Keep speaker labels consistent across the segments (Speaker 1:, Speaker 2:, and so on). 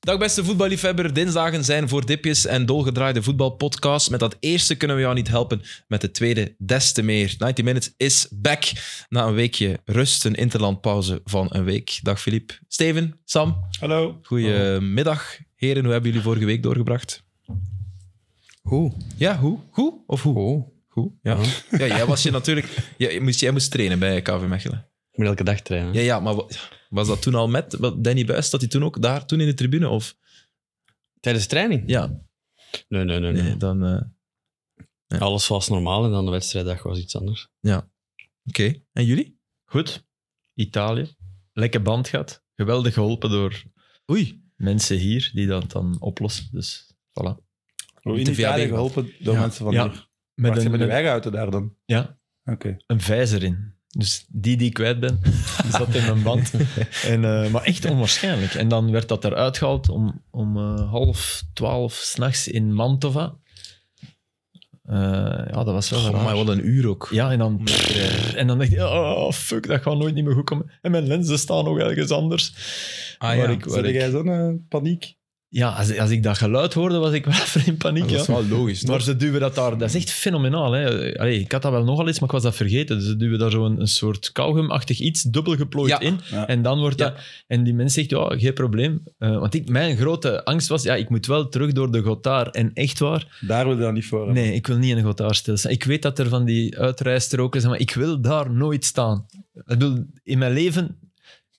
Speaker 1: Dag beste voetballiefhebber, dinsdagen zijn voor dipjes en dolgedraaide voetbalpodcast. Met dat eerste kunnen we jou niet helpen, met de tweede des te meer. 90 Minutes is back. Na een weekje rust, een interlandpauze van een week. Dag Filip, Steven, Sam.
Speaker 2: Hallo.
Speaker 1: Goedemiddag. Heren, hoe hebben jullie vorige week doorgebracht?
Speaker 3: Hoe?
Speaker 1: Ja, hoe? Goed? Of hoe?
Speaker 3: Oh,
Speaker 1: Goed, ja. ja. Jij was je natuurlijk... Jij moest, jij moest trainen bij KV Mechelen.
Speaker 3: ik moet elke dag trainen.
Speaker 1: Ja, ja, maar wa- was dat toen al met wat, Danny Buis? Zat hij toen ook daar, toen in de tribune? Of?
Speaker 3: Tijdens training?
Speaker 1: Ja,
Speaker 3: Nee, nee, nee. nee.
Speaker 1: nee, dan... eh,
Speaker 3: Alles was normaal en dan de wedstrijddag was iets anders.
Speaker 1: Oké, en jullie?
Speaker 4: Goed. Italië. Lekker band gehad. Geweldig geholpen door
Speaker 1: Oei.
Speaker 4: mensen hier die dat dan oplossen. Dus voilà.
Speaker 2: In
Speaker 1: Niet de
Speaker 2: Italië
Speaker 1: VAB -band.
Speaker 2: geholpen door
Speaker 4: Ja.
Speaker 2: mensen van
Speaker 4: Ja.
Speaker 2: hier.
Speaker 4: Met
Speaker 2: Wacht,
Speaker 4: een,
Speaker 2: hebben de
Speaker 4: een,
Speaker 2: weigauto daar dan?
Speaker 4: ja,
Speaker 2: Oké.
Speaker 4: een vijzer in. Dus die die ik kwijt ben, die zat in mijn band. En, eh, maar echt onwaarschijnlijk. En dan werd dat eruit gehaald om, om eh, half twaalf s'nachts in Mantova. Eh, ja, dat was wel raar.
Speaker 1: Oh, maar wat een uur ook.
Speaker 4: Ja, en dan, en dan dacht ik, oh fuck, dat gaat nooit niet meer goed komen. En mijn lenzen staan nog ergens anders.
Speaker 1: Ah,
Speaker 4: Waar
Speaker 1: ja.
Speaker 4: ik- waar
Speaker 2: Zet
Speaker 4: ik-
Speaker 2: jij zo'n eh, paniek?
Speaker 4: Ja, als, als ik dat geluid hoorde, was ik wel even in paniek.
Speaker 1: dat
Speaker 4: Ja.
Speaker 1: is wel logisch.
Speaker 4: Maar ze duwen dat daar, dat is echt fenomenaal. Hè. Allee, ik had dat wel nogal eens, maar ik was dat vergeten. Dus ze duwen daar zo'n een soort kauwgumachtig iets, dubbel geplooid
Speaker 1: Ja.
Speaker 4: in.
Speaker 2: Ja.
Speaker 4: En dan wordt
Speaker 1: Ja.
Speaker 4: dat... En die mens zegt, ja, geen probleem. Eh, want ik, mijn grote angst was, ja, ik moet wel terug door de gotaar. En echt waar,
Speaker 2: Daar wil je dan niet voor hebben.
Speaker 4: nee, ik wil niet in de gotaar stilstaan. Ik weet dat er van die uitrijstroken zijn, maar ik wil daar nooit staan. Ik bedoel, in mijn leven...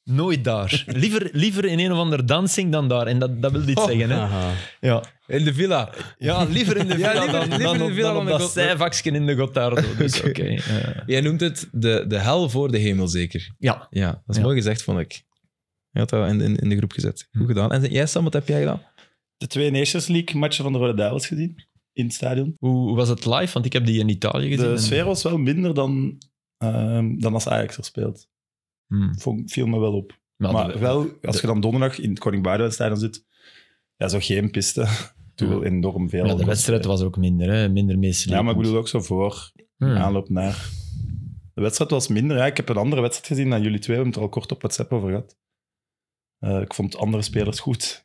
Speaker 4: Nooit daar. Liever, liever in een of ander dansing dan daar. En dat, dat wil dit
Speaker 1: Oh.
Speaker 4: zeggen. Hè?
Speaker 3: Aha.
Speaker 4: Ja.
Speaker 1: In de villa.
Speaker 4: Ja, liever in de
Speaker 1: Ja,
Speaker 4: villa
Speaker 1: liever-
Speaker 4: dan,
Speaker 1: liever
Speaker 4: dan,
Speaker 1: in de
Speaker 4: op-
Speaker 1: villa
Speaker 4: dan
Speaker 1: dan
Speaker 4: op
Speaker 1: in
Speaker 4: dat
Speaker 1: Gotha-
Speaker 4: zijvakje in de Gotardo. Dus oké. eh,
Speaker 1: Jij noemt het de, de hel voor de hemel, zeker?
Speaker 4: ja.
Speaker 1: Ja, dat is
Speaker 4: Ja.
Speaker 1: mooi gezegd, vond ik. Je had dat in, in, in de groep gezet. Goed gedaan. En jij, Sam, wat heb jij gedaan?
Speaker 2: De twee Nations League matchen van de Rode Duivels gezien in het stadion.
Speaker 4: Hoe, hoe was het live? Want ik heb die in Italië gezien.
Speaker 2: De
Speaker 4: en-
Speaker 2: sfeer was wel minder dan, ehm, dan als Ajax er speelt.
Speaker 4: Hmm.
Speaker 2: Vond, viel me wel op.
Speaker 4: Maar,
Speaker 2: maar
Speaker 4: de-
Speaker 2: wel, als je dan donderdag in het Koning Boudewijn stadion zit, ja, zo geen piste. Toen wel enorm veel.
Speaker 4: ja, de wedstrijd was ook minder, hè? minder meeslepend.
Speaker 2: Ja, maar ik bedoel ook zo voor.
Speaker 4: Hmm.
Speaker 2: aanloop naar. De wedstrijd was minder. Ja. Ik heb een andere wedstrijd gezien dan jullie twee. We hebben het er al kort op WhatsApp over gehad. Eh, ik vond andere spelers goed.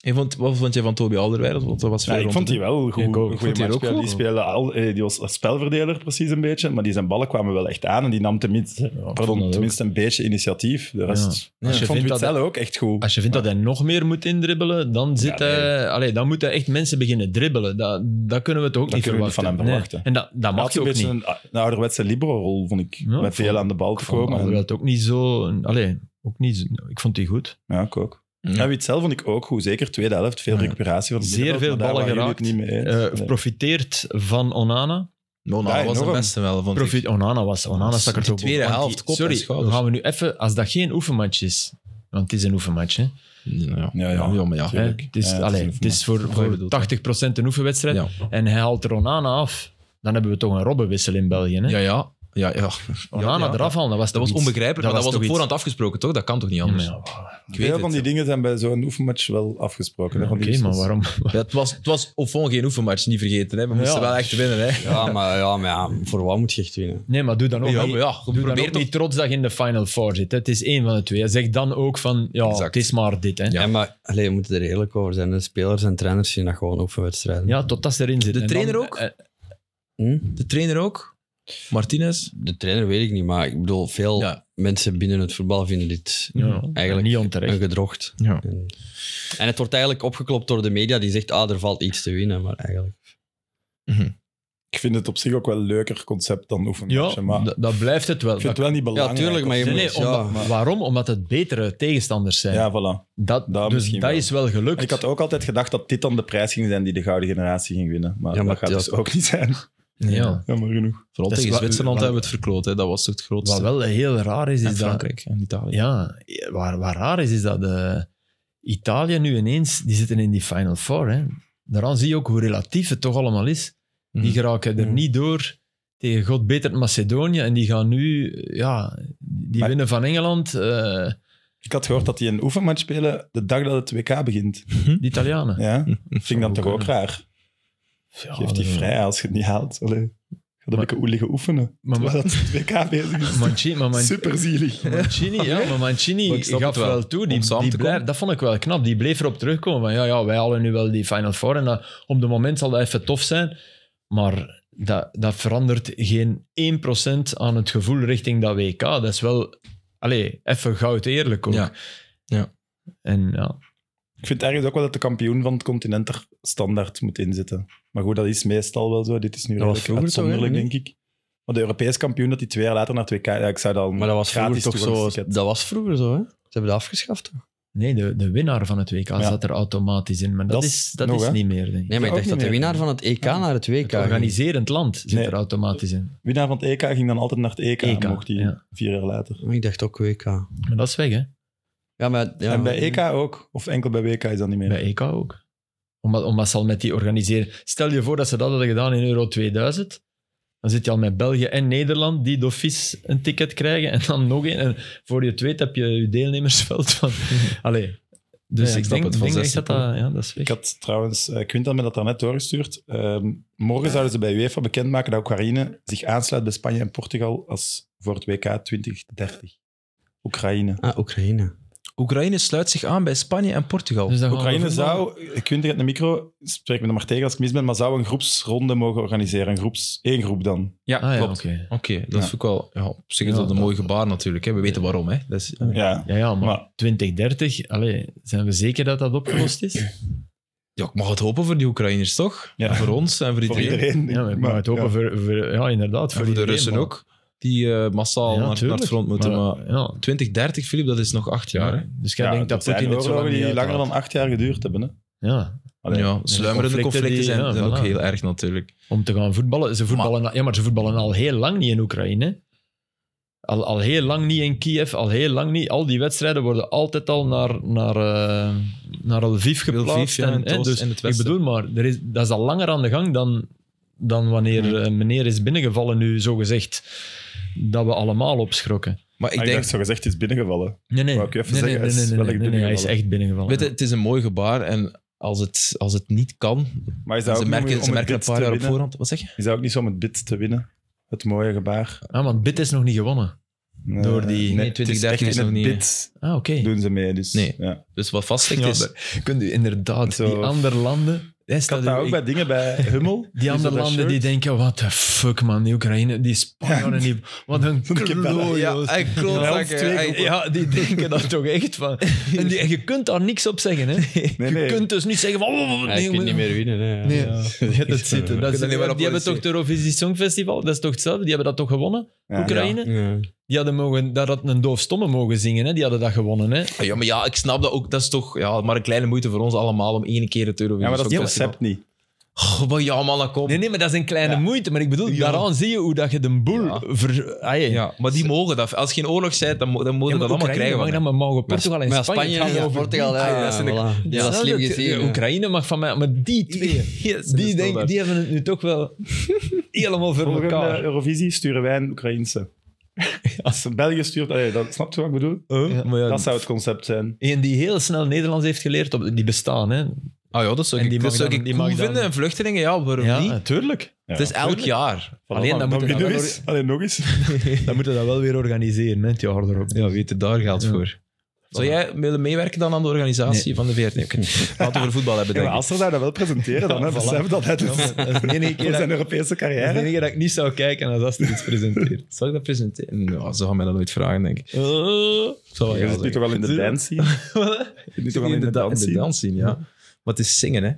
Speaker 1: En vond, wat vond jij van Toby Alderweireld? Want dat was
Speaker 2: Ja,
Speaker 1: veel
Speaker 2: ik
Speaker 1: rond
Speaker 2: vond
Speaker 1: de-
Speaker 2: die wel goed.
Speaker 4: Ja, ik ook.
Speaker 2: Een
Speaker 4: Ik
Speaker 2: goede
Speaker 4: vond die er ook
Speaker 2: matchspeler. Die,
Speaker 4: goed.
Speaker 2: speelde al, eh, die was als spelverdeler precies een beetje. Maar die zijn ballen kwamen wel echt aan. En die nam tenminste,
Speaker 4: vond dat
Speaker 2: pardon,
Speaker 4: ook.
Speaker 2: tenminste een beetje initiatief. De rest,
Speaker 4: Ja. Als je
Speaker 2: ik vond
Speaker 4: vindt dat-
Speaker 2: Witzel ook echt goed.
Speaker 4: Als je vindt dat hij nog meer moet indribbelen, dan, zit
Speaker 2: Ja, nee.
Speaker 4: hij, allee, dan moet hij echt mensen beginnen dribbelen. Dat, dat kunnen we toch ook
Speaker 2: Dat
Speaker 4: niet
Speaker 2: kunnen we
Speaker 4: verwachten.
Speaker 2: niet van hem
Speaker 4: Nee.
Speaker 2: verwachten.
Speaker 4: En dat, dat
Speaker 2: Hij
Speaker 4: mag
Speaker 2: had
Speaker 4: je
Speaker 2: een
Speaker 4: ook
Speaker 2: beetje
Speaker 4: niet.
Speaker 2: een, een ouderwetse libero-rol, vond ik.
Speaker 4: Ja,
Speaker 2: met
Speaker 4: ik
Speaker 2: veel
Speaker 4: vond-
Speaker 2: aan de bal te
Speaker 4: Ik vond
Speaker 2: komen. En-
Speaker 4: Alderweireld ook niet zo... Allee, ook niet, zo- ik vond die goed.
Speaker 2: ja, ik ook.
Speaker 1: Ja.
Speaker 2: En Witzel vond ik ook goed. Zeker tweede helft. Veel
Speaker 4: Ja.
Speaker 2: recuperatie van het
Speaker 4: Zeer
Speaker 2: middenveld,
Speaker 4: veel
Speaker 2: maar daar
Speaker 4: ballen
Speaker 2: waren jullie het
Speaker 4: geraakt.
Speaker 2: niet mee
Speaker 4: eh,
Speaker 2: eens. Nee.
Speaker 4: Profiteert van Onana.
Speaker 1: Nou, nou,
Speaker 2: Ja,
Speaker 1: dat was de
Speaker 2: enorm.
Speaker 1: beste wel, vond
Speaker 4: Profi-
Speaker 1: ik.
Speaker 4: Onana was Onana stak er
Speaker 1: Ah, Die
Speaker 4: toch
Speaker 1: tweede
Speaker 4: boven, want
Speaker 1: helft,
Speaker 4: die-
Speaker 1: kop en
Speaker 4: Sorry,
Speaker 1: schouders.
Speaker 4: gaan we nu even... Als dat geen oefenmatch is... Want het is een oefenmatch, hè.
Speaker 1: Ja,
Speaker 2: Ja, ja.
Speaker 1: maar ja.
Speaker 2: Ja.
Speaker 4: hè?
Speaker 2: Tuurlijk.
Speaker 4: Het is,
Speaker 2: Ja, het is
Speaker 4: allee,
Speaker 2: een
Speaker 4: het is voor,
Speaker 1: Goeie
Speaker 4: voor
Speaker 1: bedoeld.
Speaker 4: 80% een oefenwedstrijd.
Speaker 1: Ja,
Speaker 4: En hij haalt er Onana af. Dan hebben we toch een robbenwissel in België, hè.
Speaker 1: ja. ja, ja, ja.
Speaker 4: Onana
Speaker 1: Ja, ja.
Speaker 4: eraf halen,
Speaker 1: Dat
Speaker 4: dat was
Speaker 1: was
Speaker 4: toch iets.
Speaker 1: onbegrijpelijk, maar dat was
Speaker 4: toch
Speaker 1: op
Speaker 4: iets.
Speaker 1: voorhand afgesproken, toch? Dat kan toch niet
Speaker 4: Ja, maar
Speaker 1: anders?
Speaker 4: ja,
Speaker 1: Ik weet
Speaker 2: Veel
Speaker 1: het.
Speaker 2: van die dingen zijn bij zo'n oefenmatch wel afgesproken. hè,
Speaker 4: Oké,
Speaker 2: van die
Speaker 4: maar
Speaker 2: wissels.
Speaker 4: waarom...
Speaker 1: Ja, het, was, het was op voorhand geen oefenmatch, niet vergeten. Hè. We moesten
Speaker 4: Ja.
Speaker 1: wel echt winnen. Hè.
Speaker 3: Ja, maar, ja, maar ja, voor wat moet je echt winnen?
Speaker 4: Nee, maar doe dan ook,
Speaker 1: Ja,
Speaker 4: niet,
Speaker 1: maar ja,
Speaker 4: doe dan
Speaker 1: probeer
Speaker 4: ook
Speaker 1: toch-
Speaker 4: niet trots dat je in de Final Four zit. hè. Het is één van de twee. hè. Zeg dan ook van, ja,
Speaker 1: Exact.
Speaker 4: het is maar dit, hè.
Speaker 1: Ja.
Speaker 3: Ja, maar allee, we moeten er eerlijk over zijn. De spelers en trainers zien dat gewoon oefenwedstrijden.
Speaker 4: Ja, totdat ze erin zit.
Speaker 1: De
Speaker 4: En
Speaker 1: trainer
Speaker 4: dan-
Speaker 1: ook?
Speaker 4: eh,
Speaker 3: Hm?
Speaker 1: De trainer ook, Martinez.
Speaker 3: De trainer weet ik niet, maar ik bedoel, veel
Speaker 1: Ja.
Speaker 3: mensen binnen het voetbal vinden dit
Speaker 4: ja,
Speaker 3: Eigenlijk
Speaker 4: niet onterecht.
Speaker 3: een gedrocht.
Speaker 1: Ja.
Speaker 3: En, en het wordt eigenlijk opgeklopt door de media die zegt, ah, er valt iets te winnen. Maar eigenlijk...
Speaker 2: Ik vind het op zich ook wel een leuker concept dan oefenmatchen.
Speaker 4: Ja,
Speaker 2: maar
Speaker 4: da- dat blijft het wel.
Speaker 2: ik vind het wel niet belangrijk.
Speaker 3: Ja, tuurlijk, maar je
Speaker 2: of zo.
Speaker 4: Nee,
Speaker 3: moet-
Speaker 4: nee, omdat-
Speaker 3: Ja, maar-
Speaker 4: Waarom? Omdat het betere tegenstanders zijn.
Speaker 2: Ja, voilà.
Speaker 4: dat,
Speaker 2: dat
Speaker 4: dus
Speaker 2: misschien
Speaker 4: dat
Speaker 2: wel.
Speaker 4: is wel gelukt.
Speaker 2: En ik had ook altijd gedacht dat dit dan de prijs ging zijn die de gouden generatie ging winnen. Maar,
Speaker 3: Ja, maar
Speaker 2: dat gaat
Speaker 3: dat-
Speaker 2: dus ook niet zijn.
Speaker 4: ja.
Speaker 2: Jammer genoeg.
Speaker 1: Vooral
Speaker 4: Dat is
Speaker 1: tegen
Speaker 4: wa-
Speaker 1: Zwitserland
Speaker 4: wa-
Speaker 1: hebben we het verkloot. Hè. Dat was toch het grootste.
Speaker 4: Wat wel heel raar is,
Speaker 1: en
Speaker 4: is dat...
Speaker 1: Frankrijk en Italië.
Speaker 4: Ja, waar, waar raar is, is dat eh, Italië nu ineens... Die zitten in die Final Four. Hè. Daaraan zie je ook hoe relatief het toch allemaal is. Die
Speaker 1: Mhm.
Speaker 4: geraken er
Speaker 2: Mhm.
Speaker 4: niet door tegen God beter Macedonië. En die gaan nu... eh, Ja, die
Speaker 2: Maar-
Speaker 4: winnen van Engeland. eh,
Speaker 2: Ik had gehoord dat die een oefenmatch spelen de dag dat het WK begint.
Speaker 4: de Italianen.
Speaker 2: Ja? Vind ik dan toch ook raar?
Speaker 4: Ja,
Speaker 2: Geef die
Speaker 4: dat-
Speaker 2: vrij als je het niet haalt. Allee. Ik had een beetje oelige oefenen.
Speaker 4: Maar-
Speaker 2: terwijl dat het WK bezig is.
Speaker 4: Mancini, maar Man-
Speaker 2: Super zielig.
Speaker 4: Mancini, ja, maar Mancini
Speaker 1: Maar ik snap
Speaker 4: gaf
Speaker 1: het wel.
Speaker 4: wel. toe.
Speaker 1: Om
Speaker 4: Die,
Speaker 1: samen
Speaker 4: die
Speaker 1: te
Speaker 4: blijf-
Speaker 1: komen.
Speaker 4: dat vond ik wel knap. Die bleef erop terugkomen. Van, ja, ja, wij halen nu wel die Final Four. En dat, op het moment zal dat even tof zijn. Maar dat, dat verandert geen 1% aan het gevoel richting dat WK. Dat is wel... Allee, even goud eerlijk ook.
Speaker 1: Ja. Ja.
Speaker 4: En ja,
Speaker 2: Ik vind ergens ook wel dat de kampioen van het continent er standaard moet inzitten. Maar goed, dat is meestal wel zo. Dit is nu
Speaker 1: Dat was
Speaker 2: redelijk
Speaker 1: vroeger toch, hè,
Speaker 2: uitzonderlijk,
Speaker 1: niet?
Speaker 2: denk ik. Maar de Europees kampioen, dat die twee jaar later naar het WK... Ja, ik zou dat al
Speaker 3: Maar dat was vroeger
Speaker 2: gratis
Speaker 3: toch zo.
Speaker 2: toegangsticket.
Speaker 3: Dat was vroeger zo, hè? Ze hebben dat afgeschaft, toch?
Speaker 4: nee, de, de winnaar van het WK
Speaker 2: Ja.
Speaker 4: zat er automatisch in. Maar dat,
Speaker 2: Dat
Speaker 4: is, dat
Speaker 2: nog,
Speaker 4: is
Speaker 2: hè?
Speaker 4: niet meer, denk ik.
Speaker 3: Nee, maar ik
Speaker 2: ook
Speaker 3: dacht dat
Speaker 2: niet
Speaker 3: de
Speaker 2: meer.
Speaker 3: winnaar van het EK naar het WK
Speaker 4: Het
Speaker 3: ging.
Speaker 4: organiserend land zit
Speaker 2: Nee.
Speaker 4: er automatisch in.
Speaker 2: Winnaar van het EK ging dan altijd naar het EK,
Speaker 3: E
Speaker 4: EK,
Speaker 2: mocht hij
Speaker 4: ja.
Speaker 2: vier jaar later.
Speaker 3: Maar Oh, Ik dacht ook WK.
Speaker 4: Maar dat is weg, hè?
Speaker 3: Ja, maar, E ja,
Speaker 2: en bij
Speaker 4: E
Speaker 2: EK ook. Of enkel bij WK is dat niet meer.
Speaker 4: Bij EK ook. Omdat, omdat ze al met die organiseren. Stel je voor dat ze dat hadden gedaan in Euro 2000. Dan zit je al met België en Nederland die doffies een ticket krijgen. En dan nog één. En voor je het weet heb je je deelnemersveld van. Allee. Dus
Speaker 1: Ja,
Speaker 4: ik,
Speaker 1: ik snap
Speaker 4: denk,
Speaker 1: het, van
Speaker 4: denk echt
Speaker 1: 16
Speaker 4: dat dat, ja, dat is weg.
Speaker 2: Ik had trouwens, eh, Quint had me dat daarnet doorgestuurd. Ehm, morgen zouden ze bij UEFA bekendmaken dat Oekraïne zich aansluit bij Spanje en Portugal als voor het WK 2030. Oekraïne.
Speaker 3: Ah, Oekraïne.
Speaker 1: Oekraïne sluit zich aan bij Spanje en Portugal.
Speaker 4: Dus dan gaan we
Speaker 2: Oekraïne
Speaker 4: voetballen.
Speaker 2: zou, ik kunt het de micro, spreek me dan maar tegen als ik mis ben, maar zou een groepsronde mogen organiseren. Een groeps, één groep dan.
Speaker 1: ja,
Speaker 4: Ah, ja,
Speaker 1: klopt.
Speaker 4: oké.
Speaker 1: Oké, dat
Speaker 2: Ja.
Speaker 1: is ook wel... Ja, op zich is
Speaker 4: Ja,
Speaker 1: dat een
Speaker 4: dat-
Speaker 1: mooi gebaar natuurlijk. Hè. We weten waarom. Hè. Dat is,
Speaker 2: Ja.
Speaker 4: Ja, ja, maar,
Speaker 2: Maar-
Speaker 4: 2030, allee, zijn we zeker dat dat opgelost is?
Speaker 1: ja, ik mag het hopen voor die Oekraïners, toch?
Speaker 2: Ja.
Speaker 1: En voor ons en voor
Speaker 2: Voor
Speaker 1: iedereen.
Speaker 2: iedereen.
Speaker 4: Ja, maar, maar het hopen
Speaker 2: ja.
Speaker 4: voor, voor- Ja, inderdaad.
Speaker 1: En voor de
Speaker 4: iedereen,
Speaker 1: Russen
Speaker 4: maar-
Speaker 1: ook. Die eh, massaal
Speaker 4: Ja,
Speaker 1: naar, naar het
Speaker 4: tuurlijk.
Speaker 1: front moeten. Maar,
Speaker 4: ja,
Speaker 1: 2030, Filip, dat is nog acht jaar. Hè.
Speaker 4: Dus jij
Speaker 2: Ja,
Speaker 4: denkt dat
Speaker 2: dat zijn
Speaker 4: Poetin het zo lang
Speaker 2: oorlogen die
Speaker 4: niet
Speaker 2: langer
Speaker 4: uithoudt.
Speaker 2: dan acht jaar geduurd hebben. Hè?
Speaker 4: Ja,
Speaker 2: Allee,
Speaker 1: ja,
Speaker 4: de
Speaker 1: sluimerende
Speaker 4: conflicten
Speaker 1: conflicten
Speaker 4: die-
Speaker 1: zijn,
Speaker 4: ja,
Speaker 1: zijn ook
Speaker 4: voilà.
Speaker 1: heel erg natuurlijk.
Speaker 4: om te gaan voetballen. Ze voetballen, ja, maar ze voetballen al heel lang niet in Oekraïne. Al, al heel lang niet in Kiev, al heel lang niet. Al die wedstrijden worden altijd al naar, naar, eh, naar Lviv geplaatst.
Speaker 1: Lviv, ja, in het
Speaker 4: hè,
Speaker 1: oosten,
Speaker 4: dus
Speaker 1: in het
Speaker 4: ik
Speaker 1: westen.
Speaker 4: bedoel maar, er is, dat is al langer aan de gang dan, dan wanneer eh, meneer is binnengevallen nu, zogezegd. Dat we allemaal opschrokken.
Speaker 1: Maar ik
Speaker 2: maar ik
Speaker 1: denk,
Speaker 2: dacht, zo gezegd, het is binnengevallen.
Speaker 4: Nee, nee.
Speaker 2: Wou ik even
Speaker 4: nee,
Speaker 2: zeggen,
Speaker 4: nee,
Speaker 2: hij is
Speaker 4: nee, nee,
Speaker 2: wel
Speaker 4: nee,
Speaker 2: echt
Speaker 4: nee, nee, hij is
Speaker 2: binnengevallen.
Speaker 4: echt binnengevallen.
Speaker 1: weet je, het is een mooi gebaar. En als het, als het niet kan,
Speaker 2: Maar is dat
Speaker 1: ze
Speaker 2: ook niet om-
Speaker 1: merken,
Speaker 2: om
Speaker 1: ze
Speaker 2: het
Speaker 1: merken een
Speaker 2: bid
Speaker 1: paar
Speaker 2: te
Speaker 1: jaar op
Speaker 2: winnen?
Speaker 1: voorhand. Wat zeg je?
Speaker 2: Is dat ook niet zo om het bid te winnen? Het mooie gebaar. Eh,
Speaker 4: Ah, want Bit is nog niet gewonnen.
Speaker 2: Nee,
Speaker 1: Door die- nee,
Speaker 2: het is
Speaker 1: 2013
Speaker 2: echt
Speaker 1: is
Speaker 2: in
Speaker 1: nog
Speaker 2: het
Speaker 1: niet, hè?
Speaker 2: bid
Speaker 4: Ah, oké.
Speaker 2: doen ze mee. Dus,
Speaker 1: Nee.
Speaker 2: ja.
Speaker 1: Dus wat vastligt
Speaker 4: Ja,
Speaker 1: is...
Speaker 4: maar Kunt u inderdaad
Speaker 2: Zo.
Speaker 4: die andere landen... Hij
Speaker 2: Ik had dat ook bij dingen bij Hummel.
Speaker 4: Die andere landen die denken, what the fuck man, die Oekraïne, die Spanjaarden, die, wat een
Speaker 2: kippenvel.
Speaker 4: klojo's. Ja,
Speaker 1: en klootzakken.
Speaker 2: twee
Speaker 1: en-
Speaker 2: groepen.
Speaker 4: die denken dat toch echt van. En die, en je kunt daar niks op zeggen. Hè.
Speaker 2: Nee,
Speaker 4: Je
Speaker 2: nee.
Speaker 4: kunt dus niet zeggen van... Oh,
Speaker 3: Ja, je kunt niet meer winnen. Hè. Ja.
Speaker 4: Nee, je hebt het zitten. Dat is,
Speaker 1: Je kunt alleen maar
Speaker 4: die hebben
Speaker 1: applaudisseren.
Speaker 4: toch het Eurovisie Songfestival, dat is toch hetzelfde? Die hebben dat toch gewonnen,
Speaker 2: Ja.
Speaker 4: Oekraïne?
Speaker 3: Ja.
Speaker 4: Die hadden mogen, daar had een doofstomme mogen zingen, hè. die hadden dat gewonnen. Hè.
Speaker 1: Ja, maar ja, ik snap dat ook. Dat is toch ja, maar een kleine moeite voor ons allemaal om één keer het Eurovisie
Speaker 2: Ja, maar dat is het
Speaker 1: Songfestival-
Speaker 2: concept niet.
Speaker 1: Oh, maar ja, man, dat komt.
Speaker 4: Nee, nee, maar dat is een kleine
Speaker 2: Ja.
Speaker 4: moeite. Maar ik bedoel, daaraan zie je hoe dat je de boel...
Speaker 1: Ja.
Speaker 4: Ver, ah, ja.
Speaker 1: Ja, maar die mogen dat. Als geen oorlog zijt, dan, mo- dan mogen dat allemaal krijgen.
Speaker 4: Mag
Speaker 1: van
Speaker 4: dat
Speaker 1: mij.
Speaker 4: maar mogen Portugal en
Speaker 3: Maar ja,
Speaker 4: Spanje.
Speaker 3: Spanje en
Speaker 4: gaan
Speaker 3: ja,
Speaker 4: over
Speaker 3: Portugal, ja,
Speaker 1: Ah, ja,
Speaker 3: ja,
Speaker 1: dat is
Speaker 3: voilà.
Speaker 1: een-
Speaker 3: Ja, dat is slim gezien. ja.
Speaker 4: Oekraïne mag van mij, maar die twee,
Speaker 1: Yes, dat is
Speaker 4: die,
Speaker 1: wel
Speaker 4: denk,
Speaker 1: waar.
Speaker 4: die hebben het nu toch wel helemaal voor
Speaker 2: Volgende
Speaker 4: elkaar.
Speaker 2: eh, Eurovisie sturen wij een Oekraïnse. Als een België stuurt, allee, dat, snapt u wat ik bedoel?
Speaker 4: Ja.
Speaker 1: Maar ja,
Speaker 2: Dat zou het concept zijn.
Speaker 4: Eén die heel snel Nederlands heeft geleerd, op, die bestaan. Hè.
Speaker 1: Ah ja, dat zou
Speaker 4: En
Speaker 1: ik,
Speaker 4: die
Speaker 1: dat
Speaker 4: mag
Speaker 1: zou
Speaker 4: dan-
Speaker 1: ik
Speaker 4: die
Speaker 1: cool
Speaker 4: mag dan-
Speaker 1: vinden. En vluchtelingen, ja, waarom niet?
Speaker 4: tuurlijk.
Speaker 2: Ja.
Speaker 1: het is elk jaar.
Speaker 2: Voilà,
Speaker 4: alleen dan moet je
Speaker 2: winnen
Speaker 4: dat
Speaker 2: we eens. Allee, nog eens.
Speaker 4: Dan moeten we dat wel weer organiseren, hè, het jaar erop.
Speaker 1: Ja, weet je, daar geldt
Speaker 4: Ja.
Speaker 1: voor. Zou jij willen meewerken dan aan de organisatie van de VRT? Oké. Laten we het over voetbal hebben,
Speaker 2: Ja,
Speaker 1: denk
Speaker 2: maar
Speaker 1: ik.
Speaker 2: als ze dat wel presenteren, dan
Speaker 4: Ja,
Speaker 2: hè,
Speaker 4: voilà.
Speaker 2: besef dat het is.
Speaker 4: Dat is de enige keer
Speaker 2: Voor
Speaker 4: dat,
Speaker 2: zijn Europese
Speaker 4: dat is de
Speaker 2: carrière.
Speaker 4: enige dat ik niet zou kijken als Astrid iets presenteert.
Speaker 1: Zal ik dat presenteren? Nou, ze gaan mij dat nooit vragen, denk ik.
Speaker 4: Oh.
Speaker 1: Ik zal wel
Speaker 2: Je
Speaker 1: ja
Speaker 2: zit nu
Speaker 1: zeggen.
Speaker 2: toch wel in de dance scene? Je zit nu
Speaker 1: Ik
Speaker 2: toch
Speaker 1: zit
Speaker 2: wel
Speaker 1: niet
Speaker 2: in de
Speaker 1: da-
Speaker 2: dance scene?
Speaker 1: dans zien, ja. Maar het is zingen, hè.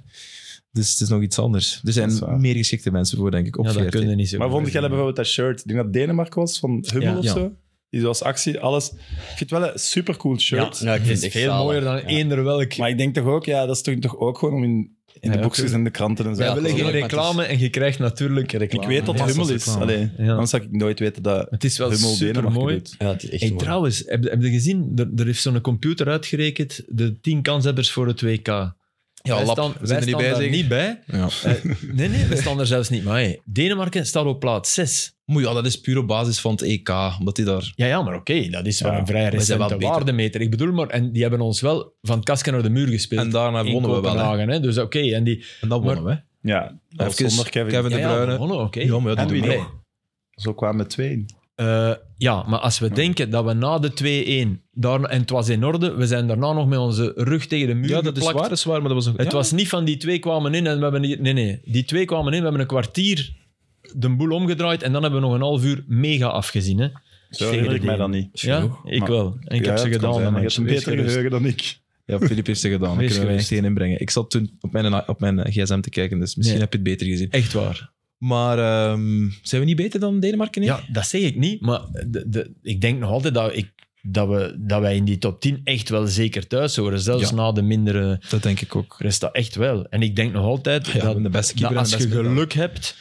Speaker 1: Dus het is nog iets anders. Er zijn
Speaker 2: Dat is waar.
Speaker 1: meer geschikte mensen voor, denk ik, op
Speaker 4: Ja, dat
Speaker 1: VRT.
Speaker 4: kunnen niet zo.
Speaker 2: Maar
Speaker 4: goed
Speaker 2: vond jij
Speaker 4: doen.
Speaker 2: bijvoorbeeld dat shirt? Ik denk dat Denemarken was, van Hummel
Speaker 4: Ja.
Speaker 2: of
Speaker 1: Ja.
Speaker 2: zo. Die was actie, alles. Ik vind het wel een supercool shirt.
Speaker 3: Ja, ik
Speaker 4: Het
Speaker 3: vind het
Speaker 4: is
Speaker 3: echt
Speaker 4: veel
Speaker 3: zalig.
Speaker 4: mooier dan
Speaker 3: Ja.
Speaker 4: eender welk.
Speaker 2: Maar ik denk toch ook, ja, dat is toch, toch ook gewoon om in, in
Speaker 4: Ja,
Speaker 2: de boekjes
Speaker 4: tuurlijk.
Speaker 2: en de kranten en zo.
Speaker 4: Wij
Speaker 3: Ja,
Speaker 2: te
Speaker 4: willen geen
Speaker 2: komen.
Speaker 3: tuurlijk, maar het is-
Speaker 4: reclame en je krijgt natuurlijk
Speaker 2: ik
Speaker 4: reclame.
Speaker 2: weet dat
Speaker 4: Ja.
Speaker 2: het Hummel is.
Speaker 1: reclame.
Speaker 2: Allee,
Speaker 4: Ja.
Speaker 2: Anders zou ik nooit weten dat
Speaker 4: Het is wel
Speaker 2: Hummel
Speaker 4: super
Speaker 2: Denemarken
Speaker 4: mooi.
Speaker 2: doet.
Speaker 3: Ja, het is echt
Speaker 4: Hey,
Speaker 3: mooi.
Speaker 4: trouwens, heb, heb je gezien? Er, er heeft zo'n computer uitgerekend de 10 kanshebbers voor het WK. Ja,
Speaker 1: lap. We zijn er niet bij,
Speaker 4: daar
Speaker 1: zeker?
Speaker 4: niet bij.
Speaker 1: Ja.
Speaker 4: Eh, nee, nee, we staan er zelfs niet. Maar hey, Denemarken staat op plaats 6.
Speaker 1: Maar ja, dat is puur op basis van het EK. Omdat die daar...
Speaker 4: Ja, ja, maar oké, dat is wel
Speaker 2: Ja,
Speaker 4: een vrij
Speaker 1: we zijn wel
Speaker 4: recente
Speaker 1: beter.
Speaker 4: waardemeter. Ik bedoel maar, en die hebben ons wel van het kasken naar de muur gespeeld.
Speaker 1: En daarna
Speaker 4: in
Speaker 1: wonnen we wel, hè.
Speaker 4: Kopenhagen, hè. Dus oké, en die,
Speaker 1: En dat wonnen we.
Speaker 2: Ja, dat was
Speaker 1: Even
Speaker 2: zonder Kevin.
Speaker 1: Kevin De
Speaker 4: Ja, ja,
Speaker 1: Bruyne.
Speaker 4: gewonnen, oké.
Speaker 1: Ja, maar ja,
Speaker 2: en
Speaker 1: doe
Speaker 2: wie
Speaker 1: maar.
Speaker 2: nog? Zo kwamen twee in.
Speaker 4: Eh, ja, maar als we denken dat we na de 2-1, daar, en het was in orde, we zijn daarna nog met onze rug tegen de muur
Speaker 1: Ja, dat is
Speaker 4: geplakt.
Speaker 1: waar, dat is waar, maar dat was een...
Speaker 4: Het was niet van die twee kwamen in en we hebben... die- Nee, nee. Die twee kwamen in, we hebben een kwartier de boel omgedraaid en dan hebben we nog een half uur mega afgezien. Hè?
Speaker 2: Zo
Speaker 4: Tegen
Speaker 2: herinner ik
Speaker 4: de
Speaker 2: mij
Speaker 4: dingen.
Speaker 2: dat niet.
Speaker 4: Ja, ik
Speaker 2: Maar-
Speaker 4: wel. En ik
Speaker 2: Ja,
Speaker 4: heb ze
Speaker 2: het kan
Speaker 4: gedaan. hè,
Speaker 2: zijn. Je hebt
Speaker 4: mensen.
Speaker 2: een
Speaker 4: Wees
Speaker 2: beter
Speaker 4: gerust.
Speaker 2: geheugen dan ik.
Speaker 1: Ja, Filip heeft ze gedaan. Daar
Speaker 4: Wees
Speaker 1: kunnen we
Speaker 4: gerust.
Speaker 1: echt één inbrengen. Ik zat toen op mijn, op mijn eh, gsm te kijken, dus misschien
Speaker 4: Nee.
Speaker 1: heb je het beter gezien.
Speaker 4: Echt waar.
Speaker 1: Maar ehm, zijn we niet beter dan Denemarken? nee?
Speaker 4: Ja, dat zeg ik niet, maar de, de, ik denk nog altijd dat, ik, dat, we, dat wij in die top 10 echt wel zeker thuis horen. Zelfs
Speaker 1: Ja.
Speaker 4: na de mindere
Speaker 1: Dat denk ik ook.
Speaker 4: Resta. Echt wel. En ik denk nog altijd
Speaker 1: Ja,
Speaker 4: dat
Speaker 1: de beste
Speaker 4: dat
Speaker 1: keeper en
Speaker 4: Nou, als
Speaker 1: de
Speaker 4: je
Speaker 1: beste middenvelder.
Speaker 4: geluk hebt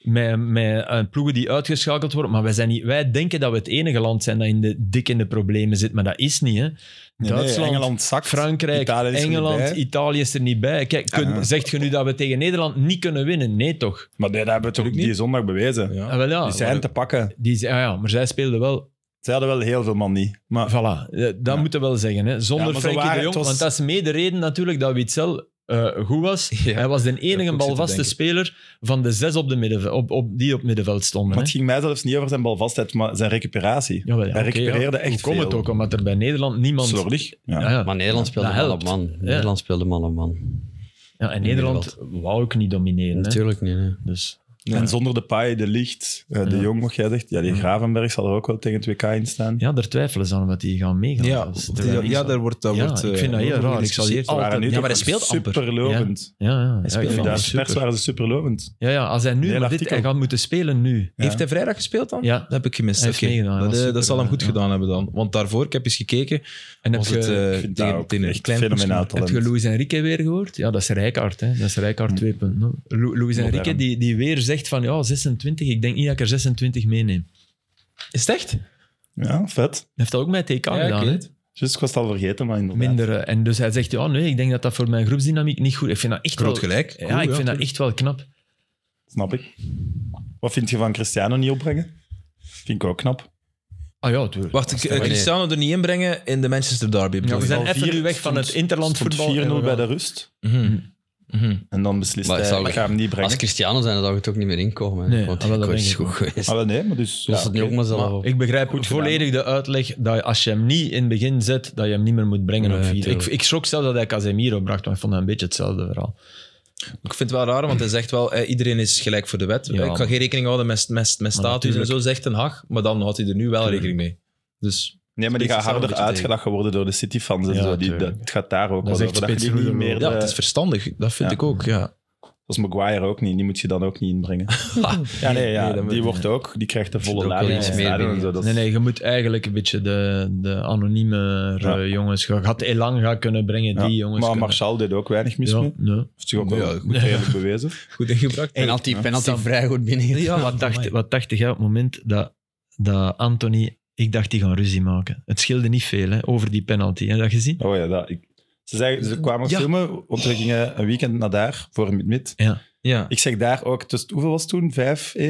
Speaker 4: met, met eh, ploegen die uitgeschakeld worden, maar wij, zijn niet, wij denken dat we het enige land zijn dat in de, dik in de problemen zit, maar dat is niet. Hè.
Speaker 2: Nee, nee,
Speaker 4: Duitsland,
Speaker 2: Engeland zakt.
Speaker 4: Frankrijk,
Speaker 2: Italië is er niet
Speaker 4: Engeland,
Speaker 2: bij.
Speaker 4: Italië is er niet bij. Kijk, kun-
Speaker 2: Ah.
Speaker 4: zegt je nu dat we tegen Nederland niet kunnen winnen? Nee, toch?
Speaker 2: Maar nee, dat hebben we toch
Speaker 1: Natuurlijk
Speaker 2: die zondag bewezen.
Speaker 1: Ja.
Speaker 4: Ah, wel, ja,
Speaker 2: die zijn
Speaker 4: maar-
Speaker 2: te pakken.
Speaker 4: die zijn- ah ja, maar zij speelden wel.
Speaker 2: Ze hadden wel heel veel man niet. Maar
Speaker 4: Voilà, eh, dat
Speaker 2: Ja.
Speaker 4: moeten we wel zeggen. Hè.
Speaker 2: Ja,
Speaker 4: Zonder
Speaker 2: maar zo
Speaker 4: Frenkie
Speaker 2: waren-
Speaker 4: de Jong,
Speaker 2: het
Speaker 4: want
Speaker 2: was-
Speaker 4: dat is mede reden natuurlijk dat Witzel eh goed was.
Speaker 1: Ja.
Speaker 4: Hij was de
Speaker 1: ik
Speaker 4: enige
Speaker 1: ook
Speaker 4: balvaste
Speaker 1: zitten
Speaker 4: speler van de zes op de middenve- op, op, die op middenveld stonden.
Speaker 2: Maar
Speaker 4: hè.
Speaker 2: het ging mij zelfs niet over zijn balvastheid, maar zijn recuperatie.
Speaker 4: Jawel,
Speaker 2: Hij
Speaker 4: oké,
Speaker 2: recupereerde echt
Speaker 4: Hoe komt
Speaker 2: veel.
Speaker 4: het ook? Omdat er bij Nederland niemand...
Speaker 2: Slordig. Ja.
Speaker 4: Ja, ja.
Speaker 3: Maar Nederland speelde
Speaker 4: Dat
Speaker 3: man
Speaker 4: helpt.
Speaker 3: op man. Nederland speelde man op man.
Speaker 4: Ja, en Nederland wou ook niet domineren. Hè?
Speaker 3: Natuurlijk niet. nee.
Speaker 4: Dus
Speaker 2: En zonder de paai, de licht, eh, de
Speaker 4: Ja.
Speaker 2: jong, wat jij zegt. Ja, die Gravenberg zal er ook wel tegen het WK in staan.
Speaker 4: ja, daar twijfelen ze aan wat die gaan meegaan.
Speaker 1: Ja,
Speaker 4: Dus
Speaker 1: ja,
Speaker 4: terwijl ik zo-
Speaker 1: daar wordt... Daar
Speaker 4: Ja,
Speaker 1: wordt eh,
Speaker 4: ik vind dat heel
Speaker 1: over
Speaker 4: raar. Ik zal die
Speaker 1: gediscussieerd.
Speaker 4: altijd-
Speaker 2: waren nu
Speaker 1: Ja, maar
Speaker 2: toch
Speaker 1: hij speelt amper.
Speaker 2: superlovend.
Speaker 4: Ja, ja, ja,
Speaker 1: speelt
Speaker 4: ik
Speaker 2: In
Speaker 4: vind
Speaker 1: wel.
Speaker 4: dat
Speaker 2: de pers
Speaker 4: super.
Speaker 2: waren ze superlovend.
Speaker 4: ja, ja, als hij nu maar
Speaker 2: Heel
Speaker 4: dit,
Speaker 2: artikel.
Speaker 4: hij gaat moeten spelen nu.
Speaker 2: Ja.
Speaker 1: Heeft hij vrijdag gespeeld dan?
Speaker 4: Ja.
Speaker 1: Dat heb ik gemist.
Speaker 4: Hij heeft
Speaker 1: Oké.
Speaker 4: meegedaan, hij
Speaker 1: Dat,
Speaker 4: was
Speaker 1: eh, dat
Speaker 4: super,
Speaker 1: zal hem goed
Speaker 4: ja.
Speaker 1: gedaan hebben dan. Want daarvoor, ik heb eens gekeken,
Speaker 4: En heb
Speaker 1: was
Speaker 4: je,
Speaker 1: het eh,
Speaker 2: ik vind dat
Speaker 1: tegen,
Speaker 2: ook
Speaker 1: tegen een
Speaker 2: echt
Speaker 1: klein
Speaker 2: fenomenaal
Speaker 1: ploegje.
Speaker 4: heb je
Speaker 2: talent.
Speaker 4: Luis Enrique weer gehoord? Ja, dat is Rijkaard. Hè? Dat is
Speaker 1: Hm.
Speaker 4: Rijkaard 2.0. Lu- Luis
Speaker 2: Modern.
Speaker 4: Enrique die, die weer zegt van ja, 26. Ik denk niet dat ik er 26 meeneem.
Speaker 1: Is het echt?
Speaker 2: Ja, vet.
Speaker 4: Hij heeft dat ook met TK
Speaker 1: Ja, ik
Speaker 4: gedaan.
Speaker 1: weet
Speaker 4: hè?
Speaker 1: het.
Speaker 2: Dus ik was het al vergeten, maar inderdaad.
Speaker 4: Minder, eh, en dus hij zegt, ja, nee, ik denk dat dat voor mijn groepsdynamiek niet goed is. Ik vind dat echt
Speaker 1: Groot
Speaker 4: wel...
Speaker 1: gelijk. Cool,
Speaker 4: ja, ik vind dat
Speaker 1: tuurlijk.
Speaker 4: echt wel knap.
Speaker 2: Snap ik. Wat vind je van Cristiano niet opbrengen? Vind ik ook knap.
Speaker 4: Ah ja, tuurlijk.
Speaker 1: Wacht, ik- eh, Cristiano er niet inbrengen in de Manchester Derby.
Speaker 4: Ja,
Speaker 1: bedoel
Speaker 4: we
Speaker 1: je?
Speaker 4: zijn
Speaker 2: Al
Speaker 4: even
Speaker 2: vier
Speaker 4: nu weg van
Speaker 2: stond-
Speaker 4: het interland
Speaker 2: stond
Speaker 4: voetbal.
Speaker 2: 4-0 bij
Speaker 4: Ja.
Speaker 2: de rust.
Speaker 1: Mhm. Mhm.
Speaker 2: En dan beslist
Speaker 3: Maar
Speaker 2: hij,
Speaker 3: zou
Speaker 2: ik
Speaker 3: ik-
Speaker 2: ga hem niet brengen.
Speaker 3: Als Cristiano zijn, dan zou het ook niet meer inkomen.
Speaker 4: Nee,
Speaker 3: Nee, Want
Speaker 4: ah, wel,
Speaker 3: dat
Speaker 4: dat
Speaker 3: is
Speaker 4: denk ik
Speaker 3: goed geweest.
Speaker 2: Ah, wel, nee, maar dus...
Speaker 3: Los
Speaker 2: ja,
Speaker 3: het nu
Speaker 2: oké.
Speaker 3: ook maar zelf
Speaker 2: Maar-
Speaker 3: op.
Speaker 4: Ik begrijp
Speaker 2: Goed gedaan.
Speaker 4: volledig de uitleg dat als je hem niet in het begin zet, dat je hem niet meer moet brengen
Speaker 3: Nee,
Speaker 4: op vier. Ik,
Speaker 3: tuurlijk.
Speaker 4: ik schrok zelf dat hij Casemiro bracht, want ik vond dat een beetje hetzelfde verhaal.
Speaker 1: Ik vind het wel raar, want hij zegt wel, eh, iedereen is gelijk voor de wet.
Speaker 4: Ja,
Speaker 1: ik ga
Speaker 4: maar-
Speaker 1: geen rekening houden met, met, met status en
Speaker 4: natuurlijk.
Speaker 1: zo, zegt Ten Hag. Maar dan houdt hij er nu wel rekening mee. Dus
Speaker 2: Nee, maar die
Speaker 1: Spits
Speaker 2: gaat
Speaker 1: is daar een
Speaker 2: harder
Speaker 1: beetje
Speaker 2: uitgelachen worden door de City-fans en
Speaker 4: Ja,
Speaker 2: zo. Die,
Speaker 4: tuurlijk.
Speaker 2: dat, het gaat daar ook
Speaker 4: Dat
Speaker 2: wel
Speaker 4: is
Speaker 2: over.
Speaker 4: echt
Speaker 2: Dat je die
Speaker 4: spitsroeder
Speaker 2: niet
Speaker 1: ja,
Speaker 2: meer... eh,
Speaker 1: het is verstandig. Dat vind
Speaker 2: ja.
Speaker 1: ik ook, ja.
Speaker 2: Zoals Maguire ook niet. Die moet je dan ook niet inbrengen. ja, nee, ja,
Speaker 1: Nee, dat
Speaker 2: die
Speaker 1: moet-
Speaker 2: wordt ook... Die krijgt de
Speaker 3: zit
Speaker 2: volle
Speaker 3: ook
Speaker 2: lading.
Speaker 3: wel
Speaker 2: in
Speaker 3: iets
Speaker 2: het
Speaker 3: meer
Speaker 2: stadion en
Speaker 3: binnen.
Speaker 2: zo. Dat is-
Speaker 4: Nee, nee, je moet eigenlijk een beetje de, de anonieme
Speaker 2: Ja.
Speaker 4: jongens, je gaat Elang gaan kunnen brengen,
Speaker 2: ja.
Speaker 4: die jongens.
Speaker 2: Maar
Speaker 4: kunnen-
Speaker 2: Martial deed ook weinig mis
Speaker 4: ja,
Speaker 2: mee.
Speaker 4: nee.
Speaker 2: Heeft zich ook
Speaker 1: Ja,
Speaker 2: wel
Speaker 1: goed.
Speaker 2: goed redelijk bewezen.
Speaker 1: Goed ingebracht.
Speaker 3: Penalty, penalty
Speaker 4: Sam.
Speaker 3: vrij goed binnen.
Speaker 4: Ja, wat, dacht, wat dacht jij op het moment dat, dat Anthony... Ik dacht, die gaan ruzie maken. Het scheelde niet veel hè, over die penalty. Heb je dat gezien?
Speaker 2: Oh ja, dat... Ik, ze, zeiden, ze kwamen
Speaker 1: Ja.
Speaker 2: filmen, want we gingen een weekend naar daar voor mid-mid.
Speaker 1: Ja.
Speaker 2: Ik zeg daar ook, dus hoeveel was het toen? 5-1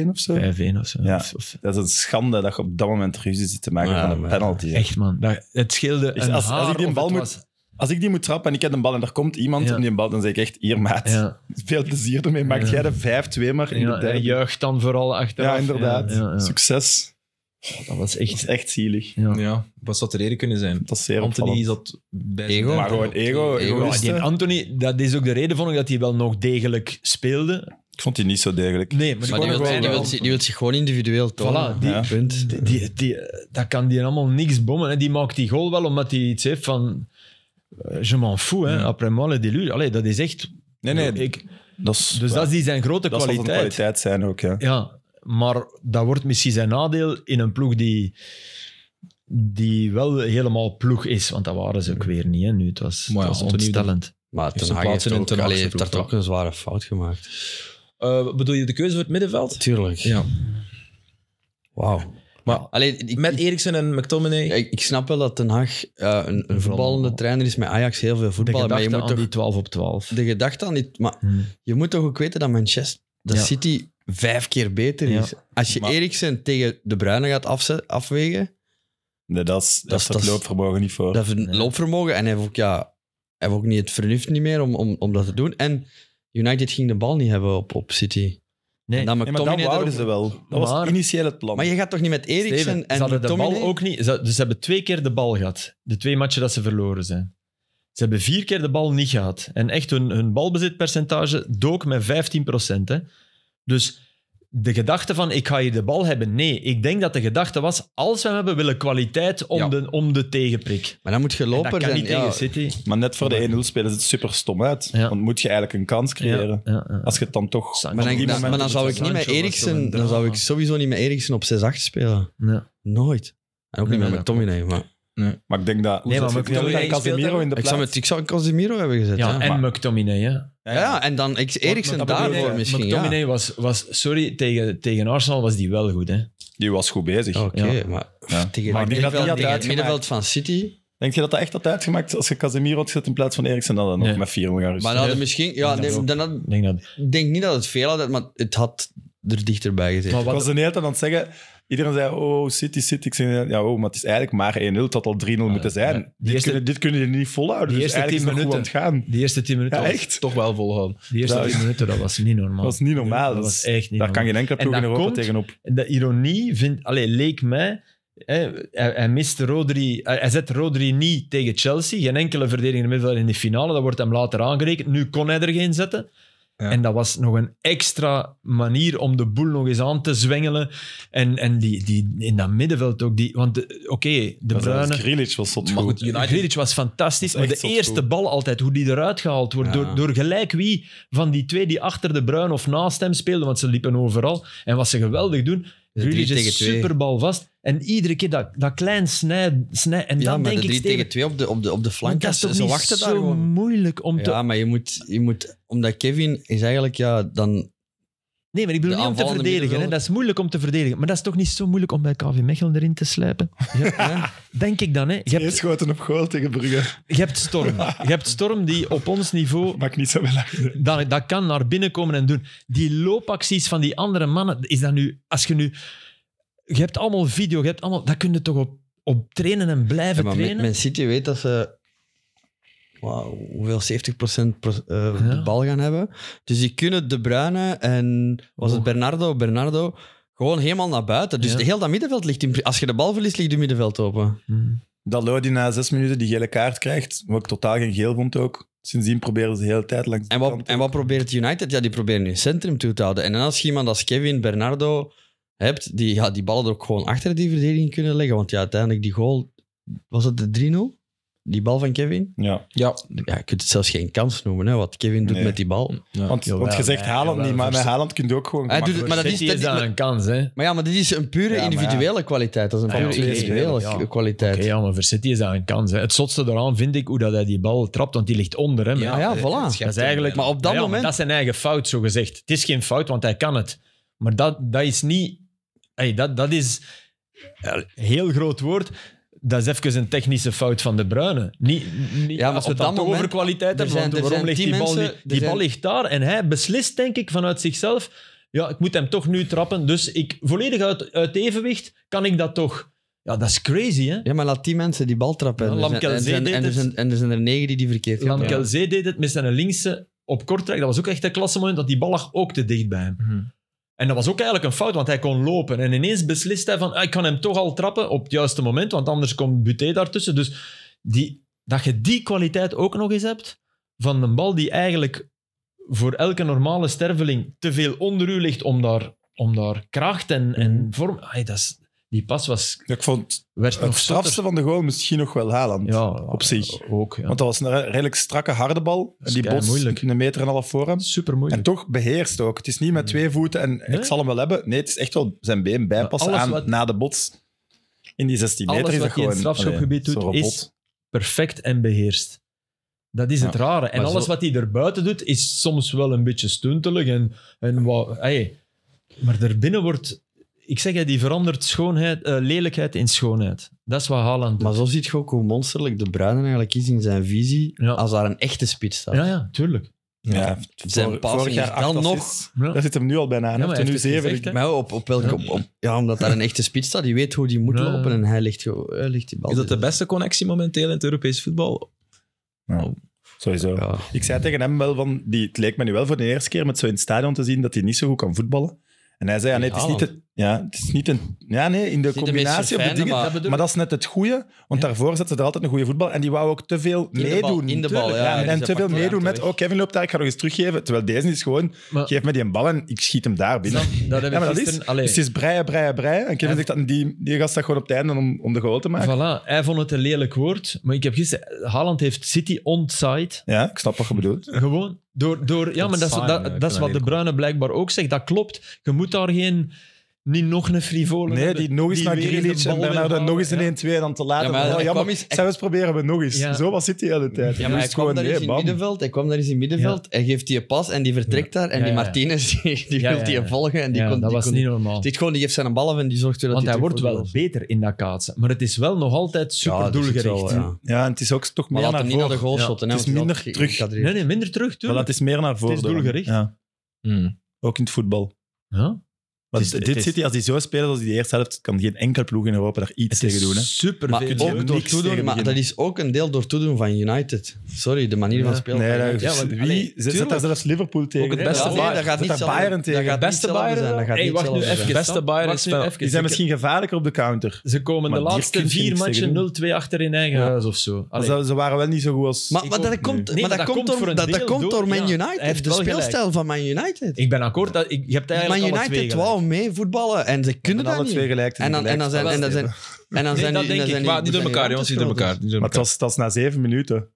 Speaker 2: of zo?
Speaker 4: 5-1 of zo.
Speaker 2: Ja.
Speaker 4: Of- of-
Speaker 2: Dat is een schande dat je op dat moment ruzie zit te maken
Speaker 3: Ja,
Speaker 2: van een
Speaker 3: maar-
Speaker 2: penalty. hè.
Speaker 4: Echt, man. Dat, het scheelde
Speaker 2: Ik-
Speaker 4: een
Speaker 2: Dus als- als
Speaker 4: haar
Speaker 2: ik die
Speaker 4: of
Speaker 2: bal
Speaker 4: het
Speaker 2: moet-
Speaker 4: was-
Speaker 2: Als ik die moet trappen en ik heb een bal en er komt iemand
Speaker 4: Ja.
Speaker 2: om die bal, dan zeg ik echt, hier maat,
Speaker 4: Ja,
Speaker 2: veel plezier ermee. Maak
Speaker 4: Ja.
Speaker 2: jij de 5-2 maar in de
Speaker 4: ja,
Speaker 2: derde.
Speaker 4: en
Speaker 2: Ja,
Speaker 4: juicht dan vooral achteraf.
Speaker 2: inderdaad.
Speaker 4: Ja, ja, ja.
Speaker 2: Succes.
Speaker 4: Dat was
Speaker 2: Dat is
Speaker 4: echt...
Speaker 2: echt zielig.
Speaker 4: Ja.
Speaker 1: ja, wat zou de reden kunnen zijn?
Speaker 2: Dat is zeer
Speaker 1: Anthony
Speaker 2: opvallend.
Speaker 1: zat bij
Speaker 3: Ego.
Speaker 1: zijn-
Speaker 2: Maar gewoon ego,
Speaker 3: Ego.
Speaker 4: Ja,
Speaker 2: egoïsten.
Speaker 4: die Anthony, dat is ook de reden, vond ik, dat hij wel nog degelijk speelde.
Speaker 2: Ik vond die niet zo degelijk.
Speaker 4: Nee, maar,
Speaker 3: Maar die
Speaker 4: kon
Speaker 3: wil,
Speaker 4: ook
Speaker 3: die,
Speaker 4: wel-
Speaker 3: wil, zich- die wil zich gewoon individueel tonen.
Speaker 4: Voilà, die-
Speaker 2: Ja.
Speaker 3: Punt.
Speaker 4: Die, die, die, eh, dat kan die allemaal niks bommen. Hè. Die maakt die goal wel omdat hij iets heeft van... eh, Je m'en fous, hè.
Speaker 1: Ja.
Speaker 4: Après moi, le deluge. Allee, dat is echt...
Speaker 2: Nee, nee.
Speaker 4: ik,
Speaker 2: dat is,
Speaker 4: dus dat is die zijn grote
Speaker 2: dat zal zijn
Speaker 4: kwaliteit.
Speaker 2: kwaliteit zijn ook, ja.
Speaker 4: Ja, maar dat wordt misschien zijn nadeel in een ploeg die, die wel helemaal ploeg is. Want dat waren ze ook weer niet, hè. Nu, het was,
Speaker 1: Maar ja,
Speaker 4: het was
Speaker 1: Anthony
Speaker 4: ontstellend.
Speaker 3: Maar Ten
Speaker 1: zijn
Speaker 3: Hag
Speaker 1: plaats
Speaker 3: heeft,
Speaker 1: in een
Speaker 3: ook,
Speaker 1: Ten Hagse
Speaker 3: allee, heeft
Speaker 1: ploeg,
Speaker 3: daar
Speaker 1: toch?
Speaker 3: ook een zware fout gemaakt.
Speaker 1: Eh, bedoel je de keuze voor het middenveld?
Speaker 3: Tuurlijk.
Speaker 1: Ja.
Speaker 3: Wauw.
Speaker 1: Maar-
Speaker 3: Allee, ik,
Speaker 1: Met Eriksen en McTominay.
Speaker 3: ik, ik- ik snap wel dat Ten Hag eh, een, een voetballende trainer is met Ajax heel veel
Speaker 4: De
Speaker 3: voetballen. Maar je
Speaker 4: gedachte
Speaker 3: moet
Speaker 4: aan
Speaker 3: toch
Speaker 4: die 12 op 12.
Speaker 3: de gedachte aan niet. Maar
Speaker 4: Hmm.
Speaker 3: je moet toch ook weten dat Manchester dat
Speaker 4: Ja.
Speaker 3: City vijf keer beter
Speaker 4: Ja.
Speaker 3: is. Als je
Speaker 2: Maar-
Speaker 3: Eriksen tegen De Bruyne gaat afze- afwegen,
Speaker 2: Nee, dat is, dat
Speaker 3: Dat
Speaker 2: is
Speaker 3: is-
Speaker 2: het
Speaker 3: dat is-
Speaker 2: loopvermogen niet voor.
Speaker 3: dat heeft een loopvermogen en hij heeft ook, ja, hij heeft ook niet het vernuft niet meer om, om, om dat te doen. En United ging de bal niet hebben op, op City.
Speaker 4: Nee.
Speaker 3: En dan
Speaker 2: Nee, maar dat
Speaker 3: McTominay
Speaker 2: wouden
Speaker 3: erop.
Speaker 2: ze wel. Dat was
Speaker 4: Maar-
Speaker 2: initieel het plan.
Speaker 3: Maar je gaat toch niet met Eriksen
Speaker 4: Steven,
Speaker 3: en
Speaker 4: ze hadden de bal
Speaker 3: McTominay?
Speaker 4: ook niet. Ze, dus ze hebben twee keer de bal gehad. De twee matchen dat ze verloren zijn. Ze hebben vier keer de bal niet gehad. En echt hun, hun balbezitpercentage dook met 15%. Hè. Dus de gedachte van ik ga hier de bal hebben, nee. Ik denk dat de gedachte was, als we hem hebben, willen kwaliteit om,
Speaker 3: Ja.
Speaker 4: de, om de tegenprik.
Speaker 3: Maar dan moet je
Speaker 4: En
Speaker 3: loper
Speaker 4: dat kan
Speaker 3: zijn.
Speaker 4: niet
Speaker 3: ja.
Speaker 4: tegen City.
Speaker 2: Maar net voor de 1-0 spelen ze het super stom uit.
Speaker 4: Ja.
Speaker 2: Want moet je eigenlijk een kans creëren.
Speaker 4: Ja, ja, ja.
Speaker 2: Als je het dan toch...
Speaker 4: Sancho.
Speaker 2: op
Speaker 3: Maar
Speaker 2: die
Speaker 3: dan, dan-
Speaker 2: momenten
Speaker 3: maar dan zou
Speaker 2: moet
Speaker 3: ik niet met
Speaker 4: Sancho was zo'n
Speaker 3: Eriksen... Dan
Speaker 4: drama.
Speaker 3: zou ik sowieso niet met Eriksen op 6-8 spelen.
Speaker 4: Nee.
Speaker 3: Nooit. En ook
Speaker 1: Nee,
Speaker 3: niet
Speaker 1: nee,
Speaker 3: met McTominay. Maar
Speaker 2: Maar ik denk dat...
Speaker 4: Nee, maar
Speaker 2: Hoeveel-
Speaker 4: McTominay
Speaker 2: hoeveel
Speaker 1: speelt
Speaker 2: Casemiro
Speaker 1: daar?
Speaker 2: in de
Speaker 3: ik zou,
Speaker 2: plaats.
Speaker 3: met, ik zou Casemiro hebben gezet.
Speaker 4: Ja,
Speaker 3: Ja,
Speaker 4: en
Speaker 2: maar-
Speaker 4: McTominay, hè.
Speaker 3: ja, ja, en dan ik- Eriksen
Speaker 2: Want McTominay-
Speaker 3: daarvoor misschien. Ja.
Speaker 4: McTominay was, was, sorry, tegen, tegen Arsenal was die wel goed, hè.
Speaker 2: Die was goed bezig.
Speaker 3: Ja, Oké,
Speaker 4: Ja.
Speaker 3: maar
Speaker 2: Ja.
Speaker 3: tegen,
Speaker 2: Maar ik denk dat die
Speaker 3: middenveld-
Speaker 2: had
Speaker 3: tegen het
Speaker 2: uitgemaakt.
Speaker 3: middenveld van
Speaker 4: Dus
Speaker 3: City.
Speaker 2: Denk je dat dat echt had uitgemaakt als je Casemiro had gezet in plaats van Eriksen? Dan, dan
Speaker 4: Nee.
Speaker 2: nog met 4-0 gaan rusten.
Speaker 3: Maar dan hadden misschien... Ja,
Speaker 4: Ja,
Speaker 3: nee,
Speaker 4: dat ook.
Speaker 3: dan had-
Speaker 4: Ik denk dat
Speaker 3: ik denk niet dat het veel had, maar het had er dichterbij gezeten.
Speaker 4: Maar
Speaker 2: Ik
Speaker 4: wat-
Speaker 2: was de hele tijd aan het zeggen... Iedereen zei, oh, City, City. Ik zei, ja, oh, maar het is eigenlijk maar 1-0. Het had al 3-0 moeten zijn.
Speaker 4: Eh, ja. Die
Speaker 2: Dit,
Speaker 4: eerste-
Speaker 2: kunnen, dit kunnen jullie niet volhouden.
Speaker 4: die
Speaker 2: Dus
Speaker 4: eerste
Speaker 2: eigenlijk is
Speaker 4: 10
Speaker 2: het nog goed aan het gaan.
Speaker 4: die eerste tien minuten
Speaker 2: Ja,
Speaker 4: was-
Speaker 2: echt.
Speaker 1: Toch wel volhouden.
Speaker 4: Die eerste
Speaker 2: Dat is-
Speaker 4: 10 minuten, dat was niet normaal.
Speaker 2: Dat was niet normaal.
Speaker 4: Oh, Dat
Speaker 2: Dat
Speaker 4: was echt niet
Speaker 2: Daar kan
Speaker 4: normaal.
Speaker 2: geen enkele
Speaker 4: En
Speaker 2: ploeg in
Speaker 4: dat
Speaker 2: Europa
Speaker 4: komt-
Speaker 2: tegenop.
Speaker 4: De ironie vind, allee, leek mij... Hè, hij, hij mist Rodri... Hij, hij zet Rodri niet tegen Chelsea. Geen enkele verdedigende middenvelder in de finale. Dat wordt hem later aangerekend. Nu kon hij er geen zetten.
Speaker 1: Ja.
Speaker 4: En dat was nog een extra manier om de boel nog eens aan te zwengelen. En, en die, die, in dat middenveld ook. Die, want de- oké, de
Speaker 2: Dat was-
Speaker 4: Bruyne...
Speaker 2: Grealish was zot
Speaker 1: Maar
Speaker 2: goed.
Speaker 1: goed, United-
Speaker 4: Grealish was fantastisch,
Speaker 2: Dat is
Speaker 4: maar de
Speaker 2: echt zot
Speaker 4: eerste
Speaker 2: goed.
Speaker 4: bal altijd, hoe die eruit gehaald wordt,
Speaker 3: Ja.
Speaker 4: door, door gelijk wie van die twee die achter de bruin of naast hem speelden, want ze liepen overal. En wat ze geweldig doen,
Speaker 3: De
Speaker 4: Grealish
Speaker 3: drie tegen
Speaker 4: is
Speaker 3: twee.
Speaker 4: superbal vast. En iedere keer dat, dat klein snij, snij en
Speaker 3: ja,
Speaker 4: dan
Speaker 3: maar
Speaker 4: denk
Speaker 3: de
Speaker 4: ik
Speaker 3: 3
Speaker 4: Steven,
Speaker 3: tegen 2 op de, op de, op de
Speaker 4: want
Speaker 3: flank,
Speaker 4: dat is
Speaker 3: ze,
Speaker 4: toch
Speaker 3: ze
Speaker 4: niet
Speaker 3: wachten daar
Speaker 4: zo
Speaker 3: gewoon.
Speaker 4: moeilijk om te...
Speaker 3: Ja, maar je moet, je moet... Omdat Kevin is eigenlijk, ja, dan...
Speaker 4: nee, maar ik
Speaker 3: de
Speaker 4: bedoel niet om te
Speaker 3: aanvallende
Speaker 4: verdedigen. Hè.
Speaker 3: middenvelder.
Speaker 4: Dat is moeilijk om te verdedigen. Maar dat is toch niet zo moeilijk om bij KV Mechelen erin te slijpen?
Speaker 3: Ja,
Speaker 4: Denk ik dan, hè. Je
Speaker 2: Twee
Speaker 4: hebt,
Speaker 2: schoten op goal tegen Brugge.
Speaker 4: je hebt Storm. Je hebt Storm die op ons niveau
Speaker 2: Maakt niet zo wel uit.
Speaker 4: dat, dat kan naar binnen komen en doen. Die loopacties van die andere mannen, is dat nu, als je nu, je hebt allemaal video, je hebt allemaal, dat kun je toch op, op trainen en blijven
Speaker 3: Ja, maar Man
Speaker 4: trainen?
Speaker 3: Man City weet dat ze... Wauw, hoeveel 70% pro- eh,
Speaker 4: Ja.
Speaker 3: de bal gaan hebben. Dus die kunnen De Bruyne en... Was het
Speaker 4: Oh.
Speaker 3: Bernardo? Bernardo... Gewoon helemaal naar buiten. Dus
Speaker 4: Ja.
Speaker 3: heel dat middenveld ligt... in- als je de bal verliest, ligt het middenveld open.
Speaker 4: Hmm.
Speaker 2: Dat Lodi na zes minuten die gele kaart krijgt, wat ik totaal geen geel vond ook. Sindsdien proberen ze de hele tijd langs de
Speaker 3: En wat,
Speaker 2: kant.
Speaker 3: en wat probeert United? Ja, die proberen hun centrum toe te houden. En dan als je iemand als Kevin Bernardo hebt, die ja, die ballen er ook gewoon achter die verdediging kunnen leggen. Want ja, uiteindelijk die goal, was het de 3-0? Die bal van Kevin?
Speaker 2: Ja,
Speaker 1: Ja,
Speaker 3: Ja, je kunt het zelfs geen kans noemen, hè, wat Kevin doet
Speaker 2: Nee.
Speaker 3: met die bal.
Speaker 2: want,
Speaker 4: Jawel,
Speaker 2: want je zegt
Speaker 4: nee,
Speaker 2: Haaland
Speaker 4: jawel,
Speaker 2: niet, maar
Speaker 4: voor
Speaker 2: met
Speaker 4: City-
Speaker 2: Haaland kun je ook gewoon...
Speaker 3: Hij doet het,
Speaker 2: gemakkelijk-
Speaker 3: maar dat is-
Speaker 4: City is
Speaker 3: dat-
Speaker 4: daar een kans, hè?
Speaker 3: Maar ja, maar dit is een pure
Speaker 2: Ja, maar ja.
Speaker 3: individuele kwaliteit. Dat is een
Speaker 2: Ja,
Speaker 3: pure
Speaker 2: ja, twee
Speaker 3: individuele
Speaker 4: spelers,
Speaker 3: k-
Speaker 4: ja.
Speaker 3: kwaliteit.
Speaker 4: Oké, ja, maar voor City is dat een kans. Hè. Het zotste daaraan vind ik hoe dat hij die bal trapt, want die ligt onder hem. hè.
Speaker 3: Ah, Ja, ja, voilà.
Speaker 4: Dat is eigenlijk,
Speaker 3: Maar op dat
Speaker 4: Ja,
Speaker 3: moment-
Speaker 4: dat is zijn eigen fout, zo gezegd. Het is geen fout, want hij kan het. Maar dat, dat is niet... Hey, dat, dat is... ja, Heel groot woord. Dat is even een technische fout van De Bruyne. Niet, niet,
Speaker 3: Ja, maar
Speaker 4: als we het
Speaker 3: op dat
Speaker 4: dan toch
Speaker 3: moment-
Speaker 4: over kwaliteit
Speaker 3: er
Speaker 4: hebben,
Speaker 3: zijn-
Speaker 4: want
Speaker 3: er
Speaker 4: waarom
Speaker 3: zijn
Speaker 4: ligt die
Speaker 3: tien
Speaker 4: bal
Speaker 3: mensen-
Speaker 4: niet?
Speaker 3: er
Speaker 4: Die bal
Speaker 3: zijn-
Speaker 4: ligt daar en hij beslist, denk ik, vanuit zichzelf... Ja, ik moet hem toch nu trappen. Dus ik, volledig uit, uit evenwicht kan ik dat toch. Ja, dat is crazy, hè?
Speaker 3: Ja, maar laat die mensen die bal trappen.
Speaker 4: Ja,
Speaker 3: En er zijn-
Speaker 4: Lamkelzee
Speaker 3: en er zijn-
Speaker 4: deed
Speaker 3: en er
Speaker 4: het.
Speaker 3: zijn- En er zijn er negen die die verkeerd gaan.
Speaker 4: Jan Kelzee deed het met zijn linkse op Kortrijk. Dat was ook echt een klassemoment, dat die bal lag ook te dicht bij hem.
Speaker 1: Mhm.
Speaker 4: En dat was ook eigenlijk een fout, want hij kon lopen. En ineens beslist hij van, "Ah, ik kan hem toch al trappen op het juiste moment, want anders komt Buté daartussen. Dus die, dat je die kwaliteit ook nog eens hebt, van een bal die eigenlijk voor elke normale sterveling te veel onder u ligt om daar, om daar kracht en, en vorm... Ai, dat is, die pas was,
Speaker 2: Ja, ik vond
Speaker 4: werd
Speaker 2: Mhm. het
Speaker 4: nog
Speaker 2: strafste
Speaker 4: zotter.
Speaker 2: van de goal misschien nog wel Haaland.
Speaker 4: Ja,
Speaker 2: op zich.
Speaker 4: Ook, ja.
Speaker 2: Want dat was een re- redelijk strakke harde bal. En
Speaker 4: is
Speaker 2: die botst
Speaker 4: moeilijk.
Speaker 2: een meter en een half voor hem.
Speaker 4: Super moeilijk.
Speaker 2: En toch beheerst ook. Het is niet met twee voeten en
Speaker 4: Mm. Nee.
Speaker 2: ik zal hem wel hebben. Nee, het is echt wel zijn been bijpassen
Speaker 4: Maar
Speaker 2: aan
Speaker 4: alles wat-
Speaker 2: na de bots. In die 16 meter
Speaker 4: Alles
Speaker 2: is
Speaker 4: wat
Speaker 2: dat
Speaker 4: hij in
Speaker 2: gewoon...
Speaker 4: het strafschopgebied
Speaker 2: Allee,
Speaker 4: doet,
Speaker 2: zo'n
Speaker 4: is-
Speaker 2: robot.
Speaker 4: perfect en beheerst. Dat is het
Speaker 2: Ja,
Speaker 4: rare. En
Speaker 1: maar
Speaker 4: alles
Speaker 1: zo-
Speaker 4: wat hij erbuiten doet, is soms wel een beetje stuntelig. En, en wat, hey, maar daarbinnen wordt... Ik zeg, het, die verandert schoonheid, eh, lelijkheid in schoonheid. Dat is wat Haaland doet.
Speaker 3: Maar zo ziet je ook hoe monsterlijk De Bruyne eigenlijk is in zijn visie
Speaker 4: Ja.
Speaker 3: als daar een echte spits staat.
Speaker 4: Ja, ja, tuurlijk.
Speaker 2: Ja,
Speaker 3: Zijn
Speaker 2: vor-
Speaker 3: passing
Speaker 2: vorig jaar
Speaker 3: is
Speaker 2: acht
Speaker 3: dan nog-
Speaker 2: assists.
Speaker 4: Ja.
Speaker 2: Daar zit hem nu al bijna aan.
Speaker 4: Ja,
Speaker 2: Ja,
Speaker 4: maar
Speaker 2: heeft er nu
Speaker 4: hij heeft het
Speaker 2: zeven.
Speaker 4: gezegd, hè.
Speaker 3: Maar ja, op, op welke,
Speaker 4: Ja.
Speaker 3: op, op- ja, omdat daar een echte spits staat, die weet hoe die moet
Speaker 4: Ja.
Speaker 3: lopen en hij ligt, ge- hij ligt die bal.
Speaker 1: Is dat de beste connectie momenteel in het Europees voetbal?
Speaker 2: Ja.
Speaker 1: Oh.
Speaker 2: Sowieso.
Speaker 3: Ja.
Speaker 2: Ik zei tegen hem wel van, die, het leek me nu wel voor de eerste keer met zo in het stadion te zien dat hij niet zo goed kan voetballen. En hij zei, ja, nee, het is niet,
Speaker 3: Haaland.
Speaker 2: het, ja, het is niet een... Ja, nee, in de
Speaker 3: de meest
Speaker 2: combinatie op de
Speaker 3: verfijnde,
Speaker 2: dingen.
Speaker 3: maar-
Speaker 2: Maar, dat is net het goede, want daarvoor zetten ze er altijd een goede voetbal. En die wou ook te veel
Speaker 3: de
Speaker 2: meedoen.
Speaker 3: bal, in de bal,
Speaker 2: Tuurlijk,
Speaker 3: ja,
Speaker 2: en-
Speaker 3: ja,
Speaker 2: en
Speaker 3: dus
Speaker 2: te
Speaker 3: dat
Speaker 2: veel
Speaker 3: pakt
Speaker 2: meedoen met,
Speaker 3: Haaland
Speaker 2: oh, Kevin loopt daar, ik ga nog eens teruggeven. Terwijl deze is gewoon,
Speaker 4: Maar-
Speaker 2: geef me die een bal en ik schiet hem daar binnen.
Speaker 4: Dat heb ik
Speaker 2: Ja, maar dat is,
Speaker 4: gisteren... allee,
Speaker 2: dus het is breien, breien, breien. En Kevin
Speaker 4: Ja.
Speaker 2: zegt dat die, die gast dat gewoon op het einde om, om de goal te maken.
Speaker 4: voilà, hij vond het een lelijk woord, maar ik heb gisteren... Haaland heeft City onside
Speaker 2: Ja, ik snap wat je bedoelt.
Speaker 4: Gewoon door. door ja, maar dat is,
Speaker 1: saai, ja, ik
Speaker 4: dat, dat
Speaker 1: vind
Speaker 4: is
Speaker 1: dat
Speaker 4: wat de
Speaker 1: heel
Speaker 4: Bruine blijkbaar ook zegt. Dat klopt. Je moet daar geen. Niet nog een frivole.
Speaker 2: Nee,
Speaker 4: hebben
Speaker 2: die nog eens
Speaker 4: die
Speaker 2: naar
Speaker 4: weer de
Speaker 2: Grealish en
Speaker 4: bal wil
Speaker 2: Bernardo
Speaker 4: halen,
Speaker 2: nog eens
Speaker 4: ja.
Speaker 2: een 1-2 en dan te laat.
Speaker 3: Ja,
Speaker 2: Ja,
Speaker 3: maar hij
Speaker 2: maar,
Speaker 3: kwam eens-
Speaker 2: zelfs proberen we nog eens.
Speaker 4: Ja.
Speaker 2: Zo was het die hele tijd.
Speaker 4: Ja,
Speaker 3: Ja,
Speaker 2: En
Speaker 3: maar hij
Speaker 2: dus
Speaker 3: kwam daar
Speaker 2: nee,
Speaker 3: eens in
Speaker 2: bam.
Speaker 3: middenveld. Hij kwam daar eens in middenveld. Hij geeft die een pas en die vertrekt daar. En
Speaker 4: Ja,
Speaker 3: die
Speaker 4: ja, ja.
Speaker 3: Martinez die, die
Speaker 4: Ja,
Speaker 3: wil
Speaker 4: ja,
Speaker 3: die
Speaker 4: ja.
Speaker 3: volgen. En die
Speaker 4: Ja,
Speaker 3: kon,
Speaker 4: dat
Speaker 3: die
Speaker 4: was
Speaker 3: kon-
Speaker 4: niet normaal.
Speaker 3: Dit gewoon, die geeft zijn een bal af en die zorgt ervoor dat
Speaker 4: Want hij
Speaker 3: terug
Speaker 4: wordt
Speaker 3: voor de
Speaker 4: wel
Speaker 3: goal is.
Speaker 4: beter in dat kaatsen. Maar het is wel nog altijd super
Speaker 3: Ja, dat is het
Speaker 4: doelgericht.
Speaker 3: wel, ja.
Speaker 2: Ja, en het is ook toch
Speaker 3: Maar
Speaker 2: meer
Speaker 3: laat hem
Speaker 2: naar
Speaker 3: niet naar de
Speaker 2: voren.
Speaker 3: goal
Speaker 4: Ja,
Speaker 3: shotten. hè,
Speaker 2: het is
Speaker 3: want die
Speaker 2: minder
Speaker 3: had
Speaker 2: terug.
Speaker 3: geïncadreerd.
Speaker 4: Nee, nee, minder terug.
Speaker 2: Maar
Speaker 4: tuurlijk.
Speaker 2: het is meer naar voren. dan.
Speaker 4: doelgericht.
Speaker 2: Ja,
Speaker 1: Hmm.
Speaker 2: ook in het voetbal.
Speaker 4: Ja.
Speaker 2: Want
Speaker 1: Het is-
Speaker 2: dit
Speaker 1: het is-
Speaker 2: City, als die zo spelen als die de eerste helft, kan geen enkel ploeg in Europa daar iets tegen doen. Hè.
Speaker 4: super
Speaker 3: Maar,
Speaker 2: kun
Speaker 4: veel.
Speaker 2: je
Speaker 3: ook
Speaker 2: niks
Speaker 3: door
Speaker 2: tegen
Speaker 3: toedoen, maar
Speaker 2: beginnen.
Speaker 3: dat is ook een deel door toedoen van United. Sorry, de manier van
Speaker 4: Ja.
Speaker 3: spelen.
Speaker 2: Nee,
Speaker 3: van
Speaker 2: dat,
Speaker 3: United.
Speaker 4: want-
Speaker 2: wie,
Speaker 4: allee,
Speaker 2: zet- zet daar
Speaker 4: tuurlijk.
Speaker 2: zelfs Liverpool tegen.
Speaker 1: het
Speaker 2: hè.
Speaker 1: beste
Speaker 2: Zet
Speaker 1: Bayern-
Speaker 3: dat gaat niet
Speaker 2: daar
Speaker 3: hetzelfde-
Speaker 2: Bayern
Speaker 3: dat
Speaker 2: tegen.
Speaker 3: gaat-
Speaker 1: De beste
Speaker 3: hetzelfde
Speaker 1: Bayern.
Speaker 3: zijn, dat gaat
Speaker 1: Hey,
Speaker 3: niet
Speaker 1: wacht nu
Speaker 3: hetzelfde
Speaker 1: even.
Speaker 3: zijn.
Speaker 1: De beste Bayern is
Speaker 4: wel.
Speaker 1: wel.
Speaker 2: Die zijn misschien gevaarlijker op de counter.
Speaker 4: Ze komen
Speaker 2: Maar
Speaker 4: de
Speaker 2: Dirk
Speaker 4: laatste
Speaker 2: heeft
Speaker 4: vier
Speaker 2: niks tegen
Speaker 4: matchen 0-2 achter in eigen
Speaker 3: Ja.
Speaker 4: huis of zo. Allee.
Speaker 2: Ze, ze waren wel niet zo goed als...
Speaker 3: Maar, maar
Speaker 4: Ik
Speaker 3: dat
Speaker 4: ook
Speaker 3: komt,
Speaker 4: niet.
Speaker 3: maar dat komt
Speaker 4: voor
Speaker 3: door,
Speaker 4: een
Speaker 3: dat, dat
Speaker 4: deel
Speaker 3: komt
Speaker 4: door-
Speaker 3: door Man
Speaker 4: ja, hij
Speaker 3: United.
Speaker 4: heeft
Speaker 3: De
Speaker 4: wel gelijk.
Speaker 3: speelstijl van Man United.
Speaker 4: Ik ben akkoord. Dat, ik, je hebt
Speaker 3: Man
Speaker 4: eigenlijk al wat twee
Speaker 3: United
Speaker 4: gelijk.
Speaker 3: wou mee voetballen en ze kunnen
Speaker 2: Met
Speaker 3: dat
Speaker 2: alle
Speaker 3: niet.
Speaker 2: twee gelijk. te
Speaker 3: En dan, en dan zijn... En dan zijn, en dan
Speaker 4: Nee,
Speaker 3: zijn
Speaker 4: dat denk
Speaker 3: die- dan
Speaker 4: ik,
Speaker 3: zijn die-
Speaker 1: Maar niet door
Speaker 3: zijn
Speaker 1: elkaar, jongens. Niet door elkaar. Niet door
Speaker 2: Maar het
Speaker 1: elkaar.
Speaker 2: was, het was na zeven minuten.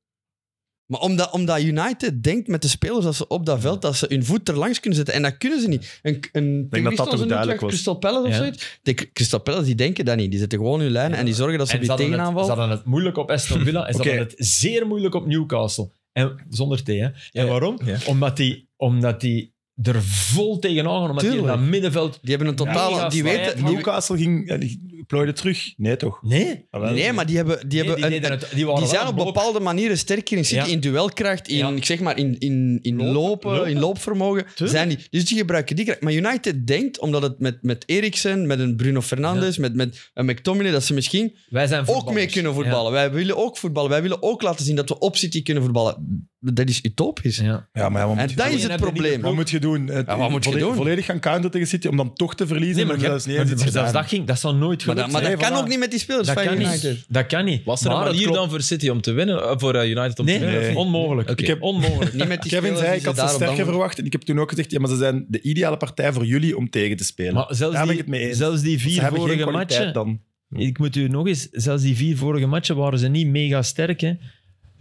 Speaker 3: Maar omdat, omdat United denkt met de spelers dat ze op dat veld dat ze hun voet er langs kunnen zetten. En dat kunnen ze niet. Een, een
Speaker 2: dat dat ook duidelijk was.
Speaker 3: Crystal Palace of
Speaker 4: Ja.
Speaker 3: zoiets. De Crystal Palace die denken dat niet. Die zetten gewoon hun lijnen en die zorgen dat ze
Speaker 4: En
Speaker 3: bij
Speaker 4: ze hadden het-
Speaker 3: tegenaanval...
Speaker 4: Ze hadden het moeilijk op Aston Villa en ze
Speaker 2: Oké.
Speaker 4: hadden het zeer moeilijk op Newcastle. En, zonder thee, hè. En
Speaker 1: Ja.
Speaker 4: waarom?
Speaker 1: Ja.
Speaker 4: Omdat die... Omdat die er vol tegenaan gaan, omdat die in
Speaker 3: Tuurlijk.
Speaker 4: dat middenveld...
Speaker 3: Die hebben een totale...
Speaker 4: Ja,
Speaker 3: die weten... die-
Speaker 2: Newcastle ging, eh, die plooide terug. Nee, toch? Ah,
Speaker 4: Nee,
Speaker 3: nee, maar die hebben... Die,
Speaker 4: nee,
Speaker 3: hebben
Speaker 4: die,
Speaker 3: een-
Speaker 4: deden
Speaker 3: een-
Speaker 4: het- die, waren
Speaker 3: die
Speaker 4: wel
Speaker 3: zijn
Speaker 4: een
Speaker 3: op
Speaker 4: blok.
Speaker 3: bepaalde manieren sterker in City,
Speaker 4: Ja.
Speaker 3: in duelkracht, in,
Speaker 4: Ja.
Speaker 3: ik zeg maar, in, in, in lopen,
Speaker 4: Lopen, lopen.
Speaker 3: in loopvermogen.
Speaker 4: Tuurlijk.
Speaker 3: Zijn die, dus die gebruiken die kracht. Maar United denkt, omdat het met, met Eriksen, met een Bruno Fernandes, met, met een McTominay, dat ze misschien
Speaker 4: Wij zijn
Speaker 3: ook mee
Speaker 4: voetballers.
Speaker 3: kunnen voetballen. Wij willen ook voetballen. Wij willen ook laten zien dat we op City kunnen voetballen. Dat is utopisch.
Speaker 4: Ja. Ja.
Speaker 2: Ja, maar ja, wat
Speaker 3: En dat
Speaker 2: moet, je,
Speaker 3: is
Speaker 4: Alleen hebben
Speaker 3: het
Speaker 4: die de
Speaker 3: probleem.
Speaker 2: wat moet je doen? Het-
Speaker 3: Ja, wat moet je
Speaker 2: volledig,
Speaker 3: doen?
Speaker 2: volledig gaan counter tegen City om dan toch te verliezen.
Speaker 4: Nee, maar, je-
Speaker 2: dat is niet
Speaker 4: maar
Speaker 2: eens iets
Speaker 4: zelfs
Speaker 2: gedaan.
Speaker 4: dat, ging, dat zou nooit
Speaker 3: Maar,
Speaker 4: gelukt
Speaker 3: dat, maar
Speaker 2: Nee,
Speaker 3: dat kan
Speaker 2: voilà.
Speaker 3: ook niet met die spelers
Speaker 4: zijn.
Speaker 3: van
Speaker 4: dat, kan
Speaker 3: United.
Speaker 4: niet. dat kan niet.
Speaker 1: Was er een
Speaker 4: Maar het
Speaker 1: manier
Speaker 4: klopt.
Speaker 1: dan voor City om te winnen? Eh, Voor eh, United om te
Speaker 4: Nee,
Speaker 1: winnen?
Speaker 2: Nee.
Speaker 4: onmogelijk.
Speaker 1: Oké.
Speaker 4: Ik heb onmogelijk.
Speaker 3: Niet met die
Speaker 2: Kevin
Speaker 3: spelers
Speaker 2: zei,
Speaker 3: die
Speaker 2: ik had
Speaker 3: ze daar
Speaker 2: ze
Speaker 3: op
Speaker 2: sterker
Speaker 3: dat moment-
Speaker 2: verwacht. En ik heb toen ook gezegd, ja, maar ze zijn de ideale partij voor jullie om tegen te spelen.
Speaker 4: Maar zelfs
Speaker 2: Daar
Speaker 4: die,
Speaker 2: ben ik het mee eens.
Speaker 4: Zelfs die
Speaker 2: ze
Speaker 4: vier
Speaker 2: hebben geen
Speaker 4: vorige
Speaker 2: kwaliteit
Speaker 4: matchen...
Speaker 2: dan.
Speaker 4: Ik moet u nog eens, zelfs die vier vorige matchen waren ze niet mega sterk. Hè.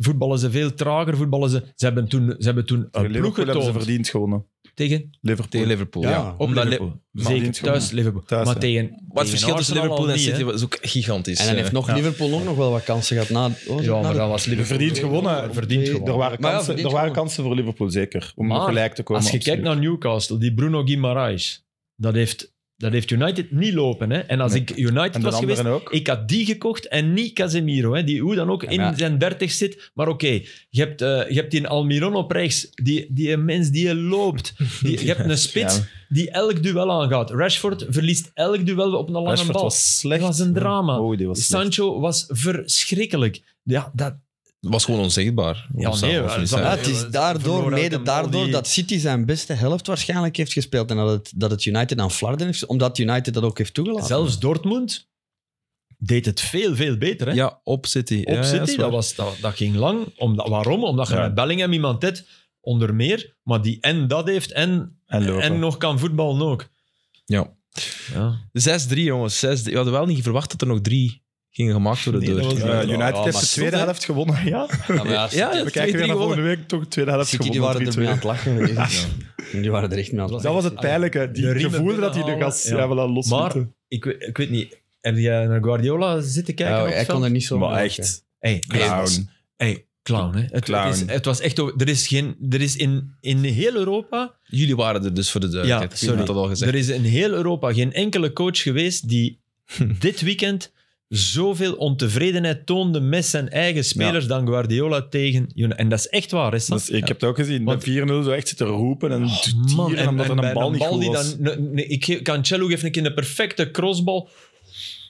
Speaker 4: Voetballen ze veel trager, voetballen ze. Ze hebben toen, ze hebben toen een ploeg
Speaker 2: Liverpool hebben ze
Speaker 4: getoond
Speaker 2: verdiend gewonnen.
Speaker 4: tegen
Speaker 2: Liverpool.
Speaker 1: Tegen Liverpool.
Speaker 3: Ja,
Speaker 1: Ja,
Speaker 3: op
Speaker 1: omdat Li-
Speaker 4: Liverpool.
Speaker 1: maar-
Speaker 4: Zeker
Speaker 2: verdiend gewonnen.
Speaker 4: thuis Liverpool.
Speaker 2: Thuis,
Speaker 4: maar
Speaker 2: hè.
Speaker 4: tegen,
Speaker 1: Maar het
Speaker 4: tegen
Speaker 1: verschil tussen
Speaker 4: Arsenal
Speaker 1: Liverpool
Speaker 4: al
Speaker 1: en
Speaker 4: niet,
Speaker 1: City
Speaker 4: hè.
Speaker 1: was ook gigantisch.
Speaker 3: En dan
Speaker 1: eh.
Speaker 3: heeft nog
Speaker 2: Ja.
Speaker 3: Liverpool ook nog wel wat kansen gehad. Na, oh,
Speaker 4: Ja,
Speaker 3: na
Speaker 4: maar
Speaker 3: de-
Speaker 4: dat was Liverpool.
Speaker 2: Verdiend gewonnen.
Speaker 4: Verdiend gewonnen.
Speaker 2: Er waren
Speaker 3: Maar ja,
Speaker 2: kansen,
Speaker 3: verdiend
Speaker 2: er waren
Speaker 3: gewonnen.
Speaker 2: kansen voor Liverpool, zeker. Om nog
Speaker 4: Maar
Speaker 2: gelijk te komen.
Speaker 4: Als je kijkt
Speaker 2: absoluut.
Speaker 4: naar Newcastle, die Bruno Guimaraes, dat heeft, dat heeft United niet lopen. Hè. En als
Speaker 2: Nee.
Speaker 4: ik United
Speaker 2: En de
Speaker 4: was geweest,
Speaker 2: anderen ook.
Speaker 4: ik had die gekocht en niet Casemiro, hè, die hoe dan ook
Speaker 3: Ja,
Speaker 4: in
Speaker 3: maar-
Speaker 4: zijn 30 zit. Maar oké, je, hebt, eh, je hebt die Almiron op rechts, die, die mens die loopt. Die, je hebt een spits
Speaker 2: Ja.
Speaker 4: die elk duel aangaat. Rashford verliest elk duel op een lange
Speaker 2: Rashford
Speaker 4: bal.
Speaker 2: was slecht.
Speaker 4: Dat was een drama.
Speaker 2: Oh, die was slecht.
Speaker 4: Sancho was verschrikkelijk. Ja, dat,
Speaker 1: was gewoon onzichtbaar.
Speaker 4: Ja,
Speaker 1: Of
Speaker 4: nee,
Speaker 1: zo,
Speaker 4: wel,
Speaker 1: of niet,
Speaker 4: zo-
Speaker 1: hè.
Speaker 3: Ja, het is
Speaker 4: Ze
Speaker 3: daardoor,
Speaker 4: verloren uit
Speaker 3: mede
Speaker 4: een bal
Speaker 3: daardoor,
Speaker 4: die-
Speaker 3: dat City zijn beste helft waarschijnlijk heeft gespeeld. En dat het, dat het United aan flarden heeft. Omdat United dat ook heeft toegelaten.
Speaker 4: zelfs Dortmund deed het veel, veel beter. Hè?
Speaker 1: Ja, op City.
Speaker 4: op
Speaker 1: Ja, ja,
Speaker 4: City.
Speaker 1: is waar.
Speaker 4: dat, was, dat, dat ging lang. Omdat, waarom? Omdat je
Speaker 2: Ja.
Speaker 4: met Bellingham iemand hebt, onder meer, maar die en dat heeft en,
Speaker 2: En lopen.
Speaker 4: en nog kan voetballen ook.
Speaker 1: Ja.
Speaker 4: Ja.
Speaker 1: 6-3, jongens. 6-3. We hadden wel niet verwacht dat er nog drie gingen gemaakt worden
Speaker 4: Nee,
Speaker 1: door.
Speaker 4: dat was-
Speaker 2: Eh,
Speaker 1: Ja.
Speaker 2: United
Speaker 3: Ja,
Speaker 2: heeft
Speaker 3: maar
Speaker 2: de tweede
Speaker 1: soms, hè.
Speaker 2: helft gewonnen. Ja.
Speaker 3: Ja, maar ja, City-
Speaker 1: Ja,
Speaker 2: We
Speaker 1: ja.
Speaker 2: kijken
Speaker 1: 2-3
Speaker 2: weer naar volgende
Speaker 1: gewonnen.
Speaker 2: week. Toch de tweede helft
Speaker 3: City die
Speaker 2: gewonnen.
Speaker 3: waren er
Speaker 2: 3-2.
Speaker 3: mee aan het lachen. Die waren er echt mee aan het lachen.
Speaker 2: Dat was het pijnlijke.
Speaker 4: De
Speaker 2: Die
Speaker 4: riemen
Speaker 2: gevoel dat hij de
Speaker 4: binnenhalen.
Speaker 2: gas
Speaker 4: Ja.
Speaker 2: ja. wel los
Speaker 4: Maar ik, weet- ik weet niet, heb jij naar Guardiola zitten kijken?
Speaker 3: Ja,
Speaker 4: op het
Speaker 3: Nou, hij kon
Speaker 4: veld?
Speaker 3: er niet zo
Speaker 2: Maar
Speaker 3: mee
Speaker 2: echt,
Speaker 4: Hey, nee, het was-
Speaker 2: clown.
Speaker 4: hey, clown, hè. Het,
Speaker 2: Clown.
Speaker 4: Het, is, het was echt... over- Er is, geen, er is in, in heel Europa...
Speaker 1: Jullie waren er dus voor de duidelijkheid.
Speaker 4: Ja, sorry.
Speaker 1: Ik had dat al gezegd.
Speaker 4: Er is in heel Europa geen enkele coach geweest die dit weekend zoveel ontevredenheid toonde met zijn eigen spelers dan Guardiola tegen United. En dat is echt waar, is
Speaker 2: Dat
Speaker 4: dat?
Speaker 2: is- ik heb het ook gezien.
Speaker 4: Want-
Speaker 2: Met 4-0 zo echt zitten roepen Ah, en te tieren
Speaker 4: Man, en,
Speaker 2: omdat
Speaker 4: en
Speaker 2: er
Speaker 4: bij
Speaker 2: een bal niet goed
Speaker 4: die
Speaker 2: was.
Speaker 4: dan... Nee, nee, ik, geef- Cancelo geeft een keer een perfecte crossbal.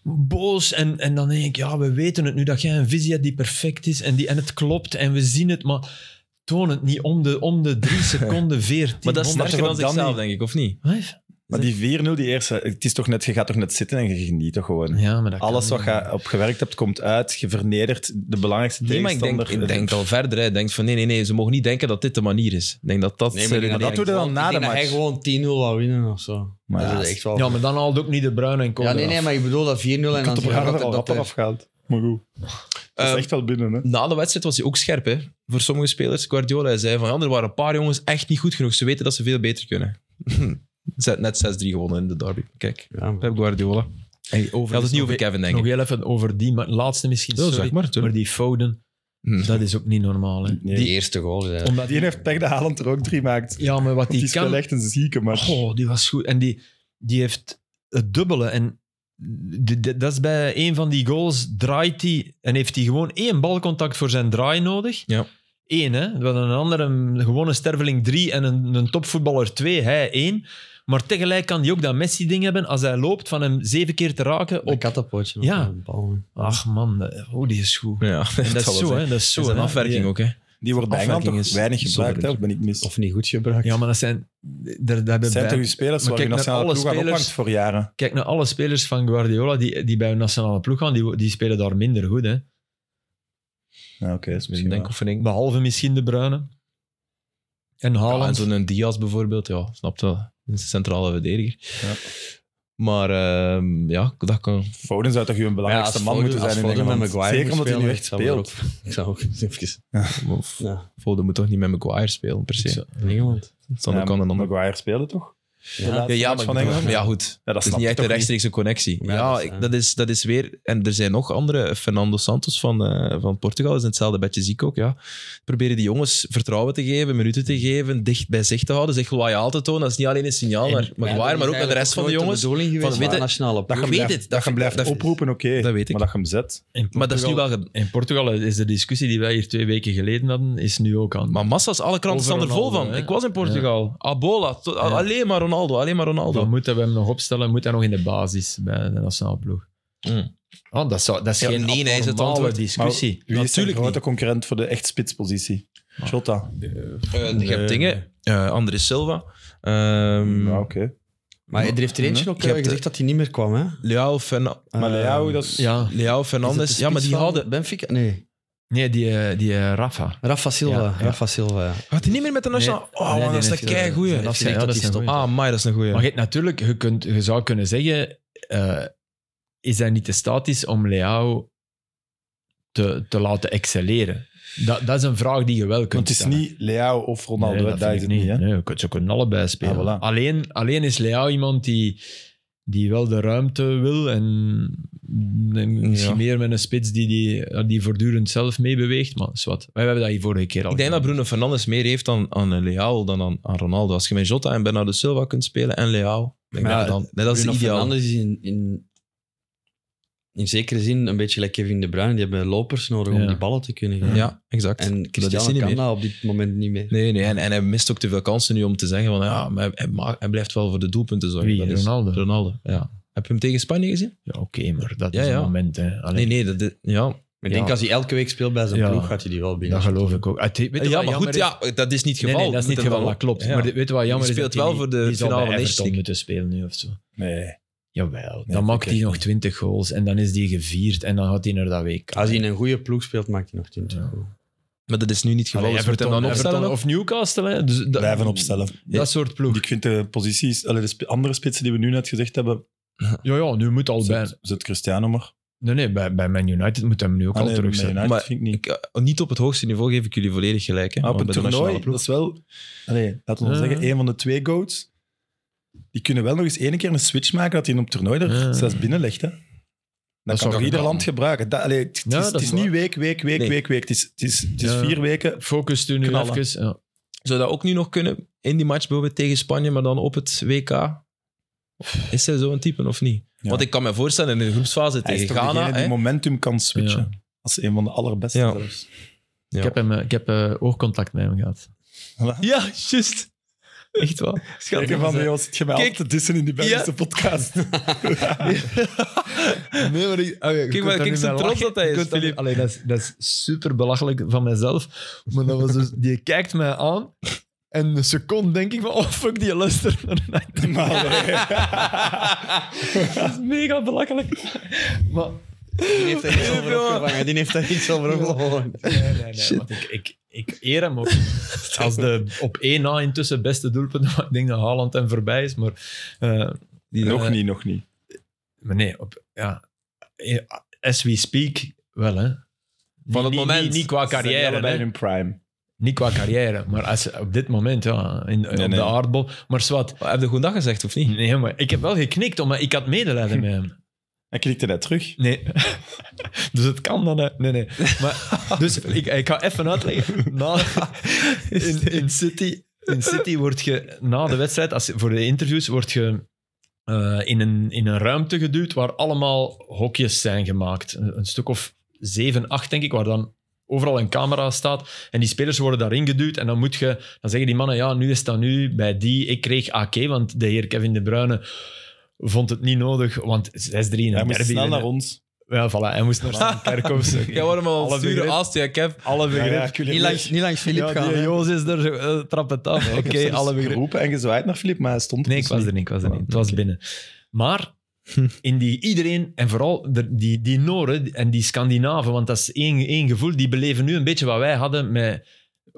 Speaker 4: boos. En, en dan denk ik, ja, we weten het nu dat jij een visie hebt die perfect is en, die, en het klopt en we zien het, maar toon het niet om de, om de drie seconden veertien.
Speaker 1: Maar dat is
Speaker 2: Omdat
Speaker 1: sterker
Speaker 2: je
Speaker 1: dan
Speaker 2: van dan
Speaker 1: zichzelf,
Speaker 2: niet-
Speaker 1: denk ik, of niet?
Speaker 2: Maar die 4-0, die eerste, het is toch net, je gaat toch net zitten en je geniet toch gewoon.
Speaker 4: Ja, maar dat kan
Speaker 2: Alles wat
Speaker 4: niet.
Speaker 2: je op gewerkt hebt, komt uit. Je vernedert de belangrijkste
Speaker 1: Nee, maar ik denk,
Speaker 2: tegenstander.
Speaker 1: ik denk al verder. hè. Ik denk van nee, nee, nee, ze mogen niet denken dat dit de manier is. Ik denk dat dat...
Speaker 3: Nee, maar,
Speaker 1: eh,
Speaker 2: dat doe je dan na Ah, de
Speaker 3: Hij
Speaker 2: match.
Speaker 3: gewoon 10-0 wou winnen of zo.
Speaker 2: Maar
Speaker 3: dat
Speaker 2: ja,
Speaker 3: is echt wel...
Speaker 4: Ja,
Speaker 3: Ja,
Speaker 4: maar dan haalt ook niet de bruine en Kolder
Speaker 3: nee, nee,
Speaker 4: af.
Speaker 3: maar ik bedoel dat 4-0 en dan...
Speaker 2: Ik had
Speaker 3: zeggen
Speaker 2: er
Speaker 3: dat-
Speaker 2: al
Speaker 3: dat
Speaker 2: rapper
Speaker 3: er-
Speaker 2: afgehaald. Maar goed. Dat is
Speaker 1: Ehm,
Speaker 2: echt wel binnen, hè.
Speaker 1: Na de wedstrijd was hij ook scherp, hè. Voor sommige spelers. Guardiola hij zei van, ja, er waren een paar jongens echt niet goed genoeg. Ze weten dat ze veel beter kunnen. Ze had Net 6-3 gewonnen in de derby. Kijk,
Speaker 3: Ja, maar-
Speaker 1: Pep Guardiola. Je had het niet over Kevin, denk
Speaker 4: Nog
Speaker 1: ik.
Speaker 4: heel even over die, maar laatste misschien,
Speaker 1: Ja,
Speaker 4: sorry.
Speaker 1: zeg maar, tuurlijk.
Speaker 4: maar die Foden,
Speaker 1: Hm.
Speaker 4: dat is ook niet normaal. Hè.
Speaker 2: Nee.
Speaker 3: Die eerste goal, ja.
Speaker 4: Omdat
Speaker 2: Die heeft pech dat Haaland er ook drie maakt.
Speaker 4: ja, maar wat
Speaker 2: Die,
Speaker 4: die
Speaker 2: is wel
Speaker 4: kan...
Speaker 2: echt een zieke match.
Speaker 4: Oh, die was goed. En die, die heeft het dubbele. En die- die- dat is bij een van die goals, draait hij en heeft hij gewoon één balcontact voor zijn draai nodig.
Speaker 1: Ja.
Speaker 4: Eén, hè. Wat een ander, een gewone sterveling drie en een, een topvoetballer twee, hij één. Maar tegelijk kan hij ook dat Messi-ding hebben als hij loopt van hem zeven keer te raken
Speaker 3: Een
Speaker 4: op...
Speaker 3: katapultje.
Speaker 4: Ja.
Speaker 3: op de bal, hè.
Speaker 4: Ach man, eh, oh, die is goed.
Speaker 1: Ja,
Speaker 4: En dat, is zo, hè. Dat is zo,
Speaker 1: een
Speaker 4: hè.
Speaker 1: afwerking
Speaker 4: Die-
Speaker 1: ook, hè.
Speaker 2: Die wordt bij Engeland
Speaker 1: Afwerking
Speaker 2: toch
Speaker 1: is
Speaker 2: weinig gebruikt, hè?
Speaker 1: zonderling.
Speaker 2: Of ben ik mis?
Speaker 3: Of niet goed gebruikt.
Speaker 4: Ja, maar dat zijn... Daar, daar
Speaker 2: Het
Speaker 4: hebben
Speaker 2: zijn
Speaker 4: wij-
Speaker 2: toch uw spelers
Speaker 4: Maar
Speaker 2: waar
Speaker 4: kijk
Speaker 2: je
Speaker 4: naar
Speaker 2: nationale
Speaker 4: alle
Speaker 2: ploeg aan
Speaker 4: spelers-
Speaker 2: ophangt voor jaren?
Speaker 4: Kijk naar alle spelers van Guardiola die, die bij hun nationale ploeg gaan, die, die spelen daar minder goed. Hè.
Speaker 2: Ja, Oké, dat is
Speaker 1: Dus
Speaker 2: misschien
Speaker 1: ik denk
Speaker 2: waar.
Speaker 1: of ik...
Speaker 4: Behalve misschien de Bruyne. En
Speaker 1: Ja, en
Speaker 4: Haaland.
Speaker 1: zo'n Diaz bijvoorbeeld, ja, snapt wel. Dat is een centrale verdediger.
Speaker 2: Ja.
Speaker 1: Maar ehm, ja, dat kan...
Speaker 2: Foden zou toch uw belangrijkste man moeten zijn in Engeland? Zeker omdat hij nu echt speelt.
Speaker 3: Ik zou ook eens even... Ja.
Speaker 1: Foden moet toch niet met Maguire spelen, per se.
Speaker 3: In Engeland.
Speaker 1: Dat kan ook
Speaker 2: Ja,
Speaker 1: aan een ander...
Speaker 2: Maguire speelde toch? De
Speaker 3: Ja.
Speaker 1: Ja,
Speaker 2: laatste
Speaker 1: ja,
Speaker 2: match
Speaker 1: maar,
Speaker 2: van
Speaker 1: ik bedoel-
Speaker 2: Engeland?
Speaker 1: maar ja, goed.
Speaker 2: Ja, dat
Speaker 1: Het is
Speaker 2: snap
Speaker 1: niet
Speaker 2: ik
Speaker 1: echt
Speaker 2: toch
Speaker 1: een rechtstreekse connectie.
Speaker 3: Ja,
Speaker 1: Ja,
Speaker 3: dat is,
Speaker 1: ik-
Speaker 3: ja.
Speaker 1: dat, is, dat is weer... En er zijn nog andere. Fernando Santos van, eh, van Portugal is in hetzelfde bedje ziek ook, ja. Proberen die jongens vertrouwen te geven, minuten te geven, dicht bij zich te houden, zich loyaal te tonen. Dat is niet alleen een signaal naar Maguire, maar ook naar de rest van de jongens.
Speaker 3: De bedoeling
Speaker 1: Van,
Speaker 3: geweest
Speaker 1: weet
Speaker 3: van de
Speaker 1: je-
Speaker 3: nationale
Speaker 2: Dat
Speaker 1: Ik
Speaker 2: je hem
Speaker 1: weet
Speaker 2: blijft-
Speaker 1: het, dat
Speaker 2: Dat je hem
Speaker 1: vind-
Speaker 2: blijft
Speaker 1: dat vind-
Speaker 2: oproepen, oké.
Speaker 1: dat weet ik.
Speaker 2: Maar dat je hem zet.
Speaker 1: Maar dat is nu wel... ge-
Speaker 4: In Portugal is de discussie die wij hier twee weken geleden hadden, is nu ook aan.
Speaker 1: Maar massa's, alle kranten staan
Speaker 4: Over
Speaker 1: er vol
Speaker 4: Ronaldo,
Speaker 1: van.
Speaker 4: hè?
Speaker 1: Ik was in Portugal. Abola, to- a- alleen maar Ronaldo, alleen maar Ronaldo.
Speaker 4: Dan moeten we hem nog opstellen, moet hij nog in de basis bij de nationale ploeg.
Speaker 1: Mm.
Speaker 4: Oh, dat, zou, dat is
Speaker 1: Ja,
Speaker 4: geen
Speaker 1: nee, nee, is het
Speaker 4: abnormale
Speaker 1: antwoord.
Speaker 4: discussie.
Speaker 2: Wie is de
Speaker 1: Natuurlijk
Speaker 2: grote
Speaker 1: niet.
Speaker 2: concurrent voor de echt spitspositie? Jota.
Speaker 1: Eh, je hebt dingen. eh André Silva. ehm
Speaker 2: Ja, oké.
Speaker 3: Maar er heeft er eentje ook
Speaker 1: Je hebt,
Speaker 3: eh, gezegd dat hij niet meer kwam, hè? Eh,
Speaker 1: Leao, Ferna-
Speaker 2: Maar Leao, dat is...
Speaker 4: Ja.
Speaker 1: Leao
Speaker 3: Is
Speaker 1: Fernandes.
Speaker 3: het de
Speaker 1: Ja, maar
Speaker 3: spits
Speaker 1: die
Speaker 3: van
Speaker 1: hadden...
Speaker 3: Benfica? Nee.
Speaker 4: Nee, die, eh, die eh, Rafa.
Speaker 3: Rafa Silva.
Speaker 4: Ja, ja.
Speaker 3: Rafa Silva, ja.
Speaker 1: Had hij niet meer met de nationale...
Speaker 4: Nee.
Speaker 1: oh,
Speaker 4: Nee,
Speaker 1: man,
Speaker 4: die
Speaker 1: dat is
Speaker 4: heeft
Speaker 1: een
Speaker 4: hij-
Speaker 1: keigoeie.
Speaker 4: die
Speaker 1: Ah,
Speaker 4: heeft
Speaker 3: heeft gezegd
Speaker 4: dat
Speaker 3: hij
Speaker 4: is
Speaker 3: stopt.
Speaker 4: een goeie.
Speaker 1: amai, dat is een goeie.
Speaker 4: Maar je, hebt natuurlijk, je, kunt, je zou kunnen zeggen, eh, is hij niet de statisch om Leao te, te laten excelleren? Dat, dat is een vraag die je wel kunt
Speaker 2: Want het is
Speaker 4: stellen.
Speaker 2: niet Leao of
Speaker 4: Nee,
Speaker 2: Ronaldo, dat,
Speaker 4: vind
Speaker 2: is
Speaker 4: ik
Speaker 2: het niet. hè?
Speaker 4: Nee, je kunt- ze kunnen allebei spelen.
Speaker 2: Ah, voilà.
Speaker 4: alleen, alleen is Leao iemand die, die wel de ruimte wil en, en misschien
Speaker 1: Ja.
Speaker 4: meer met een spits die, die, die voortdurend zelf meebeweegt. Maar is wat. Wij hebben dat hier vorige keer al
Speaker 1: Ik denk dat
Speaker 4: gedaan.
Speaker 1: Bruno Fernandes meer heeft aan, aan eh, Leao dan aan, aan Ronaldo. Als je met Jota en Bernardo Silva kunt spelen en Leao, denk
Speaker 3: Maar
Speaker 1: ik
Speaker 3: ja,
Speaker 1: dat dan... Nee, dat is
Speaker 3: Bruno
Speaker 1: ideaal.
Speaker 3: Fernandes is in, in, in zekere zin een beetje like Kevin De Bruyne. Die hebben lopers nodig om
Speaker 4: Ja.
Speaker 3: die ballen te kunnen geven.
Speaker 1: Ja, exact.
Speaker 3: En
Speaker 1: is
Speaker 3: Cristiano
Speaker 1: hij niet
Speaker 3: kan
Speaker 1: meer.
Speaker 3: dat op dit moment niet meer.
Speaker 1: Nee, nee en, en hij mist ook te veel kansen nu om te zeggen van ja, maar hij, hij ma- hij blijft wel voor de doelpunten zorgen.
Speaker 4: Wie?
Speaker 1: Dat is-
Speaker 4: Ronaldo?
Speaker 1: Ronaldo, ja. Heb je hem tegen Spanje gezien?
Speaker 4: Ja, Oké, maar dat
Speaker 1: Ja,
Speaker 4: is
Speaker 1: ja.
Speaker 4: een moment. Hè. Allee,
Speaker 1: Nee, nee, dat, is- ja.
Speaker 3: Ik
Speaker 4: Ja.
Speaker 3: denk als hij elke week speelt bij zijn
Speaker 4: Ja.
Speaker 3: ploeg, gaat hij die wel binnen.
Speaker 4: Dat geloof ik ook. Het- weet je wat
Speaker 1: Ja, maar
Speaker 4: jammer
Speaker 1: goed,
Speaker 4: is?
Speaker 1: ja, dat is niet het
Speaker 4: Nee,
Speaker 1: geval.
Speaker 4: nee, dat is niet het geval, dat klopt.
Speaker 1: Ja.
Speaker 4: Maar dit- weet je wat jammer
Speaker 1: Die
Speaker 4: is?
Speaker 1: speelt
Speaker 4: dat
Speaker 1: wel
Speaker 4: die-
Speaker 1: voor de
Speaker 4: die zal
Speaker 1: finale
Speaker 4: bij
Speaker 1: van Nations
Speaker 4: Everton
Speaker 1: League.
Speaker 4: moeten spelen nu of zo.
Speaker 2: Nee.
Speaker 4: Jawel.
Speaker 2: dat
Speaker 4: Dan maakt
Speaker 2: vind ik
Speaker 4: hij
Speaker 2: echt
Speaker 4: nog
Speaker 2: niet.
Speaker 4: 20 goals en dan is die gevierd en dan gaat hij naar dat week.
Speaker 3: Als hij in een goede ploeg speelt, maakt hij nog 20
Speaker 4: Ja.
Speaker 3: goal.
Speaker 1: Maar dat is nu niet het geval.
Speaker 4: Allee,
Speaker 1: dus wordt hem dan opstellen
Speaker 4: Everton
Speaker 1: ook?
Speaker 4: of Newcastle. Hè? Dus dat,
Speaker 2: Blijven opstellen.
Speaker 4: Dat soort ploeg.
Speaker 2: Ik vind de posities, allee, de sp- andere spitsen die we nu net gezegd hebben,
Speaker 4: Ja, ja, nu moet al bij...
Speaker 2: zet, zet Cristiano maar.
Speaker 4: Nee, nee, bij, bij Man United moet hem nu ook
Speaker 2: Ah,
Speaker 4: al
Speaker 2: nee,
Speaker 4: terug
Speaker 2: bij
Speaker 4: zijn.
Speaker 2: United
Speaker 1: Maar
Speaker 2: vind ik niet.
Speaker 1: Ik, eh, niet op het hoogste niveau geef ik jullie volledig gelijk. Hè,
Speaker 2: Maar op
Speaker 1: maar
Speaker 2: een
Speaker 1: bij de
Speaker 2: toernooi,
Speaker 1: nationale ploeg.
Speaker 2: dat is wel... Allee, laten we
Speaker 4: Ja.
Speaker 2: zeggen, één van de twee goats, die kunnen wel nog eens één keer een switch maken dat hij hem op toernooi er
Speaker 4: Ja.
Speaker 2: zelfs binnenlegt. Hè. Dat, kan
Speaker 4: zou
Speaker 2: toch
Speaker 4: je
Speaker 2: ieder
Speaker 4: kan.
Speaker 2: land gebruiken. Dat, allee, het het is,
Speaker 4: Ja, dat
Speaker 2: het
Speaker 4: is
Speaker 2: is niet
Speaker 4: waar.
Speaker 2: week, week, week,
Speaker 1: Nee.
Speaker 2: week, week. Het is, het is, het is
Speaker 4: Ja.
Speaker 2: vier weken.
Speaker 4: Focus toen nu
Speaker 2: Knallen.
Speaker 4: even. Ja.
Speaker 1: Zou dat ook nu nog kunnen in die match bijvoorbeeld tegen Spanje, maar dan op het WK? Is hij zo'n type of niet?
Speaker 2: Ja.
Speaker 1: Want ik kan me voorstellen in de groepsfase
Speaker 2: Hij is
Speaker 1: tegen
Speaker 2: toch degene
Speaker 1: Ghana.
Speaker 2: die
Speaker 1: hè.
Speaker 2: momentum kan switchen. Als een van de allerbeste
Speaker 1: Ja.
Speaker 2: zelfs.
Speaker 1: Ja.
Speaker 4: Ik heb, hem, eh, ik heb eh, oogcontact met hem gehad.
Speaker 2: Voilà.
Speaker 4: Ja, juist. Echt waar. Schat,
Speaker 2: Kijken van bij ons het gemeld
Speaker 1: Kijk.
Speaker 2: te dissen in die Belgische podcast.
Speaker 4: Nee, maar ik, ah, ja, je
Speaker 1: Kijk,
Speaker 4: kunt
Speaker 1: maar
Speaker 4: daar
Speaker 1: kijk
Speaker 4: niet
Speaker 1: zo
Speaker 4: mee
Speaker 1: trots
Speaker 4: lachen.
Speaker 1: dat hij
Speaker 4: Je
Speaker 1: is,
Speaker 4: kunt daar-
Speaker 1: Filip.
Speaker 4: Allee, dat is, dat is super belachelijk van mezelf. Maar dat was dus, die kijkt mij aan. En een seconde denk ik van, oh fuck, die luistert naar Night Manager.
Speaker 2: Maar, eh,
Speaker 4: Dat is mega belachelijk. Maar
Speaker 3: Die heeft daar iets over opgevangen. Die heeft daar iets over opgevangen.
Speaker 4: Nee, nee, nee. want ik, ik, ik eer hem ook. Als de op één na intussen beste doelpunt. maar Ik denk dat Haaland hem voorbij is. Maar, eh,
Speaker 2: nog
Speaker 4: eh,
Speaker 2: niet, nog niet.
Speaker 4: Maar nee, op, ja. eh, As we speak, wel hè.
Speaker 1: Van het
Speaker 4: Niet-
Speaker 1: moment.
Speaker 4: Niet, niet qua
Speaker 2: Ze zijn
Speaker 4: carrière.
Speaker 2: allebei in
Speaker 4: hè.
Speaker 2: hun prime.
Speaker 4: Niet qua carrière, maar als, op dit moment, ja. In, op
Speaker 2: nee.
Speaker 4: de aardbol. Maar zwart.
Speaker 1: Heb je goed dag gezegd, of niet?
Speaker 4: Nee, maar ik heb wel geknikt, omdat ik had medelijden met hem.
Speaker 2: En klikte net terug.
Speaker 4: Nee. dus het kan dan. hè. Nee, nee. Maar, dus ik, ik ga even uitleggen. Na, in, in, City, in City word je na de wedstrijd, als, je- voor de interviews, word je eh, in, een, in een ruimte geduwd waar allemaal hokjes zijn gemaakt. Een, een stuk of zeven, acht, denk ik, waar dan overal een camera staat en die spelers worden daarin geduwd en dan moet je dan zeggen die mannen ja nu is dat nu bij die ik kreeg AK want de heer Kevin de Bruyne vond het niet nodig want 6-3 in
Speaker 2: Hij
Speaker 4: een
Speaker 2: moest
Speaker 4: derby
Speaker 2: snel
Speaker 4: winnen.
Speaker 2: naar ons.
Speaker 4: Ja, voilà. Hij moest naar Stan Kerkhoffs.
Speaker 1: Jij wordt hem al
Speaker 4: dus Alle
Speaker 1: sturen
Speaker 4: begrip.
Speaker 1: als die ik heb.
Speaker 4: Alle
Speaker 2: Ja,
Speaker 4: begrip.
Speaker 2: ja, ik wil hier
Speaker 3: Niet
Speaker 2: niet-
Speaker 3: langs, niet langs Filip
Speaker 4: Ja, die
Speaker 3: gaan. hè.
Speaker 4: Joos is er, eh, trap het af. Oké,
Speaker 2: Ik heb zelfs
Speaker 4: alle begrip.
Speaker 2: geroepen en gezwaaid naar Filip, maar hij stond
Speaker 4: Nee, ik
Speaker 2: dus
Speaker 4: was er niet. Ik was er niet. Het was binnen. Maar in die iedereen, en vooral de- die, die Noren en die Scandinaven, want dat is één, één gevoel, die beleven nu een beetje wat wij hadden met, met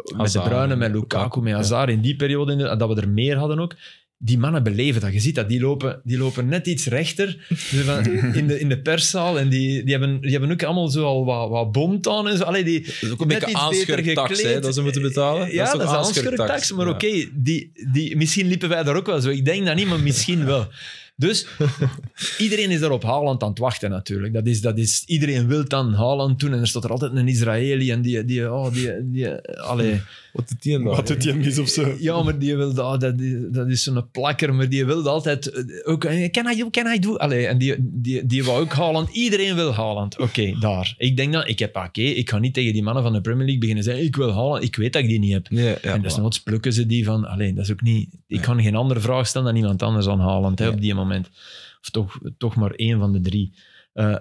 Speaker 4: de
Speaker 1: Hazard,
Speaker 4: Bruyne, met
Speaker 1: Lukaku,
Speaker 4: Lukaku, met Hazard in die periode, inderdaad, dat we er meer hadden ook. Die mannen beleven dat. Je ziet dat, die lopen, die lopen net iets rechter Dus van- in de, in de perszaal. En die, die, hebben, die hebben ook allemaal zo al wat, wat bont aan en zo. Allee, die,
Speaker 1: Dat is ook een
Speaker 4: Net
Speaker 1: beetje
Speaker 4: iets beter
Speaker 1: aanschurktax, hè,
Speaker 4: gekleed.
Speaker 1: dat ze moeten betalen.
Speaker 4: ja, dat is een
Speaker 1: toch
Speaker 4: aanschurktax. Maar
Speaker 1: Ja.
Speaker 4: oké, die, die, misschien liepen wij daar ook wel zo. Ik denk dat niet, maar misschien wel. Dus iedereen is daar op Haaland aan het wachten natuurlijk. Dat is, dat is, iedereen wil dan Haaland doen en er staat er altijd een Israëli en die... die, oh, die, die allee.
Speaker 1: Wat doet die nou?
Speaker 2: Wat doet hij mis of zo?
Speaker 4: Ja, maar die wil dat, dat, is- dat is zo'n plakker, maar die wil altijd eh, ook... eh, Can I do, can I do? Allee, en die, die, die wou ook Haaland. Iedereen wil Haaland. Oké, daar. Ik denk dan, ik heb oké, ik ga niet tegen die mannen van de Premier League beginnen zeggen, ik wil Haaland, ik weet dat ik die niet heb.
Speaker 1: Nee, ja,
Speaker 4: en
Speaker 1: voilà.
Speaker 4: desnoods plukken ze die van... Alleen, dat is ook niet... Ik kan geen andere vraag stellen dan iemand anders aan Haaland hè, op die moment. Of toch, toch maar één van de drie. Eh,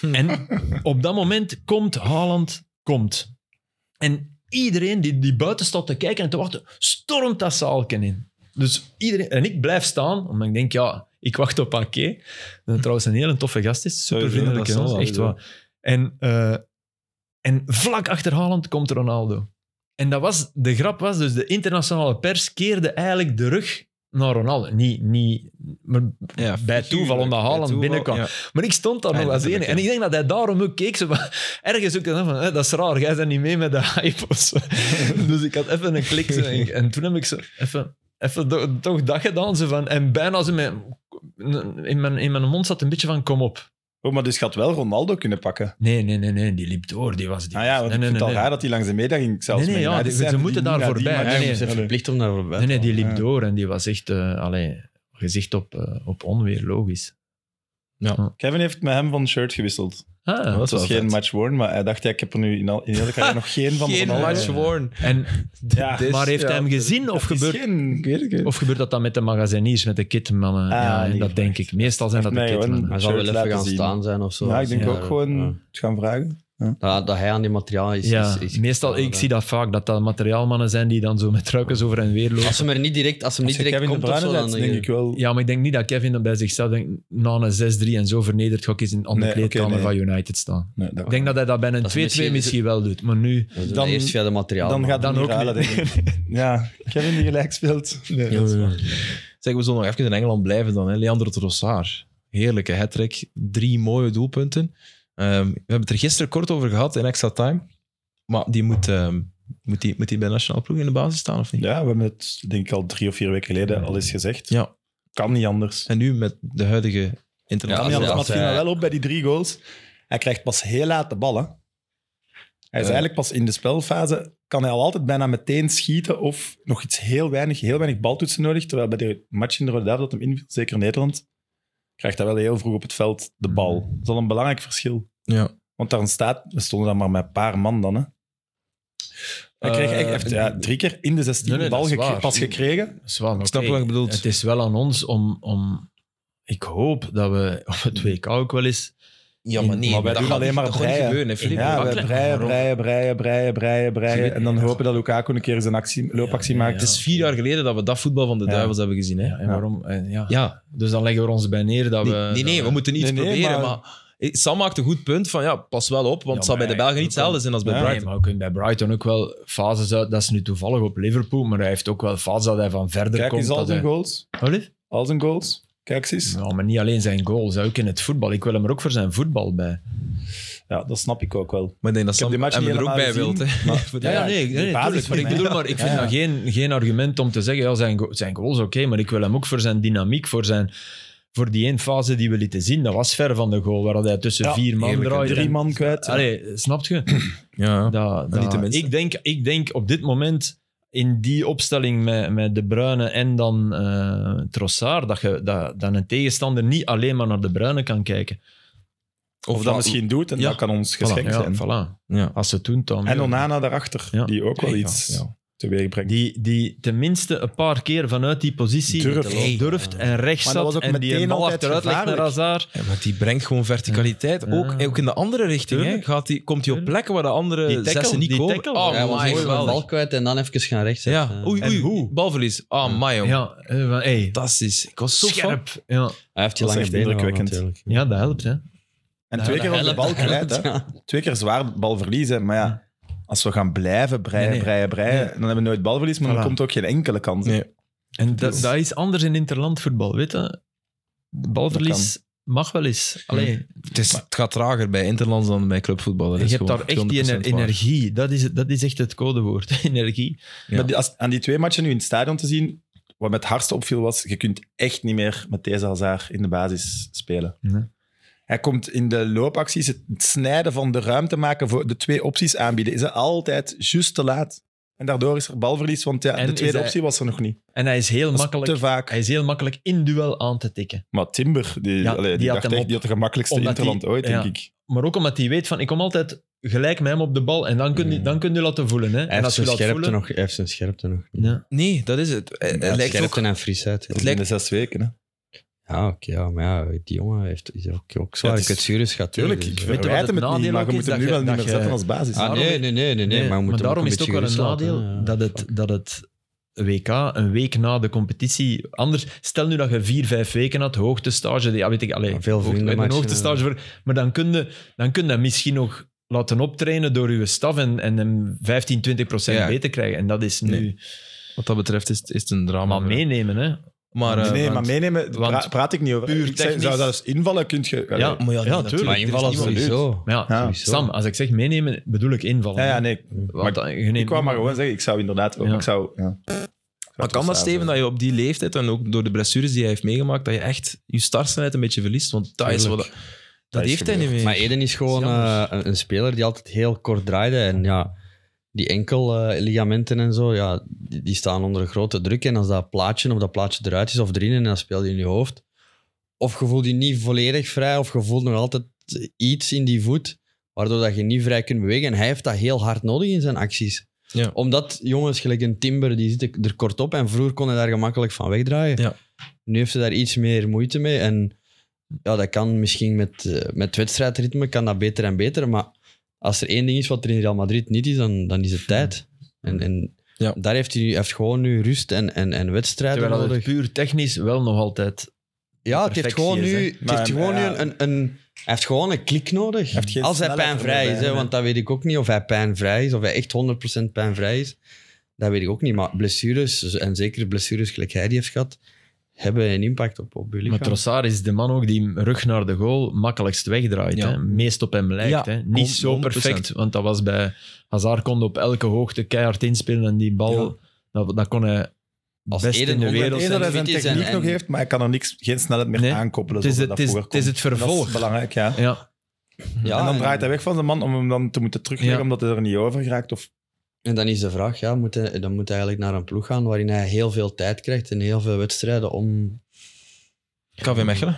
Speaker 4: en op dat moment komt Haaland, komt. En iedereen die, die buiten staat te kijken en te wachten, stormt dat zaalken in. Dus iedereen... En ik blijf staan, omdat ik denk, ja, ik wacht op Ake. Dat trouwens een hele toffe gast is. Super
Speaker 2: Sowieso,
Speaker 4: vriendelijk,
Speaker 1: dat zal wel,
Speaker 4: echt waar. En, eh, en vlak achter Haaland komt Ronaldo. En dat was, de grap was dus, de internationale pers keerde eigenlijk de rug naar Ronaldo. Niet, niet, maar
Speaker 1: Ja,
Speaker 4: bij toeval, omdat
Speaker 1: bij
Speaker 4: Haaland
Speaker 1: toeval,
Speaker 4: binnenkwam.
Speaker 1: ja.
Speaker 4: maar ik stond
Speaker 2: Ah,
Speaker 4: daar
Speaker 1: Ja,
Speaker 4: nog als
Speaker 1: natuurlijk,
Speaker 4: enige. En
Speaker 1: ja.
Speaker 4: ik denk dat hij daarom ook keek. Zo, van, ergens ook dan van, hè, dat is raar, jij bent niet mee met de hype of zo. dus ik had even een klik. zo, en, en toen heb ik zo even, even do- toch dat gedaan. Zo van, en bijna zo mijn, in, mijn, in mijn mond zat een beetje van, kom op.
Speaker 2: Oh, maar dus gaat wel Ronaldo kunnen pakken.
Speaker 4: Nee, nee, nee, nee, die liep door. Die was die.
Speaker 2: Nou ja, want
Speaker 4: nee,
Speaker 2: ik
Speaker 4: nee,
Speaker 2: vind het al
Speaker 4: nee.
Speaker 2: raar dat hij langs de middag ging. Zelfs
Speaker 4: Nee, nee,
Speaker 2: met
Speaker 4: ja,
Speaker 2: United
Speaker 4: ze
Speaker 2: zijn,
Speaker 4: moeten
Speaker 2: die
Speaker 4: daar
Speaker 2: niet naar die
Speaker 4: voorbij.
Speaker 2: match
Speaker 4: Nee, nee,
Speaker 2: zullen.
Speaker 3: Hij is verplicht om daar voorbij
Speaker 4: Nee,
Speaker 3: te
Speaker 4: nee, die
Speaker 3: gaan.
Speaker 4: liep
Speaker 2: Ja.
Speaker 4: door en die was echt eh allee, gezicht op, eh, op onweer, logisch.
Speaker 2: Kevin heeft met hem van shirt gewisseld.
Speaker 4: Ah,
Speaker 2: Het
Speaker 1: is
Speaker 2: was
Speaker 1: wel
Speaker 2: geen
Speaker 1: vet.
Speaker 2: match worn, maar hij dacht, ja, ik heb er nu in, al, in de hele carrière nog geen van
Speaker 1: Geen
Speaker 2: Ronaldo.
Speaker 1: match worn.
Speaker 4: en,
Speaker 2: Ja,
Speaker 1: Dit-
Speaker 4: maar heeft
Speaker 1: ja,
Speaker 4: hij hem gezien of
Speaker 2: het is
Speaker 4: gebeurt,
Speaker 2: geen- Ik weet het niet.
Speaker 4: of gebeurt dat dan met de magaziniers, met de kitmannen?
Speaker 2: Ah,
Speaker 4: ja,
Speaker 2: niet
Speaker 4: en dat denk
Speaker 2: gevraagd.
Speaker 4: ik. Meestal zijn dat de
Speaker 2: Nee, hoor.
Speaker 4: kitmannen.
Speaker 3: Hij zou wel
Speaker 2: shirt
Speaker 3: even
Speaker 2: laten
Speaker 3: gaan
Speaker 2: zien.
Speaker 3: staan zijn of zo.
Speaker 2: Ja, ik denk
Speaker 3: Ja,
Speaker 2: ook gewoon
Speaker 3: ja.
Speaker 2: het gaan vragen.
Speaker 3: Dat, dat hij aan die materiaal is.
Speaker 4: Ja,
Speaker 3: is- is-
Speaker 4: meestal, ik zie dat vaak, dat dat materiaalmannen zijn die dan zo met truikens over en weer lopen.
Speaker 3: Als ze maar niet direct, als ze hem
Speaker 2: Als
Speaker 3: niet
Speaker 2: je
Speaker 3: direct
Speaker 2: Kevin de
Speaker 3: komt of
Speaker 2: Bruyne
Speaker 3: zo, dan eh,
Speaker 2: bent, denk ik wel.
Speaker 4: Ja, maar ik denk niet dat Kevin dan bij zichzelf denkt, na een 6-3 en zo vernederd ga ik eens in aan de
Speaker 2: Nee, oké,
Speaker 4: kleedkamer
Speaker 2: nee.
Speaker 4: van United staan.
Speaker 2: Nee, dat-
Speaker 4: Ik denk dat hij dat bij een 2-2
Speaker 3: Dat is
Speaker 4: misschien,
Speaker 3: misschien-
Speaker 4: wel doet, maar nu...
Speaker 3: Dan,
Speaker 2: Dan-
Speaker 3: eerst via de materiaal.
Speaker 2: dan
Speaker 3: man.
Speaker 2: gaat
Speaker 4: dan
Speaker 2: dan ook
Speaker 4: ook
Speaker 2: halen, denk ik. Ja, Kevin die gelijk speelt. Nee,
Speaker 3: Ja,
Speaker 2: dat is
Speaker 3: ja.
Speaker 2: waar.
Speaker 1: Zeg, we zullen nog even in Engeland blijven dan. Hè. Leandro Trossard. Heerlijke hat Drie mooie doelpunten. Ehm, we hebben het er gisteren kort over gehad in extra time. Maar die moet, ehm, moet, die, moet die bij de nationale ploeg in de basis staan, of niet?
Speaker 2: Ja, we hebben het denk ik al drie of vier weken geleden al eens gezegd.
Speaker 1: Ja.
Speaker 2: Kan niet anders.
Speaker 1: En nu met de huidige
Speaker 2: Kan
Speaker 1: internationale...
Speaker 2: niet
Speaker 3: Ja, als
Speaker 2: anders. Maar het viel
Speaker 3: hij-
Speaker 4: eh,
Speaker 2: mij wel op bij die drie goals. Hij krijgt pas heel laat de bal. Hè. Hij is
Speaker 1: Ja.
Speaker 2: eigenlijk pas in de spelfase. Kan hij al altijd bijna meteen schieten of nog iets heel weinig, heel weinig baltoetsen nodig. Terwijl bij de match in de Rode Duivel dat hem inviel, zeker in Nederland, krijgt hij wel heel vroeg op het veld de bal.
Speaker 4: Mm-hmm.
Speaker 2: Dat is al een belangrijk verschil.
Speaker 1: Ja.
Speaker 2: Want daar staat, we stonden dan maar met een paar man dan. Hè. Hij kreeg echt, hij heeft, ja, drie keer in de 16
Speaker 4: Eh, Nee, nee,
Speaker 2: bal
Speaker 4: dat is
Speaker 2: gekre-
Speaker 4: waar.
Speaker 2: pas gekregen.
Speaker 4: Zwaar,
Speaker 1: Ik snap wat je bedoelt.
Speaker 4: Het is wel aan ons om, om... Ik hoop dat we op het WK ook wel eens...
Speaker 1: Ja, maar nee.
Speaker 2: Maar wij
Speaker 1: dat
Speaker 2: doen
Speaker 1: gaat
Speaker 2: alleen
Speaker 1: niet-
Speaker 2: maar
Speaker 1: dat gaat niet
Speaker 2: breien.
Speaker 1: gebeuren, hè, Filip.
Speaker 2: Ja, we
Speaker 4: Makkelijk.
Speaker 2: breien, breien, breien,
Speaker 4: Zie je-
Speaker 2: breien, breien, breien. En dan hopen dat Lukaku een keer zijn actie, loopactie
Speaker 4: Ja, ja,
Speaker 2: maakt. Dus
Speaker 1: Het is vier jaar geleden dat we dat voetbal van de
Speaker 2: Ja.
Speaker 1: duivels hebben gezien. Hè?
Speaker 4: Ja, en waarom? En ja.
Speaker 1: Ja,
Speaker 4: Dus dan leggen we er ons bij neer dat
Speaker 1: nee,
Speaker 4: we...
Speaker 1: nee, nee,
Speaker 4: dat
Speaker 1: we moeten iets
Speaker 2: Nee, nee,
Speaker 1: proberen.
Speaker 2: maar-
Speaker 1: Maar... Eh, Sam maakt een goed punt van ja, pas wel op, want
Speaker 4: Ja,
Speaker 1: het zal bij de
Speaker 4: maar
Speaker 1: Belgen
Speaker 4: hij-
Speaker 1: niet hetzelfde zijn als bij
Speaker 2: Ja.
Speaker 4: Nee,
Speaker 1: Brighton.
Speaker 4: maar we kunnen bij Brighton ook wel fases uit. Dat is nu toevallig op Liverpool, maar hij heeft ook wel fases dat hij van verder
Speaker 2: Kijk
Speaker 4: komt.
Speaker 2: eens al
Speaker 4: dat
Speaker 2: zijn
Speaker 4: hij-
Speaker 2: goals.
Speaker 4: Wat lief?
Speaker 2: Al zijn goals. Kijk eens.
Speaker 4: Ja, maar niet alleen zijn goals, hè, ook in het voetbal. Ik wil hem er ook voor zijn voetbal bij.
Speaker 2: Ja, dat snap ik ook wel.
Speaker 1: Maar ik denk dat
Speaker 2: Ik
Speaker 1: Sam
Speaker 2: heb die match
Speaker 1: hem
Speaker 2: niet
Speaker 1: er ook bij
Speaker 2: helemaal
Speaker 1: wilt. hè.
Speaker 2: maar-
Speaker 1: Voor de-
Speaker 2: Ja, ja,
Speaker 4: nee,
Speaker 2: de basis
Speaker 4: tuurlijk, maar
Speaker 2: van
Speaker 4: ik
Speaker 2: mij.
Speaker 4: bedoel maar, ik vind
Speaker 2: Ja, ja.
Speaker 4: dat geen, geen argument om te zeggen, ja, zijn, go- zijn goals oké, maar ik wil hem ook voor zijn dynamiek, voor, zijn, voor die één fase die we lieten zien. Dat was ver van de goal, waar hij tussen
Speaker 2: Ja,
Speaker 4: vier man
Speaker 1: heerlijk, hè.
Speaker 4: draait.
Speaker 2: Drie
Speaker 4: en-
Speaker 2: man kwijt. ja.
Speaker 4: Allee, snap je?
Speaker 1: Ja.
Speaker 4: Dat,
Speaker 1: niet de minste.
Speaker 4: ik, denk, ik denk op dit moment, in die opstelling met, met De Bruyne en dan eh Trossard, dat, je, dat, dat een tegenstander niet alleen maar naar De Bruyne kan kijken.
Speaker 2: Of, dat misschien doet en
Speaker 4: Ja.
Speaker 2: dat kan ons geschenk
Speaker 4: ja,
Speaker 2: zijn.
Speaker 4: Voilà.
Speaker 1: Ja.
Speaker 4: Als ze het doen, dan...
Speaker 2: En
Speaker 4: ja.
Speaker 2: Onana daarachter,
Speaker 4: Ja.
Speaker 2: die ook wel
Speaker 1: Ja,
Speaker 2: iets
Speaker 1: ja.
Speaker 2: teweeg brengt.
Speaker 4: Die, die tenminste een paar keer vanuit die positie
Speaker 2: Durft.
Speaker 4: durft, durft en rechts
Speaker 2: Maar dat
Speaker 4: zat
Speaker 2: was ook
Speaker 4: en die
Speaker 2: meteen
Speaker 4: een bal
Speaker 2: altijd
Speaker 4: achteruit legt naar
Speaker 2: gevaarlijk.
Speaker 4: Hazard.
Speaker 1: Ja, maar die brengt gewoon verticaliteit.
Speaker 4: Ja.
Speaker 1: Ook, en ook in de andere richting. Hè.
Speaker 4: Tuurlijk.
Speaker 1: Gaat die, komt hij op
Speaker 4: Tuurlijk.
Speaker 1: plekken waar de andere
Speaker 4: Die tackle,
Speaker 1: zessen niet
Speaker 4: die
Speaker 1: komen.
Speaker 4: tackle.
Speaker 1: Oh,
Speaker 4: Ja,
Speaker 3: was
Speaker 1: my,
Speaker 3: mooi, de
Speaker 1: geweldig.
Speaker 3: bal kwijt en dan even gaan rechts.
Speaker 1: Ja, oei,
Speaker 4: En
Speaker 1: oei,
Speaker 4: eh, hoe?
Speaker 1: balverlies. Ah, oh, my, jongen.
Speaker 4: Ja, eh, van, hey,
Speaker 1: Fantastisch. Ik was zo fan.
Speaker 4: scherp. Ja.
Speaker 3: Hij heeft die
Speaker 2: Dat
Speaker 3: lange
Speaker 2: is
Speaker 3: benen
Speaker 2: echt
Speaker 3: wel,
Speaker 2: indrukwekkend.
Speaker 3: natuurlijk.
Speaker 4: ja, dat helpt. Hè.
Speaker 2: En
Speaker 3: Ja,
Speaker 2: twee
Speaker 3: dat
Speaker 2: keer op de
Speaker 3: helpt,
Speaker 2: bal
Speaker 3: dat
Speaker 2: kwijt.
Speaker 3: helpt,
Speaker 2: hè.
Speaker 3: ja.
Speaker 2: Twee keer zwaar bal verliezen. Maar ja, als we gaan blijven breien,
Speaker 4: Nee, nee.
Speaker 2: breien, breien, dan hebben we nooit balverlies, maar dan
Speaker 4: Voilà.
Speaker 2: komt ook geen enkele kans.
Speaker 1: Nee.
Speaker 4: En dat,
Speaker 2: Dus-
Speaker 4: dat is anders in interlandvoetbal. Weet je, balverlies mag wel eens. Allee,
Speaker 1: Het, is, het gaat trager bij Interlands dan bij clubvoetbal. Dat
Speaker 4: je
Speaker 1: is
Speaker 4: hebt
Speaker 1: gewoon
Speaker 4: daar echt die
Speaker 1: 200%
Speaker 4: ener-
Speaker 1: waar.
Speaker 4: energie. Dat is, het- dat is echt het codewoord. energie.
Speaker 1: Ja.
Speaker 2: Maar die, als, aan die twee matchen nu in het stadion te zien, wat me het hardst opviel was, je kunt echt niet meer met deze Hazard in de basis spelen.
Speaker 4: Nee.
Speaker 2: Hij komt in de loopacties het snijden van de ruimte maken voor de twee opties aanbieden. Is hij altijd juist te laat. En daardoor is er balverlies, want ja,
Speaker 4: En
Speaker 2: de
Speaker 4: is
Speaker 2: tweede
Speaker 4: hij-
Speaker 2: optie was er nog niet.
Speaker 4: En hij is heel
Speaker 2: Dat is
Speaker 4: makkelijk.
Speaker 2: te vaak.
Speaker 4: Hij is heel makkelijk in duel aan te tikken.
Speaker 2: Maar Timber, die,
Speaker 4: Ja,
Speaker 2: allee, die,
Speaker 4: die had
Speaker 2: dacht
Speaker 4: hem
Speaker 2: echt,
Speaker 4: op.
Speaker 2: die had de gemakkelijkste
Speaker 4: Omdat
Speaker 2: interland
Speaker 4: die-
Speaker 2: ooit, denk
Speaker 4: ja.
Speaker 2: ik.
Speaker 4: Maar ook omdat hij weet van, ik kom altijd gelijk met hem op de bal en dan kun je,
Speaker 3: Mm.
Speaker 4: dan kun je laten voelen. Hè.
Speaker 3: Hij
Speaker 4: en
Speaker 3: heeft
Speaker 4: als je
Speaker 3: zijn
Speaker 4: laat
Speaker 3: scherpte
Speaker 4: voelen...
Speaker 3: nog. Hij heeft zijn scherpte nog.
Speaker 4: Ja.
Speaker 1: Nee, dat is het.
Speaker 4: Eh,
Speaker 1: Het
Speaker 3: Hij heeft
Speaker 1: lijkt ook
Speaker 3: scherpte en frisheid. ja.
Speaker 1: Het lijkt-
Speaker 2: In de zes weken, hè.
Speaker 3: Ja, oké. ja, maar ja, die jongen heeft is ook, ook zware
Speaker 2: Ja, het is-
Speaker 3: kutsures gehad. hè,
Speaker 2: Tuurlijk,
Speaker 3: dus,
Speaker 2: ik
Speaker 3: eh.
Speaker 4: weet je wat
Speaker 2: verwijt
Speaker 4: het
Speaker 2: hem het niet,
Speaker 4: nadeel
Speaker 2: maar
Speaker 4: ook
Speaker 2: je moet
Speaker 4: is?
Speaker 2: hem
Speaker 4: Dat
Speaker 2: nu wel
Speaker 4: je-
Speaker 2: niet meer
Speaker 4: dat
Speaker 2: zetten
Speaker 4: je-
Speaker 2: als basis.
Speaker 3: Ah, nee, nee, nee, nee, nee, Maar, we
Speaker 4: maar
Speaker 3: moeten
Speaker 4: daarom
Speaker 3: hem
Speaker 4: is het ook
Speaker 3: een
Speaker 4: wel een
Speaker 3: beetje gerust
Speaker 4: nadeel
Speaker 3: laten, hè.
Speaker 4: dat, het, dat het WK een week na de competitie anders. Stel nu dat je vier, vijf weken had, hoogtestage. die- Ja, weet ik, allee,
Speaker 3: Ja, veel
Speaker 4: hoogte-
Speaker 3: vriendenmatchen,
Speaker 4: een hoogtestage. Voor, maar dan kun, je, dan kun je hem misschien nog laten optrainen door je staf en, en hem 15, 20 procent
Speaker 1: Ja.
Speaker 4: beter krijgen. En dat is nu
Speaker 1: Nee. Wat dat betreft is, het- is het een drama.
Speaker 4: maar meenemen. Hè.
Speaker 1: Maar, eh,
Speaker 2: Nee, nee,
Speaker 1: want-
Speaker 2: maar meenemen
Speaker 4: want
Speaker 2: pra- praat ik niet over.
Speaker 4: puur
Speaker 2: ik zeg,
Speaker 4: technisch-
Speaker 2: zou dat eens invallen, kun je...
Speaker 4: Ja,
Speaker 2: Allee.
Speaker 1: Maar ja, nee,
Speaker 4: Ja,
Speaker 1: natuurlijk.
Speaker 3: Maar
Speaker 1: Er is
Speaker 3: invallen
Speaker 1: niemand-
Speaker 3: sowieso.
Speaker 4: Maar ja,
Speaker 2: Ja.
Speaker 3: Sowieso.
Speaker 4: Sam, als ik zeg meenemen, bedoel ik invallen.
Speaker 2: Ja, ja, nee.
Speaker 4: Want dan- je neemt
Speaker 2: Ik wou maar
Speaker 4: niemand-
Speaker 2: gewoon zeggen, ik zou inderdaad ook...
Speaker 4: Ja.
Speaker 2: Ik zou, ja. Ik zou
Speaker 1: Maar
Speaker 2: het
Speaker 1: kan dat,
Speaker 2: wel
Speaker 1: Steven, dat je op die leeftijd en ook door de blessures die hij heeft meegemaakt, dat je echt je startsnelheid een beetje verliest? Want dat is wat...
Speaker 3: Tuurlijk.
Speaker 1: Dat,
Speaker 2: Dat is
Speaker 1: heeft hij niet meer.
Speaker 3: Maar Eden is gewoon
Speaker 1: Dat is
Speaker 3: eh, een, een speler die altijd heel kort draaide. En ja, die enkel eh, ligamenten en zo, ja, die, die staan onder grote druk. En als dat plaatje of dat plaatje eruit is of erin en dan speelt hij in je hoofd. Of je voelt je niet volledig vrij, of je voelt nog altijd iets in die voet, waardoor dat je niet vrij kunt bewegen. En hij heeft dat heel hard nodig in zijn acties.
Speaker 1: Ja.
Speaker 3: Omdat jongens, gelijk een timber, die zitten er kort op. En vroeger kon hij daar gemakkelijk van wegdraaien.
Speaker 1: Ja.
Speaker 3: Nu heeft ze daar iets meer moeite mee. En ja, dat kan misschien met, eh, met wedstrijdritme kan dat beter en beter. Maar als er één ding is wat er in Real Madrid niet is, dan, dan is het tijd. En, en
Speaker 1: Ja.
Speaker 3: daar heeft hij nu, heeft gewoon nu rust en, en, en wedstrijden
Speaker 4: Terwijl dat
Speaker 3: nodig.
Speaker 4: het puur technisch wel nog altijd...
Speaker 3: Ja, het heeft
Speaker 4: perfectie
Speaker 3: gewoon
Speaker 4: is,
Speaker 3: nu,
Speaker 4: hè.
Speaker 3: het
Speaker 2: Maar,
Speaker 3: heeft gewoon
Speaker 2: ja.
Speaker 3: nu een, een, een- hij heeft gewoon een klik nodig.
Speaker 2: heeft geen
Speaker 3: Als hij
Speaker 2: snelheid
Speaker 3: pijnvrij
Speaker 2: erbij,
Speaker 3: is, hè,
Speaker 2: hè.
Speaker 3: want dat weet ik ook niet. Of hij pijnvrij is, of hij echt 100% pijnvrij is. Dat weet ik ook niet. Maar blessures, en zeker blessures gelijk hij die heeft gehad, hebben een impact op, op je lichaam.
Speaker 4: Maar Trossard is de man ook die hem rug naar de goal makkelijkst wegdraait.
Speaker 1: Ja.
Speaker 4: Hè? Meest op hem lijkt.
Speaker 1: Ja,
Speaker 4: hè? Niet zo
Speaker 1: 100%.
Speaker 4: perfect, want dat was bij... Hazard kon op elke hoogte keihard inspelen en die bal... Dat, dat kon hij
Speaker 3: Als
Speaker 4: best
Speaker 3: Eden
Speaker 4: in de
Speaker 3: onder-
Speaker 2: Het
Speaker 4: wereld
Speaker 2: enige
Speaker 4: zijn.
Speaker 2: dat hij zijn
Speaker 3: Fit is
Speaker 2: techniek
Speaker 3: en-
Speaker 2: nog
Speaker 3: en-
Speaker 2: heeft, maar hij kan er niks, geen snelheid meer
Speaker 4: Nee,
Speaker 2: aankoppelen.
Speaker 4: Het is,
Speaker 2: zoals
Speaker 4: het,
Speaker 2: dat
Speaker 4: is,
Speaker 2: vroeger
Speaker 4: het is
Speaker 2: kon.
Speaker 4: het
Speaker 2: Dat is
Speaker 4: vervolg.
Speaker 2: belangrijk, ja.
Speaker 4: Ja,
Speaker 3: ja,
Speaker 2: en dan draait hij weg van zijn man om hem dan te moeten terugleggen
Speaker 4: Ja.
Speaker 2: omdat hij er niet over geraakt. Of,
Speaker 3: En dan is de vraag, ja, moet hij, dan moet hij eigenlijk naar een ploeg gaan waarin hij heel veel tijd krijgt en heel veel wedstrijden om...
Speaker 1: KV Mechelen.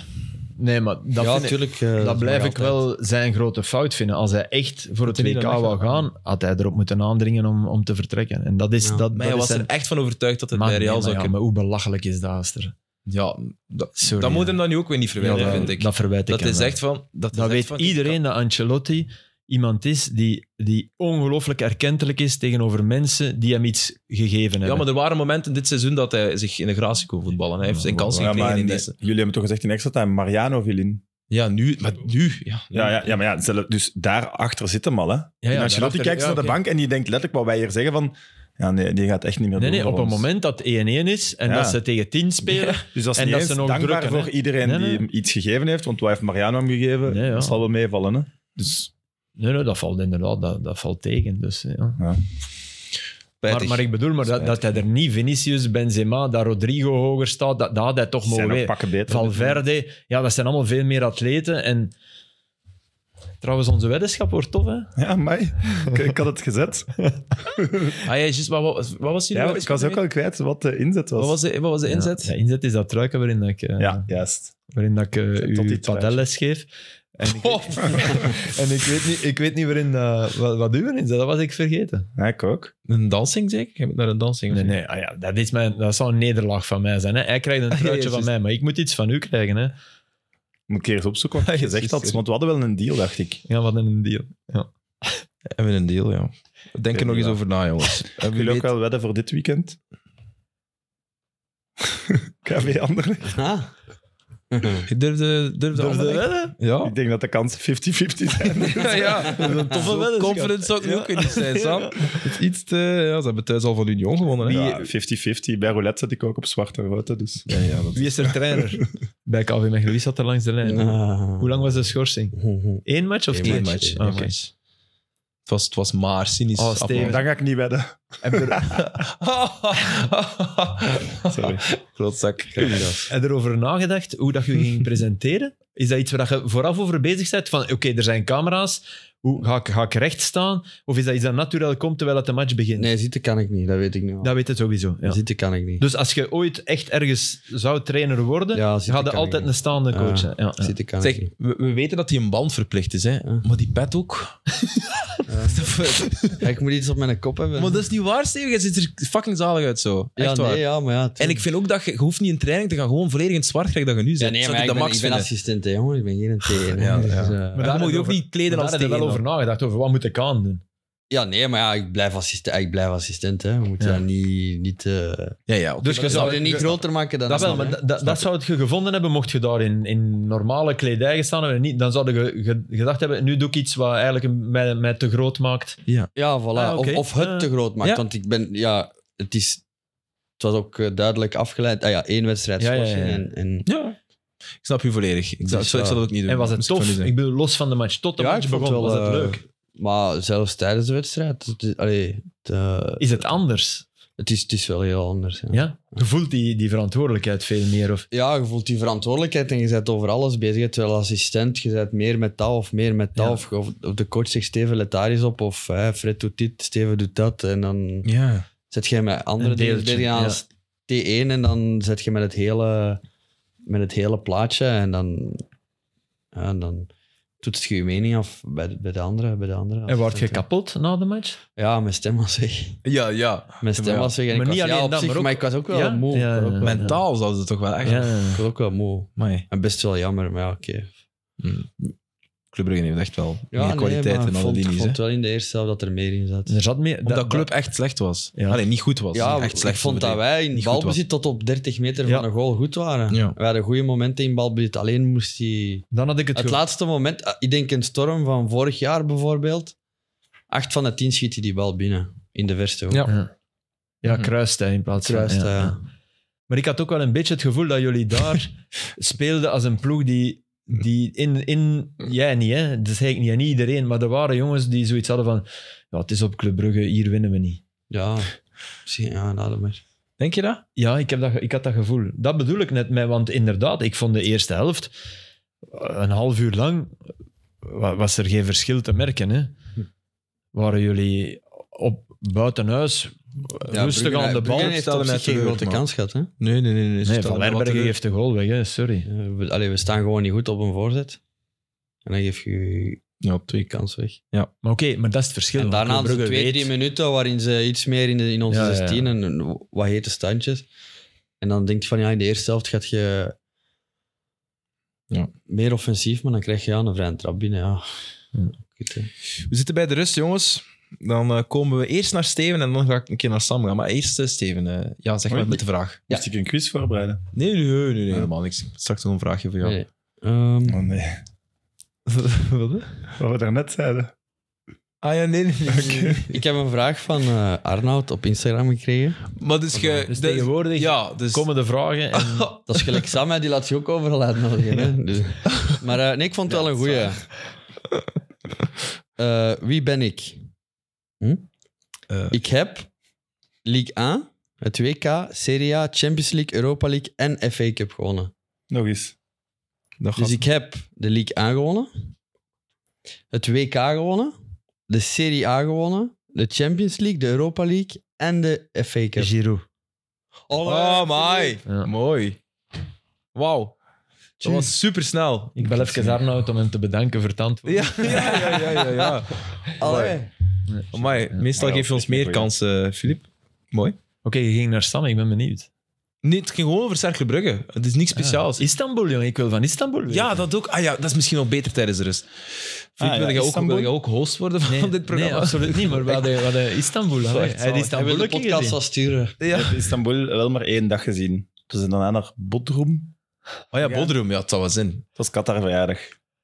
Speaker 4: Nee, maar dat,
Speaker 3: ja, eh,
Speaker 4: vind ik-
Speaker 3: natuurlijk.
Speaker 4: dat blijf ik wel zijn grote fout vinden. Als hij echt voor het
Speaker 5: hij niet
Speaker 4: WK
Speaker 5: dan
Speaker 4: wou
Speaker 5: weggaan.
Speaker 4: gaan, had hij erop moeten aandringen om, om te vertrekken. En dat is...
Speaker 3: Ja.
Speaker 4: Dat,
Speaker 1: Maar
Speaker 4: dat
Speaker 1: hij
Speaker 4: is
Speaker 1: was
Speaker 4: zijn-
Speaker 1: er echt van overtuigd dat het
Speaker 4: Maar
Speaker 1: bij
Speaker 4: nee,
Speaker 1: Real
Speaker 4: maar
Speaker 1: zou
Speaker 4: ja,
Speaker 1: kunnen.
Speaker 4: Maar hoe belachelijk is dat, Aster?
Speaker 1: Ja, dat,
Speaker 4: Sorry,
Speaker 1: dat moet
Speaker 4: hè.
Speaker 1: hem dan nu ook weer niet verwijten,
Speaker 4: Ja,
Speaker 1: vind ik.
Speaker 4: Dat verwijt ik
Speaker 1: Dat
Speaker 4: hem
Speaker 1: is
Speaker 4: wel.
Speaker 1: echt van... Dat, is
Speaker 4: Dat
Speaker 1: echt
Speaker 4: weet
Speaker 1: van-
Speaker 4: iedereen dat Ancelotti iemand is die, die ongelooflijk erkentelijk is tegenover mensen die hem iets gegeven hebben.
Speaker 1: Ja, maar er waren momenten dit seizoen dat hij zich in de gratie kon voetballen. Hij heeft zijn kansen
Speaker 2: Ja,
Speaker 1: gekregen
Speaker 2: maar
Speaker 1: in
Speaker 2: in-
Speaker 1: deze.
Speaker 2: jullie hebben toch gezegd in extra time, Mariano viel in.
Speaker 1: Ja, nu. Maar nu, ja.
Speaker 2: Ja, ja, ja maar ja, zelf- dus daarachter zit hem al. Hè.
Speaker 4: ja,
Speaker 2: en Ancelotti
Speaker 4: daarachter-
Speaker 2: kijkt
Speaker 4: ja,
Speaker 2: naar de
Speaker 4: oké.
Speaker 2: bank en die denkt letterlijk wat wij hier zeggen van... Ja, nee, die gaat echt niet meer
Speaker 4: Nee,
Speaker 2: doen
Speaker 4: nee,
Speaker 2: voor
Speaker 4: op een
Speaker 2: ons.
Speaker 4: moment dat 1-1 is en
Speaker 2: Ja.
Speaker 4: dat ze tegen 10 spelen.
Speaker 2: Dus dat is
Speaker 4: En
Speaker 2: niet
Speaker 4: dat
Speaker 2: eens
Speaker 4: ze nog
Speaker 2: dankbaar
Speaker 4: drukken, hè.
Speaker 2: voor iedereen
Speaker 4: Nee,
Speaker 2: die
Speaker 4: nee.
Speaker 2: hem iets gegeven heeft, want wat heeft Mariano hem gegeven?
Speaker 4: Nee, ja.
Speaker 2: Dat zal wel meevallen. Hè. Dus
Speaker 4: Nee, nee, dat valt inderdaad, dat, dat valt tegen. Dus, ja. maar,
Speaker 1: Spijtig.
Speaker 4: maar ik bedoel, maar dat, dat hij er niet Vinicius, Benzema, dat Rodrigo hoger staat, dat, dat had hij toch
Speaker 2: die zijn
Speaker 4: mogen
Speaker 2: nog
Speaker 4: weten.
Speaker 2: pakken beter.
Speaker 4: Valverde, ja, dat zijn allemaal veel meer atleten. En trouwens, onze weddenschap wordt tof, hè?
Speaker 2: Ja, mij. Ik, ik had het gezet.
Speaker 1: Ah, ja, juist, maar wat, wat was jullie?
Speaker 2: Ja, ik was ook al kwijt wat de inzet was.
Speaker 1: Wat was de, wat was de inzet?
Speaker 4: Ja, de inzet is dat truiken waarin dat ik, eh,
Speaker 2: Ja, juist.
Speaker 4: waarin dat ik eh,
Speaker 2: Tot
Speaker 4: u
Speaker 2: die truitje.
Speaker 4: padelles geef. En ik,
Speaker 1: Oh,
Speaker 4: en ik weet niet, ik weet niet waarin, eh, wat, wat u erin zat, dat was ik vergeten.
Speaker 2: Ja, ik ook.
Speaker 1: Een dansing, zeker? Je moet naar een dansing. of
Speaker 4: Nee,
Speaker 1: niet?
Speaker 4: nee, ah ja, dat, is mijn, dat zou een nederlaag van mij zijn. Hè? Hij krijgt een
Speaker 1: ja,
Speaker 4: truitje van
Speaker 1: juist.
Speaker 4: mij, maar ik moet iets van u krijgen. Hè?
Speaker 2: Moet ik eerst opzoeken wat je gezegd had, want we hadden wel een deal, dacht ik.
Speaker 4: Ja, wat een deal.
Speaker 1: Hebben we een deal, ja. Denk er nog eens over na, jongens. En wie
Speaker 2: Wil je ook
Speaker 1: weet-
Speaker 2: wel wedden voor dit weekend? KV Anderlecht.
Speaker 3: Ah.
Speaker 1: Je durfde, durfde, Anderlecht? Ja.
Speaker 2: Ik denk dat de kansen 50-50 zijn.
Speaker 1: ja, een
Speaker 4: toffe
Speaker 1: toffe
Speaker 4: weddenschap.
Speaker 1: Confident zou ik nu ook weer niet zijn, Sam. Het is iets te... Ja, ze hebben thuis al van Union gewonnen, hè.
Speaker 2: Ja, 50-50. Bij roulette zet ik ook op zwart en rood. hè, Dus.
Speaker 1: Ja, ja, dat-
Speaker 4: Wie is er trainer? Bij KV Mechelen, wie zat er langs de lijn?
Speaker 3: Ah.
Speaker 4: Hoe lang was de schorsing? Eén match of
Speaker 3: Eén
Speaker 4: twee?
Speaker 1: Eén match.
Speaker 4: Ah,
Speaker 1: één
Speaker 4: oké.
Speaker 1: match. Het was, het was maar cynisch.
Speaker 4: Oh, Steven,
Speaker 2: Dan ga ik niet wedden. Sorry.
Speaker 1: Groot zak.
Speaker 4: Heb je erover nagedacht hoe dat je ging presenteren? Is dat iets waar je vooraf over bezig bent? Van oké, er zijn camera's, hoe, ga, ik, ga ik recht staan? Of is dat iets dat natuurlijk komt terwijl het de match begint?
Speaker 3: Nee, zitten kan ik niet, dat weet ik nu al.
Speaker 4: Dat weet het sowieso. ja.
Speaker 3: Zitten kan ik niet.
Speaker 4: Dus als je ooit echt ergens zou trainer worden,
Speaker 3: Ja,
Speaker 4: je
Speaker 3: zitten
Speaker 4: had
Speaker 3: kan
Speaker 4: je
Speaker 3: ik
Speaker 4: altijd
Speaker 3: niet.
Speaker 4: een staande coach. hè. Ja, ja.
Speaker 3: Zitten kan
Speaker 1: Zeg,
Speaker 3: ik niet.
Speaker 1: we, we weten dat hij een band verplicht is, hè. Maar die pet ook.
Speaker 3: Ja, ik moet iets op mijn kop hebben.
Speaker 1: maar dat is niet waar, Steven. Je ziet er fucking zalig uit zo.
Speaker 3: ja,
Speaker 1: Echt waar.
Speaker 3: nee, ja, maar ja. tuurlijk.
Speaker 1: En ik vind ook dat je, je hoeft niet in training te gaan. Gewoon volledig in het zwart krijg dat je nu
Speaker 3: ja,
Speaker 1: zit.
Speaker 3: nee,
Speaker 1: Zou
Speaker 3: maar ik,
Speaker 1: dat
Speaker 3: ben,
Speaker 1: max
Speaker 3: ik ben
Speaker 1: vinden?
Speaker 3: assistent, hè, jongen. Ik ben geen trainer. hè.
Speaker 1: Ja,
Speaker 3: Dus,
Speaker 1: ja.
Speaker 3: eh,
Speaker 1: Maar daar moet je ook
Speaker 4: over-
Speaker 1: niet kleden
Speaker 4: Daar
Speaker 1: als
Speaker 4: heb je
Speaker 1: tegen.
Speaker 4: wel over nagedacht, over wat moet ik aan doen.
Speaker 3: ja, nee, maar ja, ik blijf assistent. Ik blijf assistent hè. We moeten
Speaker 4: Ja.
Speaker 3: dat niet... niet eh,
Speaker 1: Ja, ja. oké.
Speaker 4: Dus
Speaker 3: we
Speaker 4: je zou
Speaker 3: zouden niet groter maken dan...
Speaker 4: Dat wel, maar
Speaker 3: hè.
Speaker 4: da- da- dat zou het je gevonden hebben mocht je daar in, in normale kledij gestaan hebben. Niet, dan zou je ge- gedacht hebben, nu doe ik iets wat eigenlijk een- mij, mij te groot maakt.
Speaker 3: Ja, voilà.
Speaker 4: Ah, oké.
Speaker 3: of, of het
Speaker 4: Eh,
Speaker 3: te groot maakt.
Speaker 4: ja.
Speaker 3: Want ik ben... Ja, het is... Het was ook eh, duidelijk afgeleid. Ah ja, één wedstrijd
Speaker 4: Ja, ja, ja,
Speaker 3: schorsing
Speaker 4: ja.
Speaker 3: En, en
Speaker 1: Ja. Ik snap je volledig. Ik zou,
Speaker 3: Dus
Speaker 1: ik zou
Speaker 3: ja.
Speaker 1: het ook niet doen.
Speaker 4: En was het
Speaker 1: Moest ik
Speaker 4: tof?
Speaker 1: van u zeggen.
Speaker 4: Ik bedoel, los van de match. Tot de
Speaker 3: Ja,
Speaker 4: match
Speaker 3: ik vond
Speaker 4: begon,
Speaker 3: het
Speaker 4: was
Speaker 3: wel,
Speaker 4: het
Speaker 3: eh,
Speaker 4: leuk.
Speaker 3: Maar zelfs tijdens de wedstrijd. Het is, allee, het, eh,
Speaker 4: Is het anders?
Speaker 3: het is, het is wel heel anders. Ja.
Speaker 4: Ja? Je voelt die, die verantwoordelijkheid veel meer. Of,
Speaker 3: Ja, je voelt die verantwoordelijkheid en je bent over alles bezig. hè. Terwijl assistent, je bent meer met dat of meer met dat.
Speaker 4: Ja.
Speaker 3: Of, of- of de coach zegt Steven, let daar eens op. Of hè, Fred doet dit, Steven doet dat. En dan
Speaker 1: Ja.
Speaker 3: zet jij met andere
Speaker 4: Een
Speaker 3: dingen
Speaker 4: deeltje,
Speaker 3: bezig aan als T1. En dan zet je met het hele, met het hele plaatje. En dan, ja, en dan toetst je je mening af bij de, bij de andere. Bij de andere
Speaker 4: en word je
Speaker 3: assistenten.
Speaker 4: kapot na de match?
Speaker 3: Ja, mijn stem was weg.
Speaker 1: Ja, ja.
Speaker 3: Mijn stem
Speaker 1: Maar ja,
Speaker 3: was weg. En
Speaker 4: maar
Speaker 3: ik
Speaker 4: niet
Speaker 3: was, ja,
Speaker 4: alleen
Speaker 3: op
Speaker 4: dat,
Speaker 3: zich,
Speaker 4: maar
Speaker 3: maar,
Speaker 4: ook-
Speaker 3: ik was ook wel
Speaker 4: Ja?
Speaker 3: moe.
Speaker 4: Ja,
Speaker 3: ik, was ook
Speaker 4: ja.
Speaker 3: wel,
Speaker 1: Mentaal zouden ze toch wel echt...
Speaker 4: Ja.
Speaker 3: ik was ook wel moe.
Speaker 1: Amai.
Speaker 3: En best wel jammer, maar ja, oké.
Speaker 1: Club Brugge heeft echt wel
Speaker 3: Ja,
Speaker 1: meer
Speaker 3: nee,
Speaker 1: kwaliteit
Speaker 3: maar
Speaker 1: in alle
Speaker 3: vond,
Speaker 1: linies. hè.
Speaker 3: vond wel in de eerste helft dat er meer in zat.
Speaker 4: Er zat meer,
Speaker 1: Omdat Club echt slecht was.
Speaker 4: Ja.
Speaker 1: Allee, niet goed was.
Speaker 3: Ja,
Speaker 1: echt
Speaker 3: ik
Speaker 1: slecht
Speaker 3: vond dat
Speaker 1: bedreven.
Speaker 3: wij in
Speaker 1: Niet goed was.
Speaker 3: balbezit tot op 30 meter
Speaker 4: Ja.
Speaker 3: van de goal goed waren.
Speaker 1: Ja.
Speaker 3: We hadden goede momenten in balbezit, alleen moest hij...
Speaker 4: Dan had ik het,
Speaker 3: Het
Speaker 4: gevoel-
Speaker 3: laatste moment, eh, ik denk een storm van vorig jaar bijvoorbeeld, acht van de tien schiet hij die bal binnen, in de verste hoek.
Speaker 1: Ja.
Speaker 4: Ja, kruist hij in plaats van...
Speaker 3: Kruist eh,
Speaker 4: ja,
Speaker 3: hij, ja.
Speaker 4: ja. Maar ik had ook wel een beetje het gevoel dat jullie daar speelden als een ploeg die... die in, in, jij niet, hè? dat zei ik niet aan iedereen, maar er waren jongens die zoiets hadden van ja, het is op Club Brugge, hier winnen we niet.
Speaker 3: Ja, misschien, ja, laat hem maar.
Speaker 1: Denk je dat?
Speaker 4: Ja, ik, heb dat, ge- ik had dat gevoel. Dat bedoel ik net mee, want inderdaad, ik vond de eerste helft eh, een half uur lang eh, wa- was er geen verschil te merken. Hè? Waren jullie op buitenhuis rustig aan de bal.
Speaker 1: Brugge
Speaker 3: heeft
Speaker 1: stelde
Speaker 3: op
Speaker 1: mij
Speaker 3: zich geen
Speaker 1: teleur,
Speaker 3: grote
Speaker 1: maar-
Speaker 3: kans gehad. Hè?
Speaker 1: Nee, nee, nee. nee, ze
Speaker 4: Nee,
Speaker 1: staan
Speaker 4: Van
Speaker 1: wel wat
Speaker 4: Lerbergen
Speaker 1: teleur.
Speaker 4: geeft de goal weg, hè. sorry.
Speaker 3: Eh, we- Allee, we staan gewoon niet goed op een voorzet. En dan geef je
Speaker 1: Ja,
Speaker 3: je
Speaker 1: twee kanten.
Speaker 3: kans weg.
Speaker 4: Maar oké, maar dat is het verschil.
Speaker 3: En daarna
Speaker 4: Club
Speaker 3: hadden ze
Speaker 4: Brugge
Speaker 3: twee,
Speaker 4: weet-
Speaker 3: drie minuten waarin ze iets meer in, de, in onze
Speaker 4: Ja, ja, ja.
Speaker 3: 16 en en wat hete standjes. En dan denk je van ja, in de eerste helft gaat je
Speaker 1: Ja.
Speaker 3: meer offensief, maar dan krijg je ja, een vrije trap binnen. Ja.
Speaker 4: Ja.
Speaker 3: Kut, hè.
Speaker 1: We zitten bij de rust, jongens. Dan eh, komen we eerst naar Steven en dan ga ik een keer naar Sam gaan. Maar eerst eh, Steven. eh, ja, zeg maar
Speaker 2: Hoi.
Speaker 1: met de vraag.
Speaker 2: Moest ik een quiz voorbereiden?
Speaker 1: Nee, nee, nee, nee, nee, helemaal niks. Straks nog een vraagje voor jou.
Speaker 3: Nee, nee. Ehm,
Speaker 2: Oh nee.
Speaker 1: Wat, hè?
Speaker 2: Wat we daarnet zeiden.
Speaker 1: ah ja, nee, nee, nee, nee, nee.
Speaker 3: ik heb een vraag van eh, Arnoud op Instagram gekregen.
Speaker 1: Maar dus ge...
Speaker 4: Dus
Speaker 1: dat-
Speaker 4: tegenwoordig
Speaker 1: Ja, dus...
Speaker 4: komen de vragen en
Speaker 3: Dat is gelijk Sam, hè, die laat je ook overal uitnodigen. hè. Dus, maar eh, nee, ik vond het wel een goeie. Eh, wie ben ik? Hm?
Speaker 1: Eh.
Speaker 3: Ik heb League A, het WK, Serie A, Champions League, Europa League en FA Cup gewonnen.
Speaker 2: Nog eens.
Speaker 1: Dat gaat-
Speaker 3: Dus ik heb de League A gewonnen, het WK gewonnen, de Serie A gewonnen, de Champions League, de Europa League en de FA Cup.
Speaker 4: Giroud.
Speaker 1: Oh my.
Speaker 4: Ja.
Speaker 1: Mooi. Wauw. Dat was supersnel.
Speaker 4: Ik bel even Arnoud om hem te bedanken voor het antwoord.
Speaker 1: Ja, ja, ja, ja, ja. ja.
Speaker 3: Allee.
Speaker 4: Nee.
Speaker 1: Amai,
Speaker 4: Ja.
Speaker 1: meestal
Speaker 2: Ja,
Speaker 1: geef je ons meer
Speaker 2: goeie.
Speaker 1: kansen, eh, Filip. Mooi.
Speaker 4: Oké, je ging naar Sam, ik ben benieuwd.
Speaker 1: Nee, het ging gewoon over Cercle Brugge. Het is niks speciaals.
Speaker 4: Ah, Istanbul, jongen. Ik wil van Istanbul weten.
Speaker 1: Ja, dat ook. Ah ja, dat is misschien nog beter tijdens de rust. Filip,
Speaker 2: ja,
Speaker 1: wil, jij ook,
Speaker 2: Istanbul?
Speaker 1: wil jij ook host worden van
Speaker 4: nee,
Speaker 1: dit programma?
Speaker 4: Nee, absoluut niet. Maar we hadden, we hadden Istanbul. hè.
Speaker 1: Zalig,
Speaker 4: Hij had
Speaker 3: Hij wil
Speaker 4: Istanbul
Speaker 3: de
Speaker 4: ook
Speaker 3: podcast
Speaker 4: ingezien.
Speaker 3: wel sturen.
Speaker 2: Ik heb Istanbul wel maar één dag gezien. Toen zijn daarna naar Bodrum.
Speaker 1: oh ja, Bodrum, ja, het zou wel zin.
Speaker 2: Dat was Qatar verjaardag.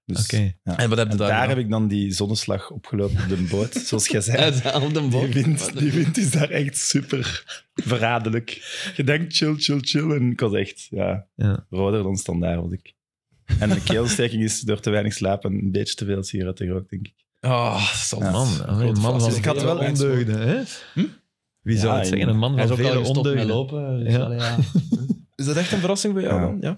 Speaker 2: Dus
Speaker 4: Oké.
Speaker 2: ja.
Speaker 1: En wat heb je daar?
Speaker 2: En daar
Speaker 1: gedaan?
Speaker 2: heb ik dan die zonneslag opgelopen op de boot, zoals jij zei.
Speaker 3: Op de
Speaker 2: Die
Speaker 3: bocht.
Speaker 2: wind, die wind is daar echt super verraderlijk. Je denkt chill, chill, chill. En ik was echt ja,
Speaker 4: Ja.
Speaker 2: roder dan standaard was ik. En de keelsteking is door te weinig slaap en een beetje te veel sigaretten gerookt, denk ik.
Speaker 1: Ah, zal
Speaker 2: Ja.
Speaker 4: Man, een man van
Speaker 2: Dus ik had
Speaker 4: vele
Speaker 2: wel eens-
Speaker 4: ondeugden. Hè? Wie zou
Speaker 2: Ja,
Speaker 4: het zeggen?
Speaker 2: ja.
Speaker 4: Een man
Speaker 3: Hij
Speaker 4: van
Speaker 3: is ook
Speaker 4: vele
Speaker 3: al gestopt
Speaker 4: ondeugden.
Speaker 3: met lopen. Dus
Speaker 4: Ja.
Speaker 3: allee, ja.
Speaker 1: Is dat echt een verrassing bij jou
Speaker 2: Ja.
Speaker 1: dan? Ja.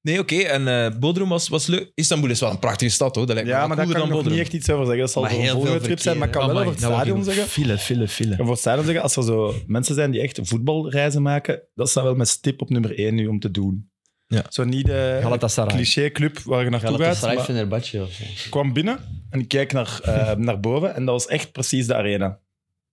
Speaker 1: Nee, oké. En eh, Bodrum was, was leuk. Istanbul is wel een prachtige stad, hoor. Dat lijkt me
Speaker 2: Ja,
Speaker 1: wel
Speaker 2: maar daar
Speaker 1: cooler
Speaker 2: kan ik
Speaker 1: dan
Speaker 2: nog
Speaker 1: Bodrum.
Speaker 2: niet echt iets over zeggen. Dat zal
Speaker 3: Maar
Speaker 2: voor een
Speaker 3: heel veel nou,
Speaker 2: volgende trip zijn, maar ik kan wel
Speaker 4: Amai,
Speaker 2: over het
Speaker 4: dat wou ik
Speaker 2: stadion
Speaker 4: doen.
Speaker 2: zeggen.
Speaker 4: File, file, file.
Speaker 2: Ik kan voor het stadion zeggen, als er zo mensen zijn die echt voetbalreizen maken, dat staat wel mijn stip op nummer één nu om te doen.
Speaker 1: Ja.
Speaker 2: Zo niet eh, de
Speaker 4: Galatasaray.
Speaker 2: cliché-club waar je naartoe gaat.
Speaker 3: Galatasaray
Speaker 2: maar-
Speaker 3: Fenerbahce. of zo.
Speaker 2: Ik kwam binnen en ik kijk naar, eh, naar boven en dat was echt precies de arena.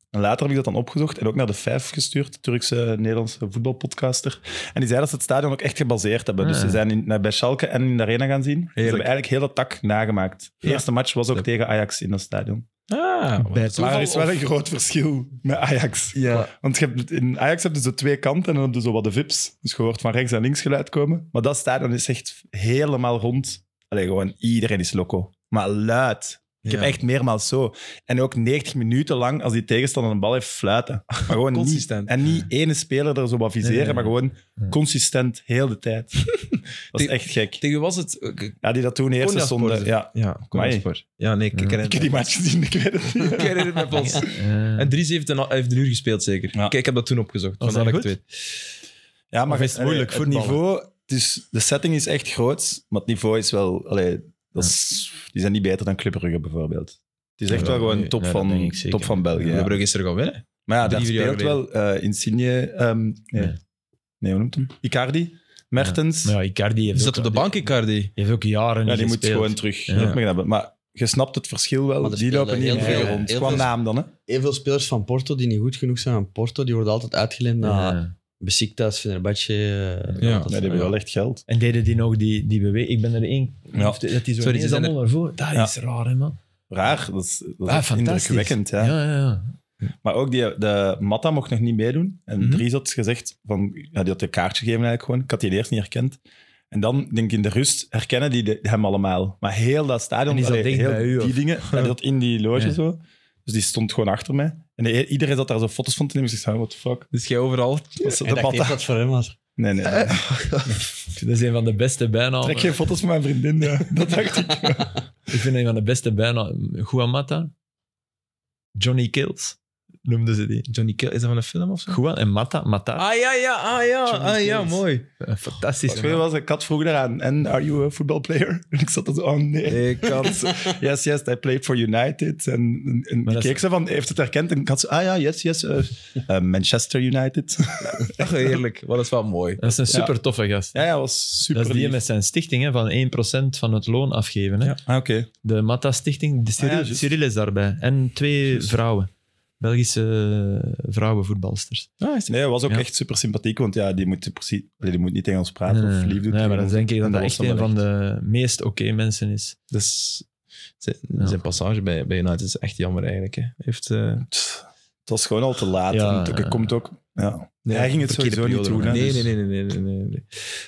Speaker 2: En later heb ik dat dan opgezocht en ook naar de Vijf gestuurd, de Turkse Nederlandse voetbalpodcaster. En die zei dat ze het stadion ook echt gebaseerd hebben. Dus
Speaker 4: Ah.
Speaker 2: ze zijn in, naar- bij Schalke en in de arena gaan zien. Ze hebben eigenlijk heel dat tak nagemaakt. De
Speaker 1: Ja.
Speaker 2: eerste match was ook tegen Ajax in dat stadion.
Speaker 1: Ah, wat
Speaker 4: Bij
Speaker 1: een toeval,
Speaker 2: Maar er is wel
Speaker 1: of-
Speaker 2: een groot verschil met Ajax.
Speaker 1: Ja.
Speaker 2: Want je hebt, in Ajax heb je zo twee kanten en dan heb je zo wat de vips. Dus je hoort van rechts en links geluid komen. Maar dat stadion is echt helemaal rond. Allee, gewoon iedereen is loco. Maar luid. Ik heb
Speaker 1: Ja.
Speaker 2: echt meermaals zo. En ook 90 minuten lang, als die tegenstander een bal heeft, fluiten. Maar gewoon
Speaker 1: Consistent.
Speaker 2: Niet, en niet ene speler er zo wat viseren,
Speaker 4: Nee, nee,
Speaker 2: maar gewoon
Speaker 4: nee.
Speaker 2: consistent heel de tijd. dat is
Speaker 1: Die-
Speaker 2: echt gek.
Speaker 1: Tegen wie was het? Ik- ik-
Speaker 2: Ja, die dat toen eerst
Speaker 1: Konyaspor
Speaker 2: zonde.
Speaker 1: is het.
Speaker 2: Ja.
Speaker 1: Ja, kom
Speaker 2: Amai.
Speaker 1: eens voor. Ja, nee, ik ik
Speaker 2: Ik
Speaker 1: herinner
Speaker 2: heb die match gezien, ik weet het niet.
Speaker 1: Ik herinner het me plots.
Speaker 4: Eh,
Speaker 1: En Dries heeft een, heeft een uur gespeeld, zeker.
Speaker 2: Ja.
Speaker 1: Kijk, ik heb dat toen opgezocht.
Speaker 4: Was
Speaker 1: vandaar
Speaker 4: dat
Speaker 1: dat ik het
Speaker 2: Ja, maar
Speaker 4: Of is het
Speaker 2: allee,
Speaker 4: moeilijk
Speaker 2: het
Speaker 4: voetballen?
Speaker 2: niveau, dus de setting is echt groot, maar het niveau is wel. Allee, dat is, Die zijn niet beter dan Club Brugge bijvoorbeeld. Het is echt
Speaker 4: Ja,
Speaker 2: wel gewoon
Speaker 4: nee,
Speaker 2: top,
Speaker 4: nee, dat denk
Speaker 2: van,
Speaker 4: ik zeker.
Speaker 2: top van België.
Speaker 1: weet. De
Speaker 2: ja.
Speaker 1: Brugge is er gaan winnen.
Speaker 2: Maar ja, daar
Speaker 1: Drie, vier jaar
Speaker 2: speelt wel eh, Insigne. ehm, nee.
Speaker 4: Nee.
Speaker 2: nee, hoe noemt hem? Icardi, Mertens. Ja,
Speaker 4: Maar ja, Icardi heeft
Speaker 1: Die
Speaker 4: ook-
Speaker 1: zat op de bank, Icardi.
Speaker 4: Die heeft ook jaren niet
Speaker 2: die moet
Speaker 4: gespeeld.
Speaker 2: gewoon terug.
Speaker 4: Ja.
Speaker 2: terug mee hebben. Maar je snapt het verschil wel.
Speaker 3: Maar er
Speaker 2: Die lopen niet
Speaker 3: speelden
Speaker 2: meer
Speaker 3: heel
Speaker 2: veel
Speaker 3: veel-
Speaker 2: rond.
Speaker 3: heel
Speaker 2: Qua
Speaker 3: veel-
Speaker 2: naam dan, hè?
Speaker 3: Heel veel spelers van Porto die niet goed genoeg zijn aan Porto, die worden altijd uitgeleend naar
Speaker 4: Ja.
Speaker 3: Besiktas, Fenerbahce. eh,
Speaker 1: Ja.
Speaker 2: Nee,
Speaker 3: Galatasaray.
Speaker 2: die hebben wel echt geld.
Speaker 4: En deden die nog die, die beweging? Ik ben er één.
Speaker 2: Ja.
Speaker 4: of Dat die zo
Speaker 1: Sorry, die
Speaker 4: Sorry, ineens
Speaker 1: zijn
Speaker 4: allemaal naar voren. Dat
Speaker 2: Ja.
Speaker 4: is raar, hè, man.
Speaker 2: Raar, dat is, dat is
Speaker 4: Ah,
Speaker 2: echt
Speaker 4: fantastisch.
Speaker 2: indrukwekkend.
Speaker 4: Ja, ja, ja.
Speaker 2: Maar ook die, de Matta mocht nog niet meedoen. En
Speaker 1: Mhm.
Speaker 2: Dries had gezegd: van, ja, die had een kaartje gegeven eigenlijk gewoon. Ik had die eerst niet herkend. En dan, denk ik, in de rust herkennen die de- hem allemaal. Maar heel dat stadion,
Speaker 4: En die zat
Speaker 2: allee,
Speaker 4: dicht
Speaker 2: heel
Speaker 4: bij u,
Speaker 2: die
Speaker 4: of?
Speaker 2: dingen, ja, die zat in die loge
Speaker 4: Ja.
Speaker 2: zo. Dus die stond gewoon achter mij. En i- iedereen zat daar zo foto's van te nemen. Dus ik zei, what the fuck?
Speaker 1: Dus jij overal.
Speaker 2: Was dat
Speaker 3: Hij
Speaker 2: de
Speaker 3: dacht
Speaker 2: Matta?
Speaker 3: echt dat het voor hem was.
Speaker 2: Nee, nee. nee.
Speaker 4: Dat is een van de beste bijnamen.
Speaker 2: Trek geen foto's van mijn vriendin. ja. Dat dacht ik.
Speaker 4: Ik vind een van de beste bijnamen. Juan Mata. Johnny Kills. noemden ze die.
Speaker 1: Johnny Kill, is dat van een film of zo?
Speaker 4: Goed, en Mata. Mata.
Speaker 1: Ah ja, ja, ah ja,
Speaker 4: Johnny
Speaker 1: ah ja,
Speaker 4: Kills.
Speaker 1: mooi.
Speaker 4: Een fantastische
Speaker 2: Ik weet
Speaker 4: man.
Speaker 2: wel, ik had vroeg eraan. En are you a football player? En ik zat er zo, oh nee.
Speaker 1: Ik kan
Speaker 2: Yes, yes, I played for United. En, en- en
Speaker 4: dat
Speaker 2: ik
Speaker 4: is-
Speaker 2: keek ze van, heeft het herkend? En ik had ze, ah ja, yes, yes, eh, eh, Manchester United.
Speaker 1: Ach, heerlijk. Wat is wel mooi.
Speaker 4: Dat is een super toffe gast.
Speaker 2: ja, ja, was super
Speaker 4: Dat is die
Speaker 2: lief.
Speaker 4: met zijn stichting hè, van 1% van het loon afgeven. Hè.
Speaker 2: Ah, oké.
Speaker 4: De Mata Stichting, de Cyril,
Speaker 2: Ah ja, juist.
Speaker 4: Cyril is daarbij. En twee vrouwen. Belgische vrouwenvoetbalsters.
Speaker 2: Nee, was ook
Speaker 4: Ah, Ja.
Speaker 2: echt super sympathiek, want ja, die moet, precies, allee, die moet niet Engels praten
Speaker 4: Nee,
Speaker 2: of
Speaker 4: Eh, nee,
Speaker 2: lief doen.
Speaker 4: nee, maar
Speaker 2: tegen
Speaker 4: dan
Speaker 2: ons.
Speaker 4: denk ik dat
Speaker 2: En
Speaker 4: dat
Speaker 2: was
Speaker 4: echt
Speaker 2: dan
Speaker 4: een
Speaker 2: wel
Speaker 4: van de meest oké mensen is.
Speaker 1: Dus zijn,
Speaker 4: Ja.
Speaker 1: zijn passage bij, bij United is echt jammer eigenlijk. Hè. Heeft, eh,
Speaker 2: Pff, Het was gewoon al te laat.
Speaker 4: Ja,
Speaker 2: en het ook-
Speaker 4: ja.
Speaker 2: komt ook... Ja. Hij ging het
Speaker 1: verkeerde
Speaker 2: sowieso niet
Speaker 1: periode
Speaker 2: doen. hè,
Speaker 1: Nee,
Speaker 2: dus-
Speaker 1: nee, nee, nee, nee, nee, nee, nee.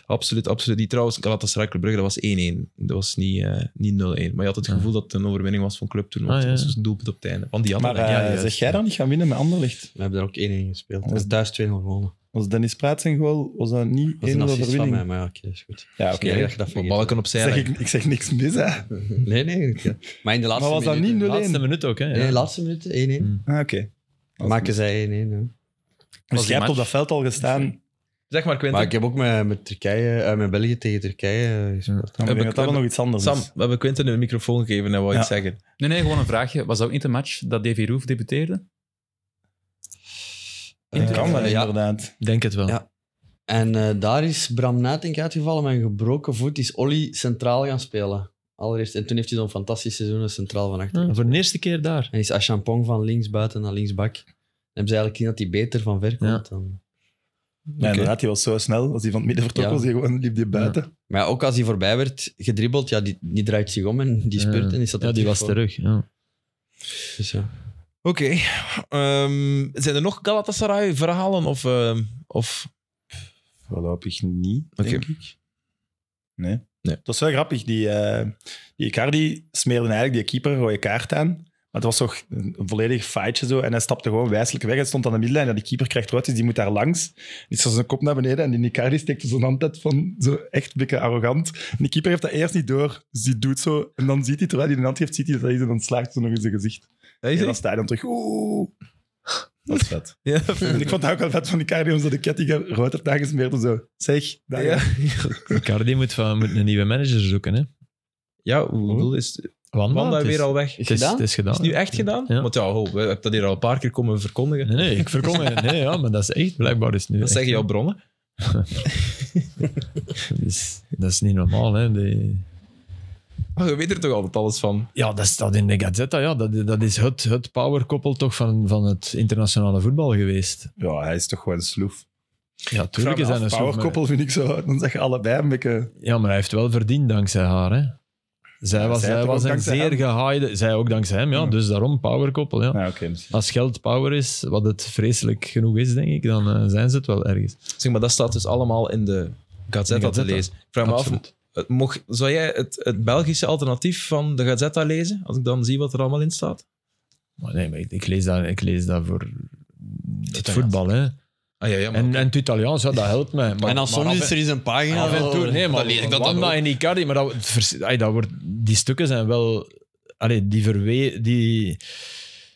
Speaker 1: Absoluut, absoluut. Die trouwens, Galatasaray Club Brugge, dat was 1-1. Dat was niet, eh, niet 0-1. Maar je had het
Speaker 4: Ja.
Speaker 1: gevoel dat het een overwinning was van club toen. Want
Speaker 4: Ah,
Speaker 1: het was
Speaker 4: ja.
Speaker 1: dus een doelpunt op het einde. Van die andere.
Speaker 2: Maar eh,
Speaker 1: ja, ja.
Speaker 2: zeg jij dan niet gaan winnen met Anderlecht?
Speaker 3: We hebben daar ook 1-1 gespeeld.
Speaker 2: Dat
Speaker 3: Dat
Speaker 2: is
Speaker 3: is thuis 2-0 gewonnen.
Speaker 2: Was Dennis Praat zijn goal, was dat niet
Speaker 3: Dat is een
Speaker 2: één
Speaker 3: assist van mij,
Speaker 2: overwinning?
Speaker 3: maar ja, oké, dat is goed.
Speaker 2: Ja,
Speaker 3: Ik denk dat je dat
Speaker 1: Van
Speaker 3: vergeet.
Speaker 1: balken opzij.
Speaker 2: Zeg
Speaker 1: leggen.
Speaker 2: ik, ik zeg niks mis, hè. Ah,
Speaker 3: Nee, nee. oké. Maar in de laatste
Speaker 2: Maar was dat
Speaker 3: minuten-
Speaker 2: niet 0-1?
Speaker 4: Laatste minuut ook, hè? Ja.
Speaker 3: Nee, laatste minuten 1-1.
Speaker 4: Hmm.
Speaker 2: oké. Mm.
Speaker 3: Maken zij 1-1. ja.
Speaker 2: Dus
Speaker 4: die
Speaker 2: jij hebt op
Speaker 4: match?
Speaker 2: dat veld al gestaan.
Speaker 1: Zeg maar, Quinten.
Speaker 3: Maar ik heb ook met, met, Turkije, eh, met België tegen Turkije eh, gespeeld.
Speaker 2: Dan denk ik
Speaker 1: ik-
Speaker 2: dat dat wel nog iets anders
Speaker 1: Sam,
Speaker 2: is.
Speaker 1: we hebben Quinten een microfoon gegeven en wou iets
Speaker 2: Ja.
Speaker 1: zeggen.
Speaker 5: Nee, nee, gewoon een vraagje. Was dat ook niet de match dat Davy Roof debuteerde?
Speaker 2: Dat
Speaker 3: Eh,
Speaker 2: kan wel,
Speaker 3: ja.
Speaker 2: inderdaad.
Speaker 4: Denk het wel.
Speaker 3: Ja. En eh, daar is Bram Nuitink uitgevallen met een gebroken voet. Is Olly centraal gaan spelen. Allereerst. En toen heeft hij zo'n fantastisch seizoen als centraal van achter.
Speaker 4: Ja, voor de eerste keer daar.
Speaker 3: En is Achampong van links buiten naar linksbak. Dan hebben ze eigenlijk gezien dat hij beter van ver komt. Dan.
Speaker 2: Ja, inderdaad, die was zo snel. Als hij van het midden vertrok
Speaker 3: Ja.
Speaker 2: was, die gewoon, liep die buiten.
Speaker 3: Maar ja, ook als hij voorbij werd gedribbeld, ja, die, die draait zich om en die spurt. en is dat
Speaker 4: ja, die was terug. Ja.
Speaker 3: Dus ja.
Speaker 1: Oké. Ehm, zijn er nog Galatasaray-verhalen? Of, ehm, of...
Speaker 2: Voorlopig niet,
Speaker 1: Oké.
Speaker 2: denk ik. Nee.
Speaker 1: Nee.
Speaker 2: Het was wel grappig. Die, eh die Icardi smeerde eigenlijk die keeper een rode kaart aan. Maar het was toch een een volledig feitje zo. En hij stapte gewoon wijselijk weg. Hij stond aan de middenlijn. En die keeper krijgt rood, dus die moet daar langs. Die zet zijn kop naar beneden. En die Icardi steekt er zijn hand uit van zo echt blikken arrogant. En die keeper heeft dat eerst niet door. Dus die doet zo. En dan ziet hij, terwijl hij de hand heeft, ziet hij dat hij ze dan slaagt zo nog in zijn gezicht.
Speaker 1: Ja,
Speaker 2: En dan staat hij dan terug. Oeh. Dat is vet.
Speaker 1: Ja,
Speaker 2: En ik vond het ook wel vet van die cardio, omdat de ketting rood heeft aangesmeerd en zo. Zeg, daar-
Speaker 1: ja.
Speaker 4: Cardi moet, van, moet een nieuwe manager zoeken. Hè.
Speaker 1: ja hoe bedoel Oh. is...
Speaker 4: Wanda,
Speaker 1: Wanda
Speaker 4: het is-
Speaker 1: weer al weg.
Speaker 4: Het is,
Speaker 3: Gedaan?
Speaker 4: het is gedaan.
Speaker 1: Is het nu echt gedaan?
Speaker 4: Ja.
Speaker 1: Want ja, ho, we hebben dat hier al een paar keer komen verkondigen.
Speaker 4: Nee, nee, ik verkom het. Nee, ja, maar dat is echt. Blijkbaar is het nu.
Speaker 1: Dat
Speaker 4: echt.
Speaker 1: zeggen jouw bronnen.
Speaker 4: Dat is, dat is niet normaal. Hè. Die-
Speaker 1: Maar je weet er toch altijd alles van.
Speaker 4: Ja, dat staat in de Gazzetta. Ja, dat, dat is het, het powerkoppel toch van, van het internationale voetbal geweest.
Speaker 2: Ja, hij is toch gewoon sloef.
Speaker 4: Ja, tuurlijk is
Speaker 2: Vraag me
Speaker 4: hij
Speaker 2: af,
Speaker 4: een soort-
Speaker 2: powerkoppel vind ik zo. Dan zeg je allebei een beetje...
Speaker 4: Ja, maar hij heeft wel verdiend dankzij haar. Hè. Zij
Speaker 2: Ja,
Speaker 4: was,
Speaker 2: zij
Speaker 4: zij
Speaker 2: toch
Speaker 4: was
Speaker 2: ook
Speaker 4: een
Speaker 2: dankzij
Speaker 4: zeer
Speaker 2: hem?
Speaker 4: gehaaide... Zij ook dankzij hem, ja.
Speaker 2: Ja.
Speaker 4: Dus daarom powerkoppel, ja.
Speaker 2: Ja, oké. misschien.
Speaker 4: Als geld power is, wat het vreselijk genoeg is, denk ik, dan eh, zijn ze het wel ergens.
Speaker 1: Zeg maar, dat staat dus allemaal in de Gazzetta te
Speaker 4: Gazzetta.
Speaker 1: lezen. Ik vraag me
Speaker 4: Absoluut.
Speaker 1: af, mocht, zou jij het, het Belgische alternatief van de Gazzetta lezen? Als ik dan zie wat er allemaal in staat?
Speaker 4: Maar nee, maar ik, ik lees, dat, ik lees dat voor het
Speaker 1: Italiaans.
Speaker 4: voetbal, hè.
Speaker 1: Ah ja, ja maar
Speaker 4: En,
Speaker 1: oké.
Speaker 4: en het Italiaans, ja, dat helpt mij. Maar,
Speaker 3: en dan soms
Speaker 4: maar af-
Speaker 3: is er eens een pagina.
Speaker 4: af en toe,
Speaker 3: wel-
Speaker 4: nee, maar
Speaker 3: dan lees ik oh, dat dan
Speaker 4: Wanda
Speaker 3: ook.
Speaker 4: en Icardi, maar dat, vers- ay, dat wordt, die stukken zijn wel... Allee, die verwe... Die,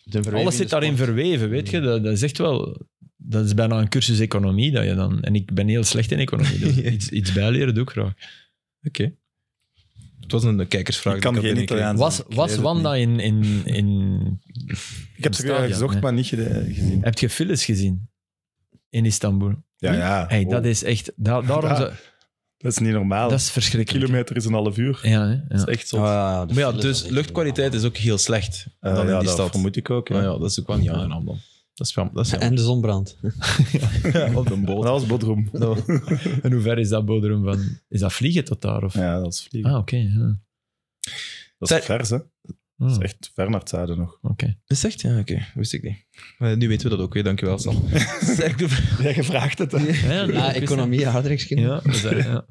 Speaker 3: De verweving
Speaker 4: alles
Speaker 3: in
Speaker 4: zit
Speaker 3: de
Speaker 4: daarin
Speaker 3: sport.
Speaker 4: verweven, weet
Speaker 2: Mm.
Speaker 4: je. Dat, dat is echt wel... Dat is bijna een cursus economie dat je dan... En ik ben heel slecht in economie, dus iets, iets bijleren doe ik graag.
Speaker 1: Het was een kijkersvraag.
Speaker 2: Ik kan
Speaker 1: die
Speaker 2: geen
Speaker 1: had binnengekregen.
Speaker 2: Italiaans.
Speaker 4: Was,
Speaker 2: Ik
Speaker 4: was
Speaker 2: weet het
Speaker 4: Wanda in... in, in
Speaker 2: Ik heb ze
Speaker 4: Stadion,
Speaker 2: gezocht,
Speaker 4: nee.
Speaker 2: maar niet gede- gezien.
Speaker 4: heb je Phyllis gezien? In Istanbul.
Speaker 2: Ja, ja.
Speaker 4: Hey,
Speaker 2: Oh,
Speaker 4: Dat is echt... da- daarom
Speaker 2: Ja.
Speaker 4: zou-
Speaker 2: dat is niet normaal.
Speaker 4: dat is verschrikkelijk.
Speaker 2: kilometer is een half uur.
Speaker 4: Ja, hè? ja.
Speaker 2: Dat is echt zo.
Speaker 3: Ah, ja, ja, de
Speaker 1: Maar ja,
Speaker 3: file
Speaker 1: dus
Speaker 3: zat echt
Speaker 1: luchtkwaliteit is ook heel slecht dan in die stad.
Speaker 2: Eh, vermoed ik ook.
Speaker 1: Maar
Speaker 4: Ah,
Speaker 1: ja, Eh, dat is ook wel niet aangenaam dan. Dat is, jammer. dat is jammer.
Speaker 3: En de zonbrand.
Speaker 1: op de boot.
Speaker 2: Maar dat was Bodrum.
Speaker 4: En hoe ver is dat bodrum van... Is dat vliegen tot daar? Of?
Speaker 2: Ja, dat is vliegen.
Speaker 4: Ah, oké. ja.
Speaker 2: Dat
Speaker 1: Zij-
Speaker 2: is vers, hè.
Speaker 4: Ah,
Speaker 2: Dat is echt ver naar het zuiden nog.
Speaker 4: oké.
Speaker 1: Is het echt? Ja, oké. Wist ik niet. Maar Eh, nu weten we dat ook weer. Dankjewel, Sam. Sterkte
Speaker 2: Jij gevraagd het, hè.
Speaker 4: Ja, ja,
Speaker 3: Ja,
Speaker 4: ik wist
Speaker 3: economie,
Speaker 4: dat.
Speaker 3: aardrijkskunde.
Speaker 4: Ja, dat is- eh, ja.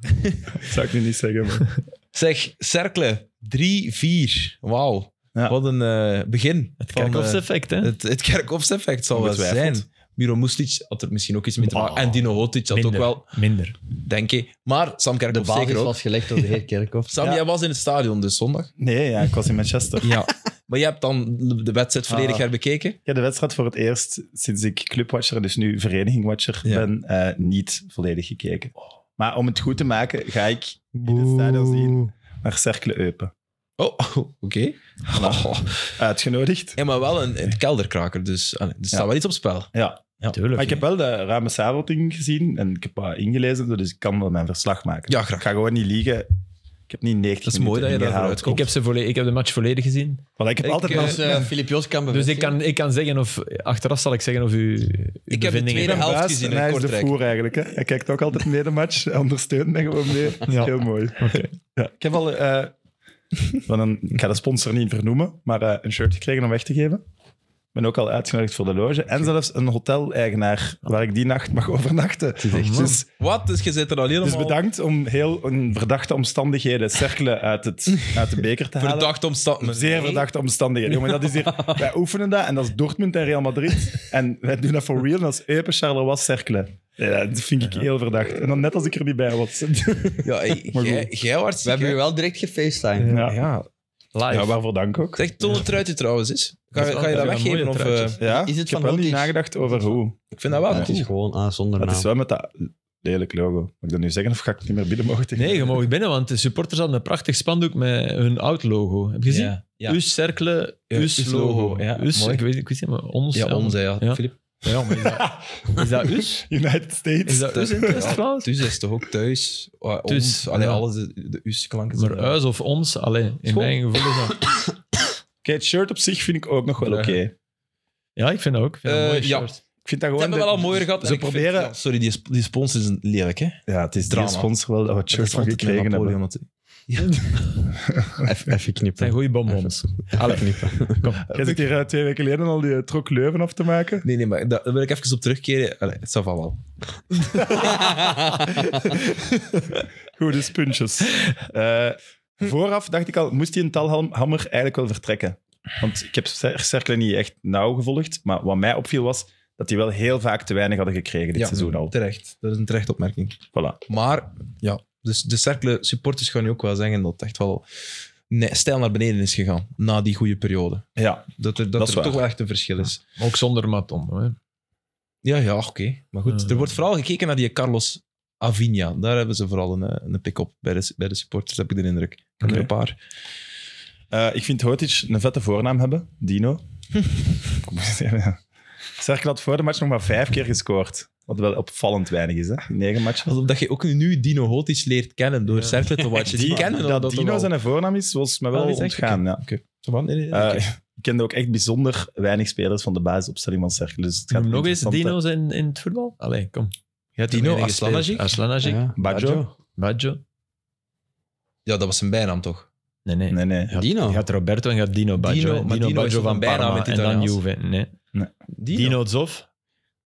Speaker 2: zou ik nu niet zeggen, maar...
Speaker 1: Zeg, Cercle, 3-4. Wauw.
Speaker 2: Ja.
Speaker 1: Wat een eh, begin.
Speaker 4: Het
Speaker 1: van, eh,
Speaker 4: kerkhofseffect, hè?
Speaker 1: het, het Kerkhoffs-effect zal wel
Speaker 2: Ongetwijfeld.
Speaker 1: zijn. Miro Muslic had er misschien ook iets mee te maken.
Speaker 4: Oh,
Speaker 1: en Dino Hotic had ook
Speaker 4: minder.
Speaker 1: wel,
Speaker 4: Minder.
Speaker 1: denk ik. Maar Sam
Speaker 3: De
Speaker 1: Kerkhoff
Speaker 3: basis
Speaker 1: zeker ook.
Speaker 3: was gelegd door de heer Kerkhoff.
Speaker 1: Sam,
Speaker 2: Ja.
Speaker 1: jij was in het stadion dus zondag.
Speaker 2: Nee, ja, ik was in Manchester.
Speaker 1: Ja. Maar je hebt dan de wedstrijd volledig
Speaker 2: Ah.
Speaker 1: herbekeken.
Speaker 2: Ik heb de wedstrijd voor het eerst sinds ik clubwatcher, dus nu verenigingwatcher
Speaker 1: Ja.
Speaker 2: ben, eh, niet volledig gekeken. Oh. Maar om het goed te maken, ga ik in het stadion zien naar Cercle Eupen.
Speaker 1: Oh, oké. Oh.
Speaker 2: Uitgenodigd.
Speaker 1: Ja, maar wel een, een kelderkraker, dus allee, er staat
Speaker 2: Ja.
Speaker 1: wel iets op spel.
Speaker 2: Ja,
Speaker 3: Tuurlijk.
Speaker 2: maar ik heb wel de ruime sabelting gezien en ik heb wat ingelezen, dus ik kan wel mijn verslag maken.
Speaker 1: Ja, graag.
Speaker 2: Ik ga gewoon niet liegen. Ik heb niet 90
Speaker 1: Dat is mooi dat je
Speaker 2: minuten
Speaker 1: daarvoor
Speaker 2: ingehaald.
Speaker 1: uitkomt.
Speaker 4: Ik heb, ze volle- ik heb de match volledig gezien.
Speaker 2: Want ik heb
Speaker 1: Ik,
Speaker 2: altijd
Speaker 1: eh,
Speaker 2: wel-
Speaker 3: Dus eh Filip Jos kan
Speaker 4: Dus
Speaker 3: bevestigen.
Speaker 4: ik kan, ik kan zeggen, of achteraf zal ik zeggen of u. uw
Speaker 1: Ik heb de
Speaker 4: bevindingen-
Speaker 1: tweede helft
Speaker 2: Baas,
Speaker 1: gezien
Speaker 2: en hij
Speaker 1: in
Speaker 2: is de
Speaker 1: Kortrijk.
Speaker 2: voer eigenlijk. Hè? Hij kijkt ook altijd mee de match, hij ondersteunt mij gewoon mee.
Speaker 4: Ja.
Speaker 2: Heel mooi. Ja. Ik heb al, eh, van een, ik ga de sponsor niet vernoemen, maar eh, een shirt gekregen om weg te geven. Ik ben ook al uitgenodigd voor de loge. En zelfs een hotel-eigenaar waar ik die nacht mag overnachten. Dus,
Speaker 1: Wat? Dus je zit er al helemaal...
Speaker 2: dus bedankt om heel in verdachte omstandigheden cerkelen uit, het, uit de beker te halen.
Speaker 1: Verdacht omstand.
Speaker 2: Zeer verdachte omstandigheden. Jongen, dat is hier, wij oefenen dat en dat is Dortmund en Real Madrid. En wij doen dat voor real en dat is Eupen, Charleroi, Cercle. Ja, dat vind ik heel verdacht. En dan net als ik er niet bij was.
Speaker 1: Ja, j-
Speaker 2: Maar
Speaker 1: jij- jij was
Speaker 3: We hebben je
Speaker 1: ziek,
Speaker 3: wel direct gefacetimed.
Speaker 1: hè?
Speaker 2: Ja,
Speaker 1: Ja.
Speaker 4: Live.
Speaker 2: ja waarvoor dank ook.
Speaker 1: Zeg, toon het truitje trouwens eens. Ga,
Speaker 4: Dat is wel-
Speaker 1: ga je dat
Speaker 4: dat is wel
Speaker 1: weggeven?
Speaker 4: een
Speaker 1: Of,
Speaker 4: mooie truitje.
Speaker 1: eh,
Speaker 2: Ja,
Speaker 3: Is het
Speaker 2: ik heb
Speaker 3: van
Speaker 2: wel niet
Speaker 3: Otis?
Speaker 2: nagedacht over hoe.
Speaker 1: ik vind dat wel
Speaker 3: Ja, het is
Speaker 1: cool.
Speaker 3: gewoon ah, zonder
Speaker 2: Maar het is
Speaker 3: naam.
Speaker 2: wel met dat lelijk logo. Moet ik dat nu zeggen of ga ik het niet meer bieden mogen?
Speaker 4: Nee, je mag binnen, want de supporters hadden een prachtig spandoek met hun oud logo. Heb je gezien?
Speaker 1: Ja, ja.
Speaker 4: Us cerkelen,
Speaker 1: Ja,
Speaker 4: us
Speaker 1: us
Speaker 4: logo.
Speaker 1: logo, ja,
Speaker 4: us,
Speaker 1: mooi.
Speaker 4: ik weet, ik weet niet, maar ons.
Speaker 1: Ja, onze, ja.
Speaker 4: Ja.
Speaker 1: Filip.
Speaker 4: Ja, maar is dat, is dat us?
Speaker 2: United States.
Speaker 4: Is dat us in het West-Vlaams?
Speaker 1: Dus is toch ook thuis? Uh,
Speaker 4: Thuis,
Speaker 2: Dus,
Speaker 1: ons, allee,
Speaker 4: ja.
Speaker 1: alles, de, de us-klanken.
Speaker 4: Maar
Speaker 1: zijn-
Speaker 4: us of ons, allee, in
Speaker 1: Schoon.
Speaker 4: mijn gevoel is dat...
Speaker 2: Kijk, het shirt op zich vind ik ook nog wel oké.
Speaker 4: Ja, ik vind dat ook. Ik vind dat een
Speaker 1: Eh,
Speaker 4: mooie
Speaker 1: ja.
Speaker 4: shirt.
Speaker 2: Ik vind dat
Speaker 1: Ze
Speaker 2: gewoon...
Speaker 1: hebben
Speaker 2: de-
Speaker 1: wel al mooier gehad.
Speaker 2: Ze
Speaker 1: en ik vind-
Speaker 2: proberen...
Speaker 1: ja, sorry, die, sp- die spons is een- lelijk, hè?
Speaker 2: ja, het is
Speaker 1: Drama.
Speaker 2: die sponsor wel dat we het shirt van gekregen hebben.
Speaker 3: Even, even
Speaker 4: Het zijn
Speaker 3: knippen.
Speaker 4: goede bonbons.
Speaker 3: Even knippen.
Speaker 2: Jij zit hier eh, twee weken geleden al die eh, trok Leuven af te maken.
Speaker 1: Nee, nee, maar daar daar wil ik even op terugkeren. Allee, het zal van wel.
Speaker 2: Goede spuntjes. Eh, vooraf dacht ik al, moest die een talhammer eigenlijk wel vertrekken? Want ik heb Cer- Cercle niet echt nauw gevolgd, maar wat mij opviel was dat die wel heel vaak te weinig hadden gekregen dit
Speaker 1: Ja.
Speaker 2: seizoen al.
Speaker 1: Terecht. Dat is een terecht opmerking.
Speaker 2: Voilà.
Speaker 1: Maar, ja, dus de cercle supporters gaan je ook wel zeggen dat het echt wel nee, stijl naar beneden is gegaan na die goede periode.
Speaker 2: Ja,
Speaker 1: Dat er, dat
Speaker 2: Dat is
Speaker 1: er
Speaker 2: waar.
Speaker 1: toch wel echt een verschil is.
Speaker 4: Ook zonder maton. Hè.
Speaker 1: Ja, ja, oké. Maar goed,
Speaker 4: Ja.
Speaker 2: Eh.
Speaker 1: er wordt vooral gekeken naar die Carlos Avinia. Daar hebben ze vooral een, eh, een pick-up bij de, bij de supporters, heb ik de indruk. Ik heb
Speaker 2: Oké.
Speaker 1: er een paar.
Speaker 2: Eh, ik vind Hotic een vette voornaam hebben, Dino. Kom eens even, ja. Cercle had voor de match nog maar vijf keer gescoord. Wat wel opvallend weinig is, hè? in Negen matchen.
Speaker 1: Alsof dat je ook nu Dino Hotic leert kennen door cercle te watchen. Die, kennen
Speaker 2: dat,
Speaker 1: dat
Speaker 2: Dino
Speaker 1: toch al.
Speaker 2: zijn voornaam is, was me wel
Speaker 1: Ah, dat is echt
Speaker 2: ontgaan. Ja.
Speaker 1: Zo van, nee, nee, nee,
Speaker 2: Eh,
Speaker 1: oké.
Speaker 2: Ik kende ook echt bijzonder weinig spelers van de basisopstelling van Cercle. Dus het gaat
Speaker 4: Noem nog eens
Speaker 2: interessante-
Speaker 4: dino's in, in het voetbal? Allee, kom.
Speaker 1: Ja, Dino
Speaker 4: Enige speler.
Speaker 1: Aslanagic.
Speaker 4: Aslanagic.
Speaker 3: Ja.
Speaker 2: Baggio?
Speaker 4: Baggio.
Speaker 1: Ja, dat was zijn bijnaam toch?
Speaker 4: Nee, nee.
Speaker 2: Nee, nee.
Speaker 4: Je gaat-
Speaker 3: Dino.
Speaker 4: Je gaat Roberto en je gaat Dino Baggio.
Speaker 1: Dino,
Speaker 4: hè.
Speaker 1: maar Dino is
Speaker 4: Baggio
Speaker 1: toch
Speaker 4: van
Speaker 1: een bijnaam
Speaker 4: Parma
Speaker 1: in het
Speaker 4: en dan
Speaker 1: Italiaans?
Speaker 4: Juve. Nee.
Speaker 1: Dino.
Speaker 4: Dino Zof.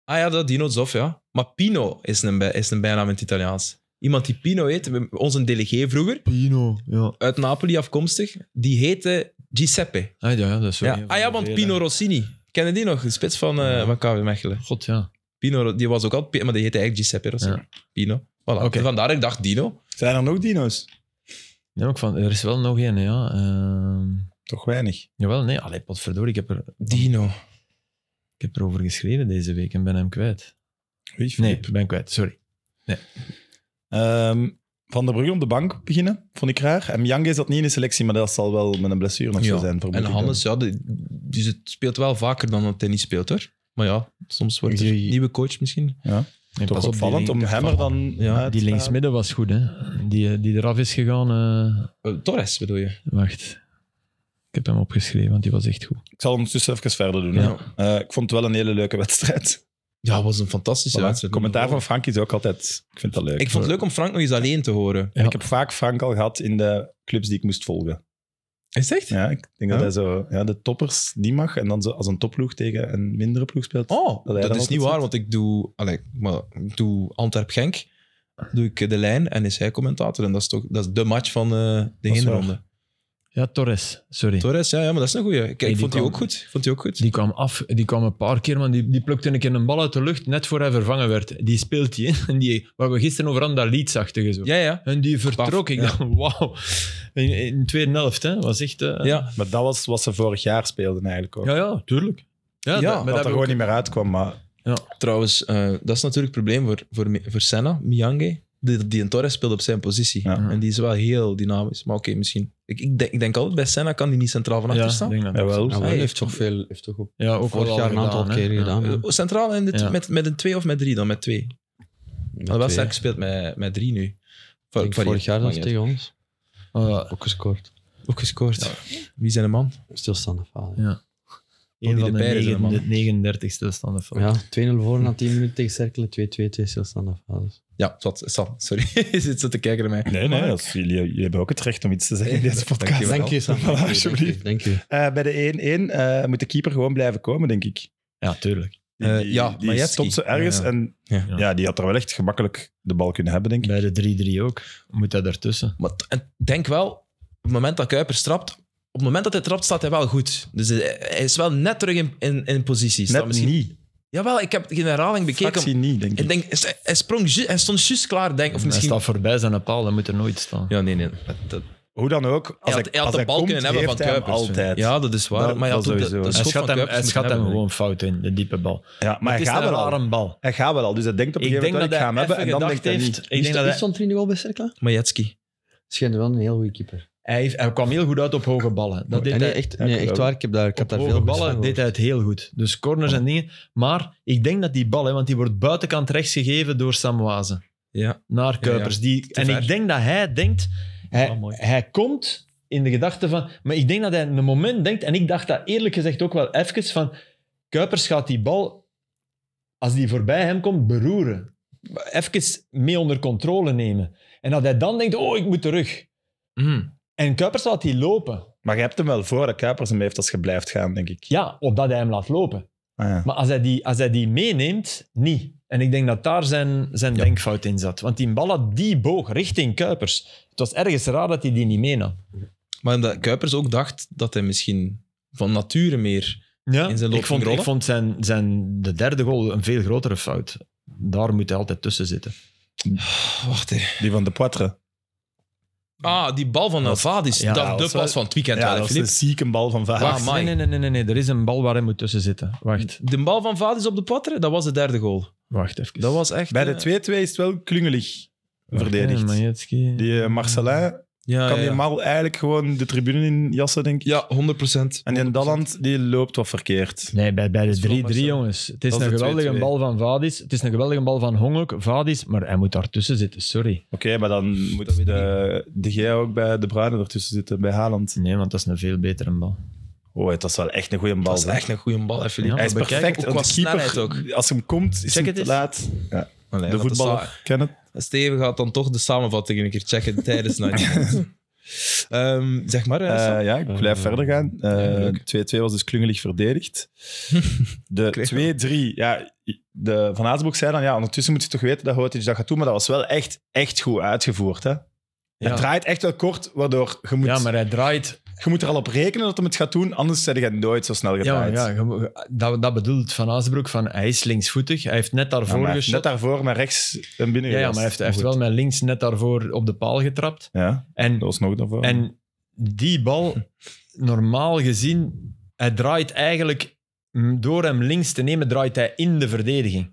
Speaker 1: Ah ja, dat Dino Zof, ja. Maar Pino is een, bij- is een bijnaam in het Italiaans. Iemand die Pino heet, we- onze delegé vroeger,
Speaker 4: Pino, ja.
Speaker 1: uit Napoli afkomstig, die heette Giuseppe.
Speaker 4: Ah ja, ja, dat is zo
Speaker 1: Ja.
Speaker 4: een van
Speaker 1: Ah ja,
Speaker 4: de
Speaker 1: want
Speaker 4: vele.
Speaker 1: Pino Rossini. Ken je die nog? De spits van, eh van KW Mechelen.
Speaker 4: God, ja.
Speaker 1: Pino, Ro- die was ook al, Pi- maar die heette eigenlijk Giuseppe Rossini. Pino. Voilà.
Speaker 4: Oké.
Speaker 1: Vandaar ik dacht Dino.
Speaker 2: Zijn er nog dino's?
Speaker 4: Nee, maar ik van, er is wel nog één, ja. Ehm,
Speaker 2: Toch weinig.
Speaker 4: jawel, nee. Allee, potverdorie, ik heb, er,
Speaker 1: Dino.
Speaker 4: ik heb erover geschreven deze week en ben hem kwijt. Nee,
Speaker 2: Nee.
Speaker 4: ik ben kwijt, sorry.
Speaker 2: Ehm, van der Brugge op de bank beginnen, vond ik raar. En Mjange zat niet in de selectie, maar dat zal wel met een blessure nog zo
Speaker 1: Ja.
Speaker 2: zijn. vermoed
Speaker 1: En
Speaker 2: ik
Speaker 1: Hannes, ja, die, die zit- speelt wel vaker dan dat hij niet speelt, hoor. Maar ja, soms wordt er
Speaker 2: Die-
Speaker 1: nieuwe coach misschien.
Speaker 4: Nee,
Speaker 2: dan.
Speaker 4: pas
Speaker 2: Toch
Speaker 4: op, die
Speaker 2: opvallend om
Speaker 4: link-
Speaker 2: hem er dan
Speaker 1: Ja,
Speaker 2: uit
Speaker 4: Die
Speaker 2: te halen.
Speaker 4: linksmidden was goed, hè. Die, eh, die eraf is gegaan... eh,
Speaker 1: Eh, Torres bedoel je?
Speaker 4: Wacht. Ik heb hem opgeschreven, want die was echt goed.
Speaker 2: Ik zal ondertussen even verder doen. hè.
Speaker 1: Ja.
Speaker 2: Eh, ik vond het wel een hele leuke wedstrijd.
Speaker 1: Ja, het was een fantastische
Speaker 2: Voilà.
Speaker 1: wedstrijd.
Speaker 2: Commentaar van Frank is ook altijd... Ik vind dat leuk.
Speaker 1: Ik vond het leuk om Frank nog eens alleen te horen.
Speaker 2: En ik heb vaak Frank al gehad in de clubs die ik moest volgen.
Speaker 1: Is het echt?
Speaker 2: Ja, ik denk
Speaker 1: Ja.
Speaker 2: dat hij zo ja, de toppers die mag en dan zo als een topploeg tegen een mindere ploeg speelt.
Speaker 1: Oh, dat,
Speaker 2: Dat hij dan
Speaker 1: is
Speaker 2: altijd
Speaker 1: niet waar,
Speaker 2: zit.
Speaker 1: want ik doe, allee, maar, ik doe Antwerp-Genk, doe ik de lijn en is hij commentator. En dat is toch dat is de match van eh, de
Speaker 2: is waar.
Speaker 1: heenronde.
Speaker 4: Ja, Torres, sorry.
Speaker 1: Torres, ja, ja, maar dat is een goeie. Kijk,
Speaker 4: die
Speaker 1: ik vond die
Speaker 4: kwam-
Speaker 1: ook goed. Ik Vond die ook goed.
Speaker 4: Die kwam af, die kwam een paar keer, maar die, die plukte een keer een bal uit de lucht net voor hij vervangen werd. Die speelt die in. En die, waar we gisteren over hadden, dat liedzachtige zo.
Speaker 1: Ja, ja.
Speaker 4: En die vertrok. Ik
Speaker 1: ja.
Speaker 4: dacht, wauw. In, in de tweede helft, hè. Was echt... eh,
Speaker 1: Ja,
Speaker 2: Maar dat was wat ze vorig jaar speelden eigenlijk ook.
Speaker 4: ja, ja, tuurlijk. Ja,
Speaker 1: Ja,
Speaker 4: dat-
Speaker 1: dat
Speaker 4: maar dat
Speaker 2: dat er
Speaker 4: heb ik
Speaker 2: gewoon
Speaker 4: ook-
Speaker 2: niet meer uitkwam. Maar
Speaker 1: trouwens, eh, dat is natuurlijk het probleem voor, voor, Mi- voor Senna, Miyange. Die, die een Torres speelt op zijn positie.
Speaker 2: Ja.
Speaker 1: En die is wel heel dynamisch. Maar oké, misschien. Ik, ik, denk, ik denk altijd bij Senna kan die niet centraal van achter
Speaker 4: Ja, ik
Speaker 1: staan.
Speaker 4: denk dat dat-
Speaker 2: jawel.
Speaker 3: Ja, hij
Speaker 1: Hij
Speaker 3: heeft
Speaker 1: heeft-
Speaker 3: toch veel, heeft toch ook
Speaker 4: Ja, ook
Speaker 3: vorig
Speaker 4: wel
Speaker 3: jaar een
Speaker 4: al
Speaker 3: aantal
Speaker 4: gedaan, hè.
Speaker 3: keren
Speaker 4: Ja.
Speaker 3: gedaan. ja.
Speaker 1: Eh, Centraal in dit,
Speaker 4: Ja.
Speaker 1: met, met een twee of met drie dan? Met twee.
Speaker 3: Met
Speaker 1: Alhoewel
Speaker 3: twee.
Speaker 1: sterk speelt met, met drie nu.
Speaker 3: Ik
Speaker 1: Var-
Speaker 3: denk
Speaker 1: varieert.
Speaker 3: vorig jaar dat
Speaker 1: Maakt
Speaker 3: ze
Speaker 1: niet uit.
Speaker 3: tegen ons
Speaker 4: Eh,
Speaker 3: ook gescoord.
Speaker 1: Ook gescoord. Wie zijn de man?
Speaker 3: Stilstaande fase.
Speaker 4: een van
Speaker 1: de
Speaker 4: de,
Speaker 1: pijlers, hè, man.
Speaker 4: 39ste standen van.
Speaker 3: Ja, 2-0 voor na 10 minuten tegen Cerkelen, 2-2, 2 stilstaande Dus, fases.
Speaker 1: Ja, wat, Sam, sorry. Je zit zo te kijken naar mij.
Speaker 2: Nee, nee, als jullie, jullie hebben ook het recht om iets te zeggen in deze podcast.
Speaker 1: Dankjewel.
Speaker 3: je, Sam.
Speaker 2: Voilà, Ah, alsjeblieft.
Speaker 3: Dank je.
Speaker 2: Eh, bij de 1-1 eh, moet de keeper gewoon blijven komen, denk ik.
Speaker 4: Ja, tuurlijk.
Speaker 2: Die,
Speaker 1: Eh,
Speaker 2: die-
Speaker 1: ja,
Speaker 2: die
Speaker 1: Majewski.
Speaker 2: stopt ze ergens
Speaker 1: Ja.
Speaker 2: en
Speaker 1: Ja.
Speaker 2: ja. die had er wel echt gemakkelijk de bal kunnen hebben, denk ik.
Speaker 4: Bij de 3-3 ook. Moet dat ertussen.
Speaker 1: Maar t- en denk wel, op het moment dat Kuipers trapt, op het moment dat hij trapt, staat hij wel goed. Dus hij hij is wel net terug in, in, in positie. Staat
Speaker 2: Net niet.
Speaker 1: Jawel, ik heb de herhaling bekeken.
Speaker 2: Fractie niet, denk ik.
Speaker 1: Ik denk, hij- hij, sprong ju- hij stond juist klaar, denk Of
Speaker 4: Hij
Speaker 1: misschien...
Speaker 4: staat voorbij zijn paal, dat moet er nooit staan.
Speaker 1: Ja, nee, nee. Dat- dat-
Speaker 2: Hoe dan ook, als
Speaker 1: hij had,
Speaker 2: hij,
Speaker 1: hij had
Speaker 2: als
Speaker 1: de
Speaker 2: hij
Speaker 1: bal
Speaker 2: komt,
Speaker 1: kunnen hebben van
Speaker 2: heeft hij hem
Speaker 1: Kuipers.
Speaker 2: altijd. Ja,
Speaker 1: Ja, dat is waar.
Speaker 2: Dat-
Speaker 1: maar ja,
Speaker 2: dat
Speaker 1: toen de-
Speaker 2: sowieso.
Speaker 1: de
Speaker 4: Hij
Speaker 1: schot
Speaker 4: schat
Speaker 1: van
Speaker 4: hem,
Speaker 1: Kuipers
Speaker 4: hij
Speaker 1: moet
Speaker 4: schat hem
Speaker 1: hebben,
Speaker 4: gewoon fout in, de diepe bal.
Speaker 2: maar hij
Speaker 4: het is
Speaker 2: gaat
Speaker 4: een
Speaker 2: wel al.
Speaker 4: rare bal.
Speaker 2: Hij gaat wel al, dus hij denkt op een
Speaker 4: Ik
Speaker 2: gegeven
Speaker 4: denk dat
Speaker 2: moment dat ik
Speaker 4: hij
Speaker 2: ga hem hebben. En dan denkt
Speaker 4: heeft,
Speaker 2: hij niet.
Speaker 4: ik denk dat
Speaker 3: Wie
Speaker 4: hij,
Speaker 3: stond er in de goal bij Cerkelen?
Speaker 1: denk- Majewski.
Speaker 3: Schijnt wel een heel goede keeper.
Speaker 4: hij, heeft- hij kwam heel goed uit op hoge ballen. Dat deed
Speaker 3: nee,
Speaker 4: hij,
Speaker 3: echt,
Speaker 2: ja,
Speaker 3: nee,
Speaker 2: ik
Speaker 3: echt
Speaker 2: geloof
Speaker 3: waar. Oh, Ik, heb daar, ik had
Speaker 4: op
Speaker 3: daar
Speaker 4: hoge
Speaker 3: veel goeds
Speaker 4: ballen
Speaker 3: van
Speaker 4: deed hij het heel goed. Dus corners en dingen. Maar ik denk dat die bal, hè, want die wordt buitenkant rechts gegeven door Samwaze.
Speaker 1: Ja.
Speaker 4: Naar Kuipers. Die,
Speaker 1: Te
Speaker 4: en
Speaker 1: ver.
Speaker 4: ik denk dat hij denkt... Hij,
Speaker 5: Ah, mooi.
Speaker 4: hij komt in de gedachte van... Maar ik denk dat hij in een moment denkt, en ik dacht dat eerlijk gezegd ook wel even, van Kuipers gaat die bal, als die voorbij hem komt, beroeren. Even mee onder controle nemen. En dat hij dan denkt, oh, ik moet terug.
Speaker 1: Mm.
Speaker 4: En Kuipers laat die lopen.
Speaker 2: Maar je hebt hem wel voor dat Kuipers hem heeft als je blijft gaan, denk ik.
Speaker 4: Ja, opdat hij hem laat lopen.
Speaker 2: Ah, ja.
Speaker 4: Maar als hij die, als hij die meeneemt, niet. En ik denk dat daar zijn, zijn denkfout in zat. Want die bal had die boog richting Kuipers. Het was ergens raar dat hij die niet meenam.
Speaker 1: Maar omdat Kuipers ook dacht dat hij misschien van nature meer...
Speaker 4: Ja,
Speaker 1: in zijn looping
Speaker 4: ik vond, ik
Speaker 1: rollen.
Speaker 4: vond zijn, zijn, de derde goal een veel grotere fout. Daar moet hij altijd tussen zitten.
Speaker 1: Wacht, hè.
Speaker 2: Die van de Poitre.
Speaker 1: Ah, die bal van Navadis.
Speaker 4: ja,
Speaker 1: dat
Speaker 2: dat
Speaker 1: de
Speaker 2: was wel-
Speaker 1: pas van het weekend.
Speaker 2: Ja,
Speaker 1: wel, hè,
Speaker 2: dat is
Speaker 1: Filip?
Speaker 2: een zieke bal van Vaas.
Speaker 1: Wacht,
Speaker 4: nee,
Speaker 1: Amai.
Speaker 4: nee, nee, nee, nee, nee, er is een bal waar hij moet tussen zitten. Wacht,
Speaker 1: De bal van Vadis op de potter, dat was de derde goal.
Speaker 4: wacht even.
Speaker 1: Dat was echt...
Speaker 2: Bij
Speaker 1: eh,
Speaker 2: de 2-2 is het wel klungelig
Speaker 4: Wacht, hè,
Speaker 2: verdedigd.
Speaker 4: Majewski.
Speaker 2: Die eh, Marcelin
Speaker 1: ja,
Speaker 2: kan
Speaker 1: Ah, ja,
Speaker 2: die
Speaker 1: ja.
Speaker 2: mal eigenlijk gewoon de tribune in jassen, denk ik.
Speaker 1: Ja, 100 procent.
Speaker 2: En die Dalland die loopt wat verkeerd.
Speaker 4: Nee, bij, bij
Speaker 1: is
Speaker 4: de
Speaker 1: voor
Speaker 4: 3-3,
Speaker 1: Marcel.
Speaker 4: jongens. Het is
Speaker 1: Dat is
Speaker 4: een
Speaker 1: de
Speaker 4: geweldige
Speaker 1: 2-2.
Speaker 4: bal van Vadis. Het is een geweldige bal van Hongok, Vadis. Maar hij moet daartussen zitten, sorry.
Speaker 2: Oké, maar dan moet de, de Gea ook bij De Bruyne ertussen zitten, bij Haaland.
Speaker 4: Nee, want dat is een veel betere bal.
Speaker 2: Oh, dat is wel echt een goede bal.
Speaker 1: Dat is
Speaker 2: hè.
Speaker 1: echt een goede bal, hè, Filip.
Speaker 4: Ja,
Speaker 2: Hij is
Speaker 4: bekijk,
Speaker 2: perfect.
Speaker 1: ook
Speaker 2: want
Speaker 1: qua
Speaker 2: de keeper,
Speaker 1: snelheid
Speaker 2: Als hem komt, is
Speaker 4: Check
Speaker 2: hem te
Speaker 4: het
Speaker 2: laat.
Speaker 1: Allee,
Speaker 2: de
Speaker 1: dat is
Speaker 2: voetballer ken het.
Speaker 1: saai. Steven gaat dan toch de samenvatting een keer checken tijdens 90 minuten. Ehm, Zeg maar, eh, Sam.
Speaker 2: Eh, ja, ik blijf
Speaker 3: Eh,
Speaker 2: verder gaan.
Speaker 1: ja,
Speaker 2: Eh,
Speaker 1: leuk.
Speaker 2: 2-2 was dus klungelig verdedigd.
Speaker 1: Kreeg
Speaker 2: De 2-3, ja, de Van Azenbroek zei dan, ja, ondertussen moet je toch weten dat Hotic dat gaat doen, maar dat was wel echt, echt goed uitgevoerd, hè.
Speaker 4: Ja.
Speaker 2: Hij draait echt wel kort, waardoor je moet,
Speaker 4: Ja, maar hij draait.
Speaker 2: je moet er al op rekenen dat hij het gaat doen, anders zijn je nooit zo snel
Speaker 4: Ja,
Speaker 2: gedraaid.
Speaker 4: maar ja, je- je- dat, dat bedoelt Van Azenbroek. Van, hij is linksvoetig. Hij heeft net
Speaker 2: Ja,
Speaker 4: daarvoor
Speaker 2: maar hij heeft
Speaker 4: geschot.
Speaker 2: net daarvoor met rechts en binnen
Speaker 4: ja, ja, maar
Speaker 2: gejast.
Speaker 4: hij heeft, hij heeft
Speaker 2: Goed.
Speaker 4: wel met links net daarvoor op de paal getrapt.
Speaker 2: Ja, dat
Speaker 4: En,
Speaker 2: was nog daarvoor.
Speaker 4: en die bal, normaal gezien, hij draait eigenlijk... mm, Door hem links te nemen, draait hij in de verdediging.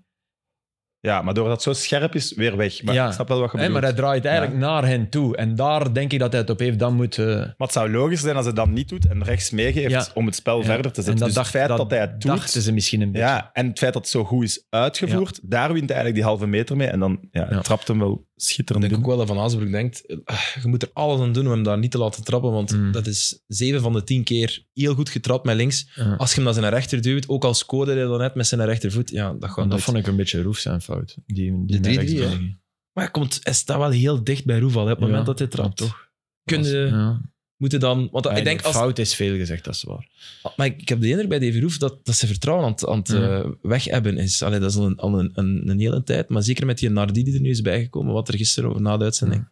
Speaker 2: Ja, maar doordat het zo scherp is, weer weg. Maar
Speaker 4: Ja.
Speaker 2: ik snap wel wat je
Speaker 4: Hè,
Speaker 2: bedoelt.
Speaker 4: maar hij draait eigenlijk
Speaker 2: Ja.
Speaker 4: naar hen toe. En daar denk ik dat hij het op heeft. Dan moet... eh,
Speaker 2: Maar het zou logisch zijn als hij dat niet doet en rechts meegeeft
Speaker 4: Ja.
Speaker 2: om het spel
Speaker 4: ja.
Speaker 2: verder te zetten.
Speaker 4: En
Speaker 2: dus het feit dat, hij het doet...
Speaker 4: dachten ze misschien een beetje.
Speaker 2: Ja, en het feit dat het zo goed is uitgevoerd, daar wint hij eigenlijk die halve meter mee. En dan ja,
Speaker 4: Ja.
Speaker 2: trapt hem wel schitterend
Speaker 1: Ik denk
Speaker 2: in.
Speaker 1: ook wel dat Van Azenbroek denkt, eh, je moet er alles aan doen om hem daar niet te laten trappen, want
Speaker 4: Mm.
Speaker 1: dat is 7 van de 10 keer heel goed getrapt met links.
Speaker 2: Ah,
Speaker 4: Ja.
Speaker 1: Als je hem naar zijn rechter duwt, ook al scoorde hij dan net met zijn rechtervoet, ja, dat gaat
Speaker 4: Want dat
Speaker 1: nooit.
Speaker 4: vond ik een beetje Roef zijn fout. Die, die met
Speaker 3: 3-3,
Speaker 4: rechts
Speaker 3: hè?
Speaker 4: belegen.
Speaker 1: Maar hij, komt, hij staat wel heel dicht bij Roeval hè, op het
Speaker 4: Ja,
Speaker 1: moment dat hij trapt.
Speaker 4: toch?
Speaker 1: Kunnen ze moeten dan... Want ik denk, als,
Speaker 4: fout is veel gezegd, dat is waar.
Speaker 1: maar ik, ik heb de indruk bij Davy Roef dat, dat ze vertrouwen aan het, aan het
Speaker 4: Mhm.
Speaker 1: eh, weghebben is. Allee, dat is al, een, al een, een, een hele tijd. Maar zeker met die Nardi die er nu is bijgekomen, wat er gisteren over na de uitzending.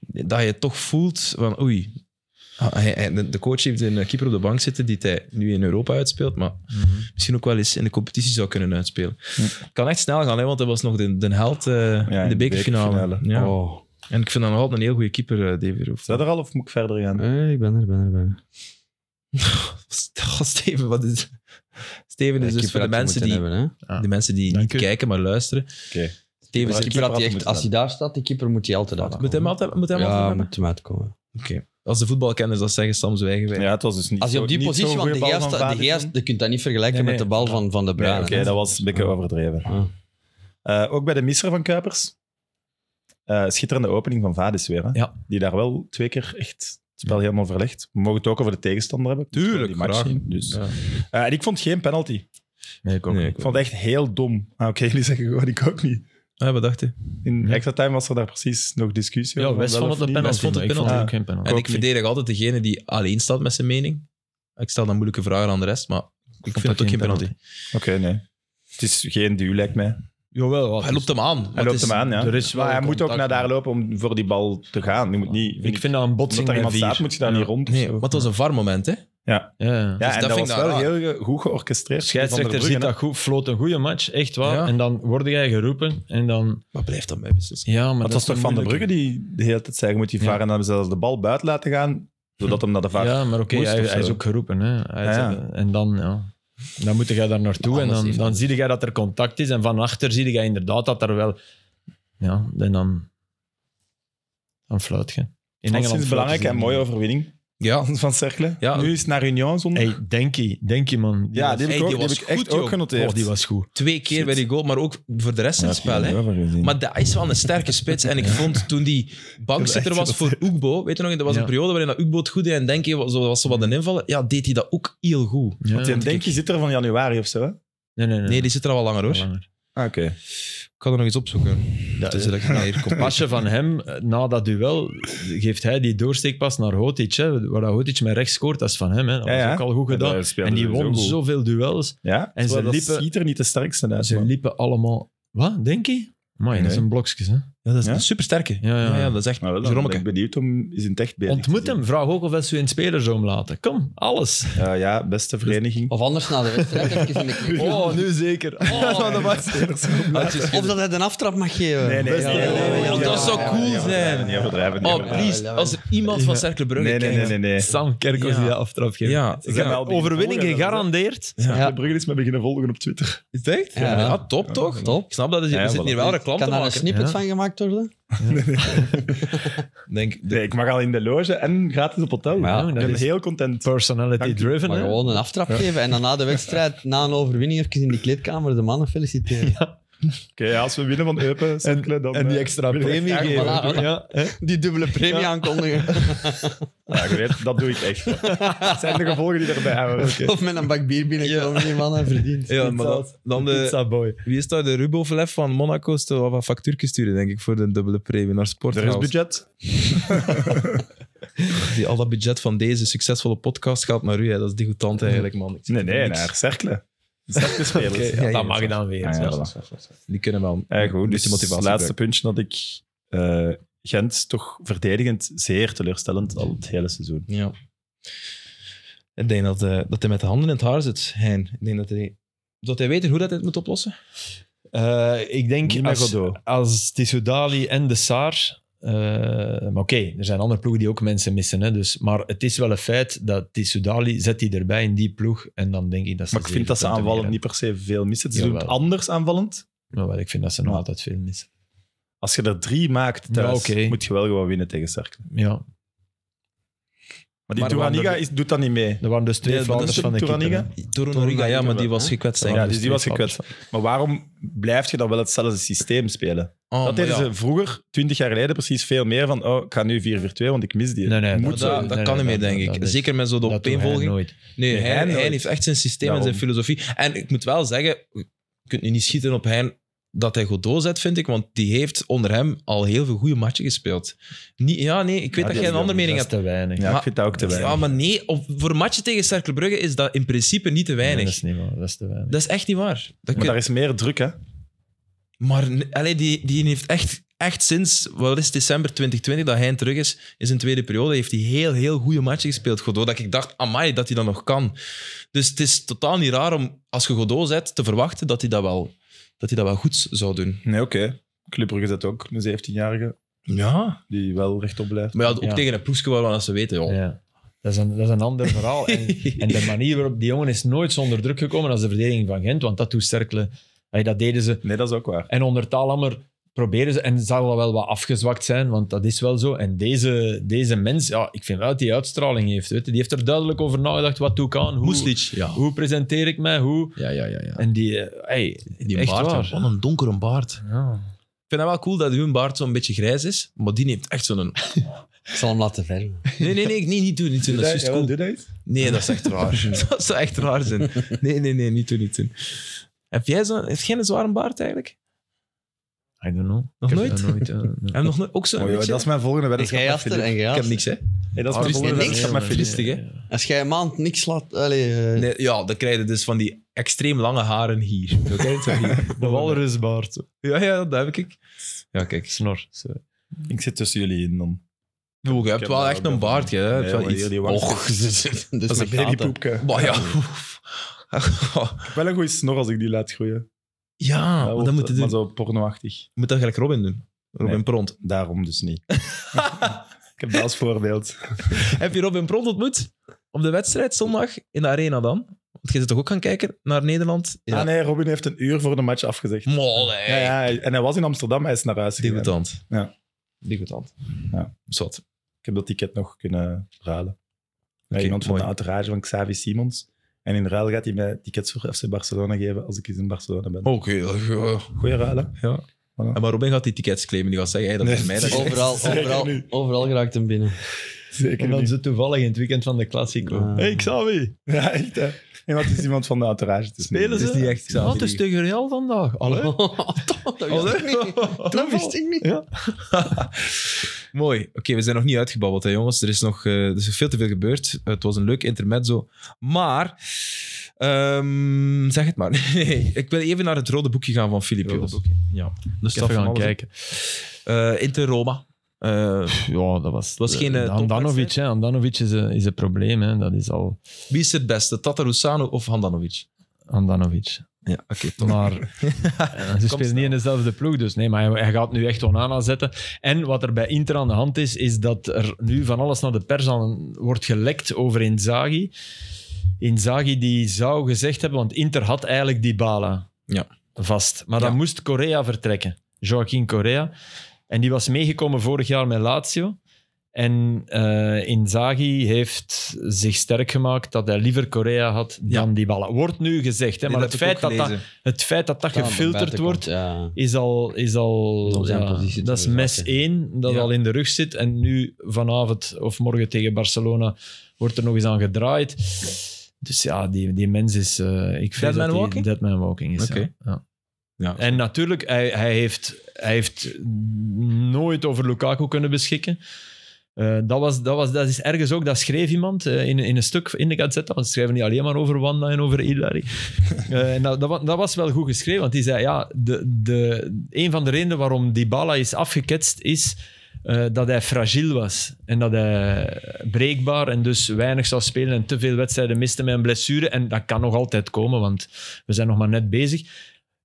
Speaker 1: Dat je toch voelt van oei, Ah, hij- hij- de- de coach heeft een keeper op de bank zitten die hij nu in Europa uitspeelt, maar misschien ook wel eens in de competitie zou kunnen uitspelen. Het kan echt snel gaan, hè, want hij was nog de, de held eh, in de
Speaker 2: de
Speaker 1: bekerfinale.
Speaker 2: bekerfinale.
Speaker 1: Ja.
Speaker 3: Oh.
Speaker 1: En ik vind dan nog altijd een heel goede keeper, eh, Davy Roof.
Speaker 2: Zijn we er al of moet ik verder gaan?
Speaker 3: Eh, ik ben er, ben er, ben er.
Speaker 1: Goh, oh, Steven, wat is... Steven is
Speaker 3: Ja,
Speaker 1: dus
Speaker 3: keeper
Speaker 1: voor de
Speaker 3: had je
Speaker 1: mensen,
Speaker 3: moeten
Speaker 1: die,
Speaker 3: hebben, hè.
Speaker 1: de mensen die
Speaker 4: Dank
Speaker 1: niet
Speaker 4: u.
Speaker 1: kijken, maar luisteren.
Speaker 2: Oké.
Speaker 1: Steven
Speaker 3: Maar
Speaker 1: is een
Speaker 3: de keeper
Speaker 1: keeper.
Speaker 3: had die
Speaker 2: had
Speaker 3: echt,
Speaker 2: moeten
Speaker 3: als hij daar staat, die keeper moet hij altijd uit.
Speaker 1: Moet hem altijd, moet hem altijd
Speaker 3: Ja,
Speaker 1: hebben?
Speaker 3: moet hem uitkomen.
Speaker 1: Oké. Als de voetbalkenners dat zeggen, Sam zwijgen wij.
Speaker 2: Ja, het was dus niet
Speaker 3: Als je
Speaker 2: zo-
Speaker 3: op die
Speaker 2: niet
Speaker 3: positie,
Speaker 2: zo'n
Speaker 3: want de
Speaker 2: goede bal
Speaker 3: Gea,
Speaker 2: van
Speaker 3: staat- de
Speaker 2: Vader
Speaker 3: Gea,
Speaker 2: toen.
Speaker 3: je kunt dat niet vergelijken
Speaker 2: Nee,
Speaker 3: met de
Speaker 2: nee.
Speaker 3: bal van, van de
Speaker 2: Nee,
Speaker 3: Bruyne.
Speaker 2: Oké, dat was een beetje overdreven.
Speaker 3: Ah.
Speaker 2: Eh, ook bij de misser van Kuipers. Eh, schitterende opening van Vadis weer. Hè?
Speaker 1: Ja.
Speaker 2: Die daar wel twee keer echt het spel helemaal verlegt. We mogen het ook over de tegenstander hebben.
Speaker 1: Tuurlijk,
Speaker 2: Die match
Speaker 1: graag.
Speaker 2: zien, Dus.
Speaker 1: Ja.
Speaker 2: Eh, en ik vond geen penalty.
Speaker 4: Nee, ik ook
Speaker 1: Nee,
Speaker 4: niet.
Speaker 2: Ik vond het echt heel dom. Ah, Oké, jullie zeggen gewoon, ik ook niet.
Speaker 1: Ah, wat dacht je?
Speaker 2: In extra time was er daar precies nog discussie
Speaker 4: Ja,
Speaker 2: over.
Speaker 4: West
Speaker 2: wel
Speaker 4: vond
Speaker 2: of
Speaker 4: het een
Speaker 2: niet.
Speaker 4: penalty.
Speaker 1: West vond het
Speaker 4: maar ik vond
Speaker 2: penalty.
Speaker 4: het ook geen penalty.
Speaker 1: En
Speaker 2: ook
Speaker 1: ik
Speaker 2: niet.
Speaker 1: verdedig altijd degene die alleen staat met zijn mening. Ik stel dan moeilijke vragen aan de rest, maar ik vind
Speaker 4: dat
Speaker 1: het ook geen
Speaker 4: geen
Speaker 1: penalty.
Speaker 2: Oké, nee. Het is geen duw, lijkt mij.
Speaker 4: Jawel, wat
Speaker 1: Hij
Speaker 4: is-
Speaker 1: loopt hem aan. maar
Speaker 2: Hij
Speaker 1: het
Speaker 2: loopt
Speaker 1: is-
Speaker 2: hem aan, ja.
Speaker 4: er is wel
Speaker 2: maar hij moet ook
Speaker 4: contact,
Speaker 2: naar daar
Speaker 4: maar-
Speaker 2: lopen om voor die bal te gaan. Je moet niet, vind
Speaker 4: dus Ik vind dat een botsing
Speaker 2: omdat daar
Speaker 4: bij
Speaker 2: iemand staat,
Speaker 4: vier.
Speaker 2: moet je daar
Speaker 4: Ja.
Speaker 2: niet rond.
Speaker 1: Nee, maar het was een VAR-moment, hè?
Speaker 4: Ja.
Speaker 2: Ja,
Speaker 1: Dus
Speaker 2: en
Speaker 1: dat
Speaker 2: dat,
Speaker 1: vind
Speaker 2: was
Speaker 1: ik
Speaker 2: wel
Speaker 1: nou
Speaker 2: heel ge- goed georchestreerd.
Speaker 4: Scheidsrechter ziet dat goed, floot een goede match, echt waar.
Speaker 1: Ja.
Speaker 4: En dan word jij geroepen en dan...
Speaker 1: Maar blijft dat mij beslissen?
Speaker 4: Ja, maar
Speaker 2: Maar het
Speaker 4: dat
Speaker 2: was toch
Speaker 4: is
Speaker 2: Van der
Speaker 4: moeilijk.
Speaker 2: Brugge die de hele tijd zei, je moet die
Speaker 4: Ja. Hm.
Speaker 2: varen en dan hebben ze zelfs de bal buiten laten gaan, zodat hem naar de vaar...
Speaker 4: Ja, maar oké,
Speaker 2: moest
Speaker 4: hij,
Speaker 2: of
Speaker 4: hij is
Speaker 2: zo.
Speaker 4: ook geroepen. Hè. Hij
Speaker 2: Ja, ja.
Speaker 4: zei- En dan, ja. dan moet jij daar naartoe en
Speaker 1: Anders
Speaker 4: dan,
Speaker 1: heeft
Speaker 4: dan
Speaker 1: hij-
Speaker 4: zie je dat er contact is. En van achter zie je inderdaad dat er wel... Ja, en dan... Dan fluit je. In
Speaker 2: Dat is een
Speaker 4: fluiten
Speaker 2: belangrijke
Speaker 4: ze
Speaker 2: en
Speaker 4: niet.
Speaker 2: mooie overwinning
Speaker 1: Ja.
Speaker 2: van Cercle.
Speaker 1: Ja.
Speaker 2: Nu is het naar Union zonder...
Speaker 4: Hey, Denkie, Denkie man.
Speaker 2: ja, die heb
Speaker 1: Hey,
Speaker 2: ik, ook,
Speaker 1: die
Speaker 2: die heb
Speaker 1: was
Speaker 2: ik echt
Speaker 1: goed,
Speaker 2: ook
Speaker 1: joh.
Speaker 2: genoteerd.
Speaker 4: oh, die was goed.
Speaker 1: Twee keer
Speaker 2: Shit.
Speaker 1: bij die goal, maar ook voor de rest in het spel, hè? Maar dat is wel een sterke spits. En ik vond toen die bankzitter was voor Oekbo, weet je nog, er was een
Speaker 4: Ja.
Speaker 1: periode waarin dat Oekbo het goed deed en denk je, was zo was zo wat een invallen, ja, deed hij dat ook heel goed.
Speaker 4: Ja.
Speaker 2: Want je denk je zit er van januari of zo, hè?
Speaker 4: Nee, nee, nee.
Speaker 1: Nee, die zit er al wel langer, hoor.
Speaker 4: Langer.
Speaker 2: Ah, oké.
Speaker 1: Ik kan er nog eens opzoeken.
Speaker 4: Dat
Speaker 1: Het is dat ik naar hier kom.
Speaker 4: pasje van hem, eh, na dat duel, geeft hij die doorsteekpas naar Hotic. Hè, waar dat Hotic met rechts scoort, dat is van hem. Hè. Dat
Speaker 2: Ja, ja.
Speaker 4: was ook al goed
Speaker 2: Ja,
Speaker 4: gedaan.
Speaker 2: daar speelde
Speaker 4: en die
Speaker 2: hij
Speaker 4: won
Speaker 2: sowieso goed.
Speaker 4: zoveel duels.
Speaker 2: Ja, en ze liepen... ziet er niet de sterkste uit,
Speaker 4: Ze
Speaker 2: man.
Speaker 4: liepen allemaal... Wat, denk je? Maar dat
Speaker 2: Nee.
Speaker 4: is een blokjes, hè.
Speaker 1: Ja, dat is
Speaker 2: Ja?
Speaker 1: een supersterke.
Speaker 4: Ja, ja.
Speaker 1: dat is echt
Speaker 2: Maar wel, dan ben ik
Speaker 1: Jeromeke.
Speaker 2: benieuwd om is in het echt bezig
Speaker 4: Ontmoet
Speaker 2: te
Speaker 4: hem,
Speaker 2: zien.
Speaker 4: vraag ook of dat ze in spelerzoom laten. Kom, alles.
Speaker 2: Eh, ja, beste vereniging.
Speaker 3: Of anders na de wedstrijd. even in de knie.
Speaker 4: Oh, nu zeker.
Speaker 3: Oh.
Speaker 1: Had je-
Speaker 3: Of dat hij een aftrap mag geven.
Speaker 2: Ja,
Speaker 3: nee, nee, nee,
Speaker 1: dat zou cool zijn.
Speaker 2: Niet overdrijven, niet
Speaker 1: Oh,
Speaker 2: overdrijven.
Speaker 1: please.
Speaker 3: ja, ja.
Speaker 1: Als er iemand van Cercle Brugge
Speaker 2: Nee, nee, nee,
Speaker 1: kijkt.
Speaker 2: nee. nee.
Speaker 4: Sam Kerkhoff
Speaker 1: Ja.
Speaker 4: die dat aftrap geeft.
Speaker 1: Ja, ja.
Speaker 2: Ik heb wel die
Speaker 4: Overwinning
Speaker 2: volgen,
Speaker 4: gegarandeerd.
Speaker 1: Ja.
Speaker 2: De Brugge is me beginnen volgen op Twitter.
Speaker 1: Is het echt?
Speaker 3: Ja.
Speaker 1: Ja, top toch?
Speaker 3: Top.
Speaker 1: Ik snap dat er, er
Speaker 2: Ja,
Speaker 1: zit
Speaker 2: voilà.
Speaker 1: hier wel reclame
Speaker 3: Kan
Speaker 1: te
Speaker 3: daar een
Speaker 1: maken.
Speaker 3: snippet
Speaker 4: Ja.
Speaker 3: van gemaakt worden?
Speaker 1: Denk,
Speaker 2: Nee, ik mag al in de loge en gratis op hotel.
Speaker 3: Maar ja,
Speaker 2: ik
Speaker 4: dat
Speaker 2: ben
Speaker 4: is-
Speaker 2: heel content.
Speaker 4: Personality driven.
Speaker 3: Maar
Speaker 4: hè.
Speaker 3: gewoon een aftrap geven en dan na de wedstrijd, na een overwinning, even in die kleedkamer de mannen feliciteren.
Speaker 2: Oké, ja, als we winnen van Eupen, Cercle, dan...
Speaker 4: en die
Speaker 2: eh,
Speaker 4: extra
Speaker 2: wil ik
Speaker 4: premie
Speaker 2: echt-
Speaker 4: geven.
Speaker 3: voilà, voilà.
Speaker 4: Ja, hè.
Speaker 3: Die dubbele premie aankondigen.
Speaker 2: Ja, je weet, dat doe ik echt. Dat zijn de gevolgen die erbij hebben.
Speaker 3: Of met een bak bier binnenkomen, die mannen verdient.
Speaker 1: ja, maar dan, dan de,
Speaker 4: Pizza boy.
Speaker 1: wie is daar de Rubovlev van Monaco? Is wel wat factuurtjes sturen, denk ik, voor de dubbele premie naar sport.
Speaker 2: Er is budget.
Speaker 1: Die, al dat budget van deze succesvolle podcast gaat naar u. Hè. Dat is degoutant eigenlijk, man. Ik zeg
Speaker 2: Nee, nee,
Speaker 1: niks.
Speaker 2: naar Cercle. Cercle
Speaker 1: Oké,
Speaker 2: spelers.
Speaker 1: ja, ja,
Speaker 4: dat mag dan weer.
Speaker 2: Ah, ja,
Speaker 4: zelfs.
Speaker 2: voilà.
Speaker 1: Die kunnen wel.
Speaker 2: Ja, goed.
Speaker 1: een
Speaker 2: Dus
Speaker 1: beetje
Speaker 2: het
Speaker 1: motivatie
Speaker 2: laatste puntje dat ik... eh, Gent toch verdedigend zeer teleurstellend al het hele seizoen.
Speaker 1: Ja. Ik denk dat, eh, dat hij met de handen in het haar zit, Hein. Ik denk dat hij, dat hij weet hoe dat hij het moet oplossen.
Speaker 4: Eh, ik denk
Speaker 2: Niet met
Speaker 4: als,
Speaker 2: Godot.
Speaker 4: als Tissoudali en de Saar. eh, maar oké, er zijn andere ploegen die ook mensen missen. Hè, dus, maar het is wel een feit dat Tissoudali zet die erbij in die ploeg. En dan denk ik dat ze.
Speaker 2: Maar ik
Speaker 4: zeven
Speaker 2: vind dat ze
Speaker 4: punten
Speaker 2: aanvallend niet
Speaker 4: meer
Speaker 2: per se veel missen. Ze doen
Speaker 4: Jawel.
Speaker 2: het anders aanvallend.
Speaker 4: hebben. Maar wel, ik vind dat ze nog
Speaker 2: Ja.
Speaker 4: altijd veel missen.
Speaker 2: Als je er drie maakt thuis,
Speaker 4: Ja, oké.
Speaker 2: moet je wel gewoon winnen tegen Cercle.
Speaker 4: Ja,
Speaker 2: Maar die
Speaker 4: Maar
Speaker 2: Touraniga
Speaker 4: Wander-
Speaker 2: is, doet dat niet mee.
Speaker 4: er waren dus twee
Speaker 1: Nee, maar dat
Speaker 4: Vlaanders
Speaker 1: is
Speaker 4: van de keeper.
Speaker 2: Touraniga?
Speaker 4: hè.
Speaker 1: Torunoriga, ja, maar die was gekwetst, denk ik.
Speaker 2: Ja, dus die was gekwetst. Maar waarom blijf je dan wel hetzelfde systeem spelen?
Speaker 1: Oh,
Speaker 2: dat
Speaker 1: maar
Speaker 2: deden
Speaker 1: ja.
Speaker 2: ze vroeger, twintig jaar geleden, precies veel meer van oh, ik ga nu 4-4-2, want ik mis die.
Speaker 4: Nee, nee,
Speaker 1: Maar
Speaker 4: Moet
Speaker 1: dat,
Speaker 4: zo.
Speaker 1: dat kan
Speaker 4: Nee, nee,
Speaker 1: niet meer,
Speaker 4: dat-
Speaker 1: denk
Speaker 4: dat-
Speaker 1: ik.
Speaker 4: dat-
Speaker 1: Zeker met zo'n
Speaker 4: Dat doet hij
Speaker 1: opeenvolging.
Speaker 4: nooit.
Speaker 1: Nee,
Speaker 2: Nee,
Speaker 1: hij,
Speaker 2: Hein nooit.
Speaker 1: heeft echt zijn systeem en zijn
Speaker 2: Daarom.
Speaker 1: filosofie. En ik moet wel zeggen, je kunt nu niet schieten op Hein dat hij Godot zet, vind ik. Want die heeft onder hem al heel veel goede matchen gespeeld. Niet, ja, nee, ik weet
Speaker 2: Ja,
Speaker 1: dat
Speaker 2: die
Speaker 1: jij een
Speaker 2: is
Speaker 1: andere
Speaker 2: dan-
Speaker 1: mening
Speaker 4: Dat
Speaker 1: hebt.
Speaker 4: is te weinig.
Speaker 2: Ja,
Speaker 1: Maar-
Speaker 2: ik vind dat ook te weinig.
Speaker 1: Ja, maar nee, op, voor een match tegen Cercle Brugge is dat in principe niet te
Speaker 4: Nee,
Speaker 1: weinig.
Speaker 4: dat is niet waar. Dat is te weinig.
Speaker 1: Dat is echt niet waar. Dat
Speaker 2: Maar
Speaker 1: kun-
Speaker 2: daar is meer druk, hè?
Speaker 1: Maar, n- allee, die, die heeft echt echt sinds, wat is december 2020, dat hij terug is, in zijn tweede periode, heeft hij heel, heel goede matchen gespeeld. Godot, dat ik dacht, amai, dat hij dat nog kan. Dus het is totaal niet raar om, als je Godot zet, te verwachten dat hij dat wel, dat hij dat wel goed zou doen.
Speaker 2: Nee, oké. Club Brugge zet ook een 17-jarige
Speaker 1: Ja.
Speaker 2: die wel rechtop blijft.
Speaker 1: Maar ja, ook
Speaker 4: Ja.
Speaker 1: tegen een ploegje waarvan ze weten, joh.
Speaker 4: Ja. Dat, is een, dat is een ander verhaal. En, en de manier waarop die jongen is nooit zonder druk gekomen als de verdediging van Gent, want dat doet Cercle. Hey, dat deden ze.
Speaker 2: Nee, dat is ook waar.
Speaker 4: En onder Talammer proberen ze, en zal dat wel wat afgezwakt zijn, want dat is wel zo. En deze, deze mens, ja, ik vind wel dat die uitstraling heeft. Weet je. Die heeft er duidelijk over nagedacht, wat doe ik aan? Hoe,
Speaker 1: Moeslic, ja.
Speaker 4: hoe presenteer ik mij? Hoe?
Speaker 1: Ja, ja, ja. ja.
Speaker 4: En die, eh, hey,
Speaker 1: Die
Speaker 4: echt
Speaker 1: baard,
Speaker 4: waar.
Speaker 1: wat een donkere baard.
Speaker 4: Ja.
Speaker 1: Ik vind dat wel cool dat hun baard zo'n beetje grijs is, maar die heeft echt zo'n...
Speaker 3: Ik zal hem laten verven.
Speaker 1: Nee, nee, nee, nee niet doen, niet doen. Dat is juist cool.
Speaker 2: doe dat iets?
Speaker 1: Nee, dat is echt raar. dat zou echt raar zijn. Nee, nee, nee, niet doen, niet doen. Heb jij zo'n... Heeft jij een zware baard eigenlijk?
Speaker 4: I don't know.
Speaker 1: Nog
Speaker 4: Ik heb
Speaker 1: nooit?
Speaker 4: dat nooit, eh, nee.
Speaker 1: Heb je nog nooit- ook zo'n...
Speaker 2: Oh, joh,
Speaker 1: beetje?
Speaker 2: dat is mijn volgende
Speaker 3: En
Speaker 2: weddenschap.
Speaker 3: jij
Speaker 2: met
Speaker 3: achter
Speaker 2: Filip.
Speaker 3: en jij
Speaker 1: Ik heb
Speaker 3: achter.
Speaker 1: niks, hè.
Speaker 2: Hey, dat is
Speaker 1: Oh,
Speaker 2: mijn
Speaker 1: dus
Speaker 2: volgende
Speaker 1: niks
Speaker 2: weddenschap met
Speaker 1: van
Speaker 2: Filip.
Speaker 1: Listig, hè?
Speaker 3: Als jij een maand niks laat... Allee, eh,
Speaker 1: Nee, ja, dan krijg je dus van die extreem lange haren hier. Zo kijk, zo hier.
Speaker 4: De walrusbaard.
Speaker 1: Ja, ja, dat heb ik. Ja, kijk.
Speaker 4: Snor. Zo.
Speaker 2: Ik zit tussen jullie in dan.
Speaker 1: Oh, je
Speaker 2: Ik
Speaker 1: hebt
Speaker 2: heb
Speaker 1: wel
Speaker 2: dat
Speaker 1: echt
Speaker 2: ook
Speaker 1: een
Speaker 2: wel.
Speaker 1: baard, hè.
Speaker 2: Nee,
Speaker 1: Hebt wel
Speaker 2: maar
Speaker 1: iets.
Speaker 2: die- die
Speaker 1: Och,
Speaker 3: och, dus, dus
Speaker 2: Dat is
Speaker 3: met
Speaker 2: een
Speaker 3: gaten.
Speaker 2: babypoepke.
Speaker 1: maar ja.
Speaker 2: Ik heb wel een goede snor als ik die laat groeien.
Speaker 1: Ja,
Speaker 2: Dat
Speaker 1: maar
Speaker 2: wordt- eh,
Speaker 1: dat Ah, moet je
Speaker 2: Maar
Speaker 1: doen.
Speaker 2: zo pornoachtig.
Speaker 1: Je moet dat gelijk Robin doen. Robin
Speaker 2: Nee.
Speaker 1: Pront.
Speaker 2: Daarom dus niet. ik heb dat als voorbeeld.
Speaker 1: Heb je Robin Pront ontmoet? Op de wedstrijd zondag in de arena dan? Want je zit toch ook gaan kijken naar Nederland?
Speaker 3: Ja.
Speaker 2: Ah nee, Robin heeft een uur voor de match afgezegd.
Speaker 1: Molle.
Speaker 2: Ja, ja, hij- en hij was in Amsterdam, hij is naar huis gegaan.
Speaker 1: Degotant.
Speaker 2: Ja.
Speaker 1: Degotant.
Speaker 2: Ja.
Speaker 1: Zot.
Speaker 2: Ik heb dat ticket nog kunnen ruilen. Bij
Speaker 1: Oké,
Speaker 2: iemand van
Speaker 1: mooi.
Speaker 2: de entourage van Xavi Simons. En in ruil gaat hij mij tickets voor FC Barcelona geven als ik eens in Barcelona ben.
Speaker 1: Oké. ja.
Speaker 2: Goeie ruilen.
Speaker 1: Ja. Ja, Maar Robin gaat die tickets claimen. Die gaat zeggen, hey, dat is
Speaker 2: Nee.
Speaker 1: mij. Dat
Speaker 2: Oh.
Speaker 3: Overal,
Speaker 2: Zeker
Speaker 3: overal,
Speaker 2: nu.
Speaker 3: overal geraakt hem binnen.
Speaker 2: Zeker
Speaker 4: En dan
Speaker 2: niet.
Speaker 4: zo toevallig in het weekend van de Classico.
Speaker 3: Ah.
Speaker 4: hey, Xavi.
Speaker 2: Ja, echt hè. En wat is iemand van de entourage? Het is
Speaker 4: Spelen
Speaker 2: niet-
Speaker 4: ze?
Speaker 2: het is niet echt
Speaker 1: Ja,
Speaker 2: Xavi.
Speaker 1: het is
Speaker 4: tegen Real vandaag. Allee.
Speaker 3: dat wist ik niet. Dat wist ik niet.
Speaker 1: Mooi. Oké, we zijn nog niet uitgebabbeld, hè, jongens. Er is nog eh, er is veel te veel gebeurd. Het was een leuk intermezzo. Maar, ehm, zeg het maar. Nee, ik wil even naar het rode boekje gaan van Filip.
Speaker 4: Rode
Speaker 1: Joos.
Speaker 4: boekje.
Speaker 1: Ja.
Speaker 4: Dus
Speaker 1: staf
Speaker 4: even
Speaker 1: van
Speaker 4: gaan
Speaker 1: alles
Speaker 4: kijken.
Speaker 1: Eh, Inter Roma. Eh,
Speaker 4: Ja, dat was... Het
Speaker 1: was geen, eh,
Speaker 4: Andanovic,
Speaker 1: topwedstrijd.
Speaker 4: hè. Andanovic is, een- is een probleem,
Speaker 1: eh,
Speaker 4: hè. Dat is al
Speaker 1: wie is het beste? Tatarusano of Handanovic?
Speaker 4: Andanovic.
Speaker 1: Ja, oké. top.
Speaker 4: Maar eh, ze
Speaker 1: snel.
Speaker 4: spelen niet in dezelfde ploeg, dus nee. Maar hij, hij gaat nu echt Onana zetten. En wat er bij Inter aan de hand is, is dat er nu van alles naar de pers aan wordt gelekt over Inzaghi. Inzaghi die zou gezegd hebben, want Inter had eigenlijk Dybala
Speaker 1: Ja.
Speaker 4: vast. Maar dan
Speaker 1: Ja.
Speaker 4: moest Correa vertrekken. Joaquin Correa. En die was meegekomen vorig jaar met Lazio. En eh Inzaghi heeft zich sterk gemaakt dat hij liever Correa had
Speaker 1: Ja.
Speaker 4: dan Dybala. Wordt nu gezegd, hè,
Speaker 1: Nee,
Speaker 4: maar
Speaker 1: dat
Speaker 4: het
Speaker 1: heb ik
Speaker 4: feit
Speaker 1: ook
Speaker 4: dat dat
Speaker 1: gelezen.
Speaker 4: het feit dat dat gefilterd wordt,
Speaker 3: Ja.
Speaker 4: is al... Is al
Speaker 3: Om zijn
Speaker 4: ja,
Speaker 3: positie te
Speaker 4: dat is mes
Speaker 3: verzachten.
Speaker 4: 1, dat
Speaker 1: Ja.
Speaker 4: al in de rug zit. En nu vanavond of morgen tegen Barcelona wordt er nog eens aan gedraaid. Dus ja, die, die mens is... eh ik
Speaker 1: Dead man
Speaker 4: vind dat die
Speaker 1: walking?
Speaker 4: Dead man walking is, ja.
Speaker 1: Oké.
Speaker 4: ja.
Speaker 1: Ja.
Speaker 4: En natuurlijk, hij, hij, heeft, hij heeft nooit over Lukaku kunnen beschikken. Eh, dat, was, dat, was, dat is ergens ook, dat schreef iemand eh, in, in een stuk in de Gazette, want ze schrijven niet alleen maar over Wanda en over Hilary. Eh, en dat, dat, wa- dat was wel goed geschreven, want die zei, ja, de, de, een van de redenen waarom Dybala is afgeketst is eh, dat hij fragiel was. En dat hij breekbaar en dus weinig zou spelen en te veel wedstrijden miste met een blessure. En dat kan nog altijd komen, want we zijn nog maar net bezig.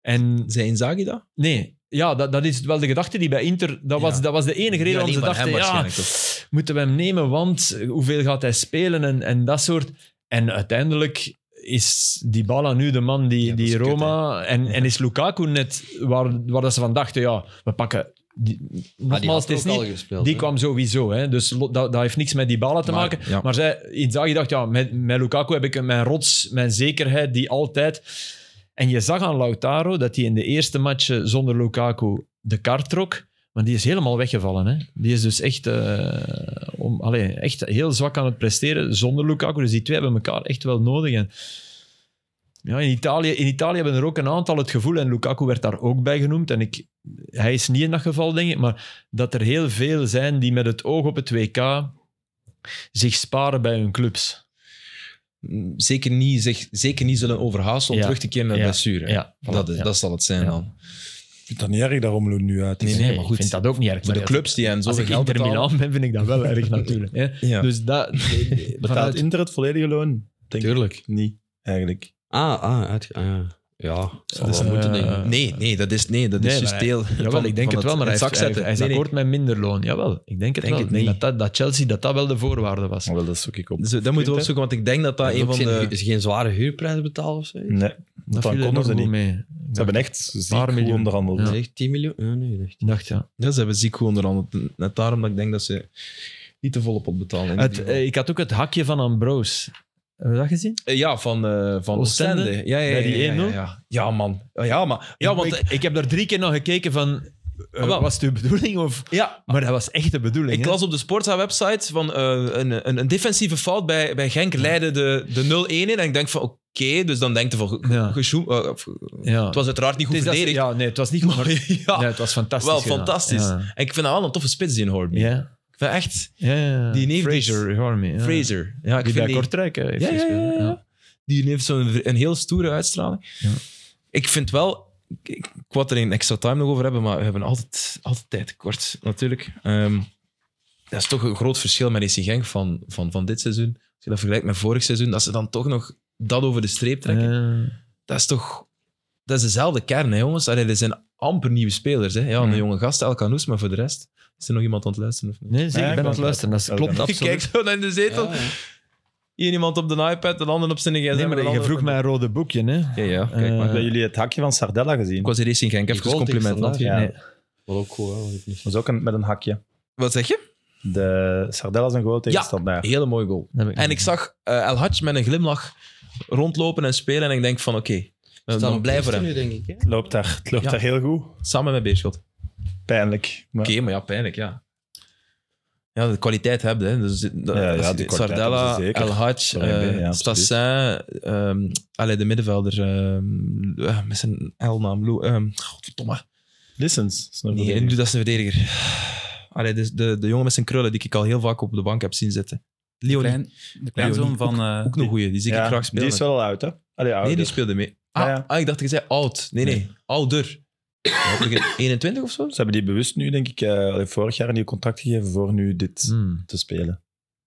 Speaker 4: En
Speaker 1: Zei Inzaghi dat?
Speaker 4: nee, ja, dat, dat is wel de gedachte die bij Inter... Dat,
Speaker 1: Ja.
Speaker 4: was, dat was de enige reden waarom ze
Speaker 1: maar hem
Speaker 4: dachten, ja,
Speaker 1: waarschijnlijk toch?
Speaker 4: moeten we hem nemen, want hoeveel gaat hij spelen en, en dat soort. En uiteindelijk is Dybala nu de man die,
Speaker 1: Ja, dat is
Speaker 4: die
Speaker 1: kut,
Speaker 4: Roma... en, en is Lukaku net waar, waar dat ze van dachten, ja, we pakken... Die,
Speaker 1: Ah,
Speaker 3: Maar die
Speaker 4: nogmaals,
Speaker 3: had
Speaker 4: het is
Speaker 3: ook al
Speaker 4: niet...
Speaker 3: gespeeld.
Speaker 4: Die
Speaker 3: hè?
Speaker 4: kwam sowieso, hè. dus lo- dat, dat heeft niks met Dybala te
Speaker 1: Maar,
Speaker 4: maken.
Speaker 1: ja.
Speaker 4: Maar zij, Inzaghi dacht, ja, met, met Lukaku heb ik mijn rots, mijn zekerheid, die altijd... En je zag aan Lautaro dat hij in de eerste match eh, zonder Lukaku de kaart trok. Maar die is helemaal weggevallen. Hè? Die is dus echt, eh, om, allee, echt heel zwak aan het presteren zonder Lukaku. Dus die twee hebben elkaar echt wel nodig. En, ja, in, Italië, in Italië hebben er ook een aantal het gevoel, en Lukaku werd daar ook bij genoemd. En ik, hij is niet in dat geval, denk ik. Maar dat er heel veel zijn die met het oog op het WK zich sparen bij hun clubs.
Speaker 1: Mm, Zeker niet, zich, zeker niet zullen overhaasten om
Speaker 4: Ja.
Speaker 1: terug te keren naar
Speaker 4: Ja.
Speaker 1: blessure.
Speaker 4: Ja,
Speaker 1: Dat,
Speaker 4: voilà,
Speaker 1: is-
Speaker 4: ja.
Speaker 1: dat zal het zijn
Speaker 4: Ja.
Speaker 1: dan.
Speaker 2: vind dat niet erg dat Romelu nu uit is.
Speaker 1: Nee, nee, maar goed.
Speaker 4: Ik vind dat ook niet erg.
Speaker 1: Voor de
Speaker 4: maar
Speaker 1: clubs die hen
Speaker 4: Als
Speaker 1: zoveel
Speaker 4: ik
Speaker 1: geld
Speaker 4: Inter
Speaker 1: betalen.
Speaker 4: Milaan ben, vind ik dat wel erg natuurlijk. hè.
Speaker 1: Ja.
Speaker 4: Dus dat...
Speaker 2: Betaalt
Speaker 4: vanuit-
Speaker 2: Inter het volledige loon? Denk
Speaker 1: Tuurlijk.
Speaker 2: ik niet, eigenlijk.
Speaker 3: Ah, ah, uit, ah, ja. ja.
Speaker 4: Dat is,
Speaker 3: we moeten
Speaker 4: eh,
Speaker 3: denken.
Speaker 1: Nee, nee, dat is, nee, dat
Speaker 4: Nee,
Speaker 1: is
Speaker 4: maar
Speaker 1: juist
Speaker 4: hij-
Speaker 1: deel.
Speaker 4: Jawel,
Speaker 1: van-
Speaker 4: ik denk
Speaker 1: van
Speaker 4: het wel, maar hij,
Speaker 1: het zak
Speaker 4: heeft- hij,
Speaker 1: zetten.
Speaker 4: hij is
Speaker 1: Nee, nee.
Speaker 4: akkoord met minder loon. Jawel, ik denk het
Speaker 1: Denk
Speaker 4: wel.
Speaker 1: het
Speaker 4: ik denk
Speaker 1: niet.
Speaker 4: dat, dat, dat Chelsea dat, dat wel de voorwaarde was.
Speaker 2: Maar wel, dat zoek ik op.
Speaker 1: Dus dat moeten we opzoeken, want ik denk dat dat
Speaker 3: Is
Speaker 1: een
Speaker 3: ook
Speaker 1: van
Speaker 3: geen,
Speaker 1: de...
Speaker 3: is geen zware huurprijs betaald of zo?
Speaker 2: Nee, want
Speaker 4: Dat
Speaker 2: dan
Speaker 4: viel
Speaker 2: konden
Speaker 4: er
Speaker 2: ze
Speaker 4: goed
Speaker 2: niet.
Speaker 4: mee.
Speaker 2: Ze hebben echt ziek
Speaker 4: paar
Speaker 2: goed
Speaker 4: miljoen.
Speaker 2: onderhandeld.
Speaker 4: Ja.
Speaker 3: Is echt 10 miljoen? Ja, nee, echt.
Speaker 4: Ik dacht, ja.
Speaker 1: Ja, ze hebben ziek goed onderhandeld. Net daarom dat ik denk dat ze niet de volle pot betalen. in
Speaker 4: Het,
Speaker 1: ieder
Speaker 4: eh,
Speaker 1: geval.
Speaker 4: ik had ook het hakje van Ambrose. Hebben we dat gezien?
Speaker 1: Eh, ja, van, eh van
Speaker 4: Oostende?
Speaker 1: Oostende. Ja, ja, ja,
Speaker 4: Bij die
Speaker 1: ja, ja,
Speaker 4: 1-0?
Speaker 1: ja. Ja, man. Ja, maar... Ja,
Speaker 4: Ja,
Speaker 1: want...
Speaker 4: want ik, ik heb daar drie keer naar gekeken van... eh,
Speaker 1: Wel.
Speaker 4: was het uw bedoeling? Of,
Speaker 1: Ja,
Speaker 4: maar dat was echt de bedoeling.
Speaker 1: Ik
Speaker 4: hè?
Speaker 1: las op de Sportza-website van eh, een, een, een defensieve fout bij, bij Genk leidde de, de 0-1 in. En ik denk van, oké, dus dan denkt hij van... ge-
Speaker 4: Ja.
Speaker 1: gezoem- eh, of- het
Speaker 4: ja.
Speaker 1: was uiteraard niet goed
Speaker 4: Het is dat-
Speaker 1: verdedigd.
Speaker 4: ja, nee, het was niet goed.
Speaker 1: Maar ja,
Speaker 4: Nee, het was fantastisch.
Speaker 1: wel
Speaker 4: gedaan.
Speaker 1: fantastisch.
Speaker 4: Ja.
Speaker 1: En ik vind dat wel een toffe spits, die in Hornby.
Speaker 4: Ja.
Speaker 1: Ik vind echt...
Speaker 4: Ja, ja, ja.
Speaker 1: Die neemt-
Speaker 4: dus. Fraser, Harmy. Ja.
Speaker 1: Fraser. Ja, ik
Speaker 4: die
Speaker 1: vind
Speaker 4: bij
Speaker 1: die,
Speaker 4: Kortrijk hè, heeft
Speaker 1: Ja, ja, ja,
Speaker 4: gespeeld.
Speaker 1: ja. die heeft zo'n een heel stoere uitstraling.
Speaker 4: Ja.
Speaker 1: Ik vind wel... Ik, ik wou het er in extra time nog over hebben, maar we hebben altijd, altijd tijd tekort, natuurlijk. Ehm, dat is toch een groot verschil met AC Genk van, van, van dit seizoen. Als je dat vergelijkt met vorig seizoen, dat ze dan toch nog dat over de streep trekken.
Speaker 4: Ja.
Speaker 1: Dat is toch... Dat is dezelfde kern, hè, jongens. Allee, er zijn amper nieuwe spelers. Hè. Ja, een
Speaker 4: Ja.
Speaker 1: jonge gast, El Canoes, maar voor de rest... Is er nog iemand aan het luisteren? Of niet?
Speaker 4: Nee, zeker.
Speaker 2: Ja,
Speaker 4: ik ben aan het luisteren. Dat
Speaker 2: Ja,
Speaker 4: klopt
Speaker 2: ik
Speaker 1: Ik
Speaker 4: absoluut.
Speaker 1: kijk zo naar in de zetel.
Speaker 3: Ja, ja.
Speaker 1: Hier iemand op de iPad, de ander op zijn gsm.
Speaker 4: Nee,
Speaker 1: en de
Speaker 4: maar je
Speaker 1: ander
Speaker 4: vroeg
Speaker 1: op-
Speaker 4: mij een rode boekje, hè?
Speaker 1: Ja, ja, kijk
Speaker 4: Eh,
Speaker 1: maar.
Speaker 2: Hebben jullie het hakje van Sardella gezien?
Speaker 1: Ik was hier eens in Genk, even
Speaker 3: goal tegen
Speaker 1: compliment.
Speaker 3: Standaard.
Speaker 1: want-
Speaker 2: Ja.
Speaker 4: nee.
Speaker 3: Wat ook goed, hè, was ik niet.
Speaker 2: was ook een- met een hakje.
Speaker 1: Wat zeg je?
Speaker 2: De Sardella is een goal tegen
Speaker 1: Ja.
Speaker 2: standaard.
Speaker 1: Hele mooie goal.
Speaker 4: Dat heb ik
Speaker 1: En ik zag eh El Hadj met een glimlach rondlopen en spelen. En ik denk van, oké, dan
Speaker 3: Staan op
Speaker 1: blij voor
Speaker 3: eerste
Speaker 1: hem.
Speaker 3: nu, denk ik. Hè?
Speaker 2: Het loopt daar, het loopt
Speaker 1: Ja.
Speaker 2: daar heel goed.
Speaker 1: Samen met Beerschot. Oké,
Speaker 2: Pijnlijk. Maar
Speaker 1: maar ja, pijnlijk, ja. Ja, de kwaliteit hebben. Hè. Dus, dat-
Speaker 2: Ja, ja,
Speaker 1: als-
Speaker 2: die kwaliteit
Speaker 1: Sardella,
Speaker 2: hebben ze zeker.
Speaker 1: El Hadj,
Speaker 2: Daar ben je,
Speaker 1: eh
Speaker 2: ja,
Speaker 1: Stassin, ehm, allee, de middenvelder ehm, eh, met zijn L-naam. Lou- ehm, Godverdomme.
Speaker 2: Listens. is nog
Speaker 1: Nee,
Speaker 2: verdedigd.
Speaker 1: nu dat is een verdediger. Allee, dus de, de jongen met zijn krullen, die ik al heel vaak op de bank heb zien zitten. Leonie,
Speaker 5: Klein, de kleinzoon van... eh,
Speaker 1: ook een goeie, die zie ik
Speaker 2: Ja,
Speaker 1: graag spelen.
Speaker 2: Die is wel al oud, hè? Allee, ouder.
Speaker 1: Nee, die speelde mee. Ah,
Speaker 2: Ja, ja.
Speaker 1: ah, ik dacht, je zei oud. Nee, nee, ouder. Ja, begin 21 of zo?
Speaker 2: Ze hebben die bewust nu, denk ik, eh, allee, vorig jaar een nieuw contract gegeven voor nu dit
Speaker 1: Mm.
Speaker 4: Hmm.
Speaker 2: te spelen.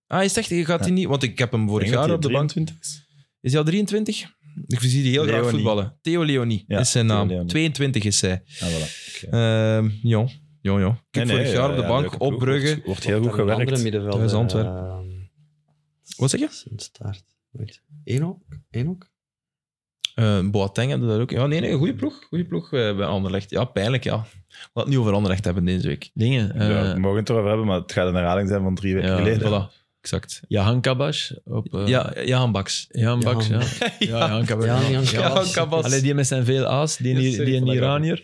Speaker 1: Ah, je zegt, je gaat die niet... Want ik heb hem vorig
Speaker 2: Ik denk dat
Speaker 1: jaar
Speaker 2: die
Speaker 1: op de bank.
Speaker 2: 23 is.
Speaker 1: Is hij al 23? Ik zie die heel graag
Speaker 2: Leonie.
Speaker 1: voetballen. Theo Leonie
Speaker 2: Ja,
Speaker 1: is zijn
Speaker 2: Theo
Speaker 1: naam.
Speaker 2: Leonie.
Speaker 1: 22 is hij.
Speaker 2: Ah, voilà. Oké.
Speaker 1: Ehm jong, jong, jong. Ik heb
Speaker 2: Nee, nee,
Speaker 1: vorig jaar
Speaker 2: ja,
Speaker 1: op de
Speaker 2: ja,
Speaker 1: bank
Speaker 2: leuke
Speaker 1: op
Speaker 2: ploeg.
Speaker 1: Brugge...
Speaker 2: Wordt, wordt heel goed
Speaker 3: Dan een Andere
Speaker 2: gewerkt.
Speaker 3: middenvelder. eh,
Speaker 1: Thuis Antwerpen.
Speaker 3: ehm,
Speaker 1: Wat zeg je?
Speaker 3: Sint-Staart. Weet je. Enok? Enok?
Speaker 1: Eh Boateng hadden daar ook. Ja, nee, nee, goede ploeg. Goede ploeg eh, bij Anderlecht. Ja, pijnlijk, ja. Laat het niet over Anderlecht hebben deze week.
Speaker 4: Dingen. eh,
Speaker 2: ja, we mogen het erover hebben, maar het gaat een herhaling zijn van drie weken
Speaker 4: Ja,
Speaker 2: geleden.
Speaker 1: Voilà, exact.
Speaker 4: Jahan Kabas. Op, eh,
Speaker 1: Ja, Jahan Baks.
Speaker 4: Jahan Baks, ja.
Speaker 3: Jahan.
Speaker 4: Ja, Jahan Kabas.
Speaker 3: Ja,
Speaker 4: Ja,
Speaker 3: Jan
Speaker 1: Ja, Kabas.
Speaker 4: Allee, die met zijn veel a's, die,
Speaker 1: Ja,
Speaker 4: die,
Speaker 1: sorry
Speaker 4: die
Speaker 1: voor
Speaker 4: een
Speaker 1: dat
Speaker 4: Iranier.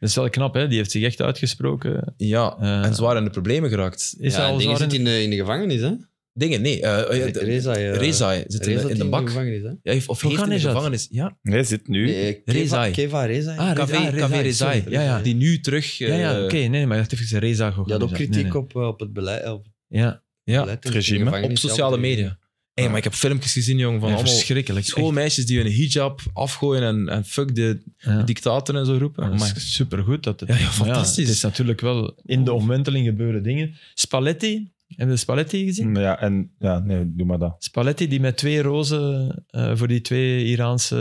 Speaker 4: Dat is wel knap, hè? Die heeft zich echt uitgesproken.
Speaker 1: Ja,
Speaker 4: Eh.
Speaker 1: en zwaar in de problemen geraakt.
Speaker 4: Is hij
Speaker 3: ja,
Speaker 4: al
Speaker 3: dingen
Speaker 4: zwaar
Speaker 3: zit
Speaker 4: in-
Speaker 3: in de, in de gevangenis, hè?
Speaker 1: Dingen, nee. eh, eh, de-
Speaker 3: Reza. eh,
Speaker 1: Rezai zit in,
Speaker 3: Reza
Speaker 1: de- in
Speaker 3: zit
Speaker 1: de bak. Ja,
Speaker 3: gevangenis, hè?
Speaker 1: heeft, of heeft in de
Speaker 4: Hoekan is dat?
Speaker 1: gevangenis. Ja,
Speaker 2: Nee, zit nu.
Speaker 3: Nee, eh, Keva-
Speaker 1: Rezai.
Speaker 3: Keva Rezai.
Speaker 4: Ah,
Speaker 1: KV,
Speaker 4: Rezai,
Speaker 1: KV
Speaker 4: Rezai,
Speaker 1: Rezai.
Speaker 4: sorry,
Speaker 1: ja, ja,
Speaker 4: Rezai.
Speaker 1: die nu terug... eh,
Speaker 4: Ja, ja, oké. nee, maar ik dacht even Reza
Speaker 3: Je had ook kritiek op, eh, op het beleid. Op het
Speaker 4: Ja,
Speaker 1: ja,
Speaker 3: beleid
Speaker 2: het
Speaker 3: in de
Speaker 2: regime.
Speaker 1: op
Speaker 3: gevangenis zelf.
Speaker 1: sociale media. Hé, maar ik heb filmpjes gezien, jongen, van
Speaker 4: Ja,
Speaker 1: allemaal
Speaker 4: verschrikkelijk.
Speaker 1: schoolmeisjes die hun hijab afgooien en, en fuck de
Speaker 4: echt. Ja.
Speaker 1: dictator en zo roepen.
Speaker 4: Dat
Speaker 1: Amai.
Speaker 4: is supergoed. Dat het,
Speaker 1: Ja, ja,
Speaker 4: Maar
Speaker 1: fantastisch.
Speaker 4: het is natuurlijk wel in de omwenteling gebeuren dingen. Spalletti, hebben we Spalletti gezien?
Speaker 2: Mm, Ja, en, ja, nee, doe maar dat.
Speaker 4: Spalletti die met twee rozen eh, voor die twee Iraanse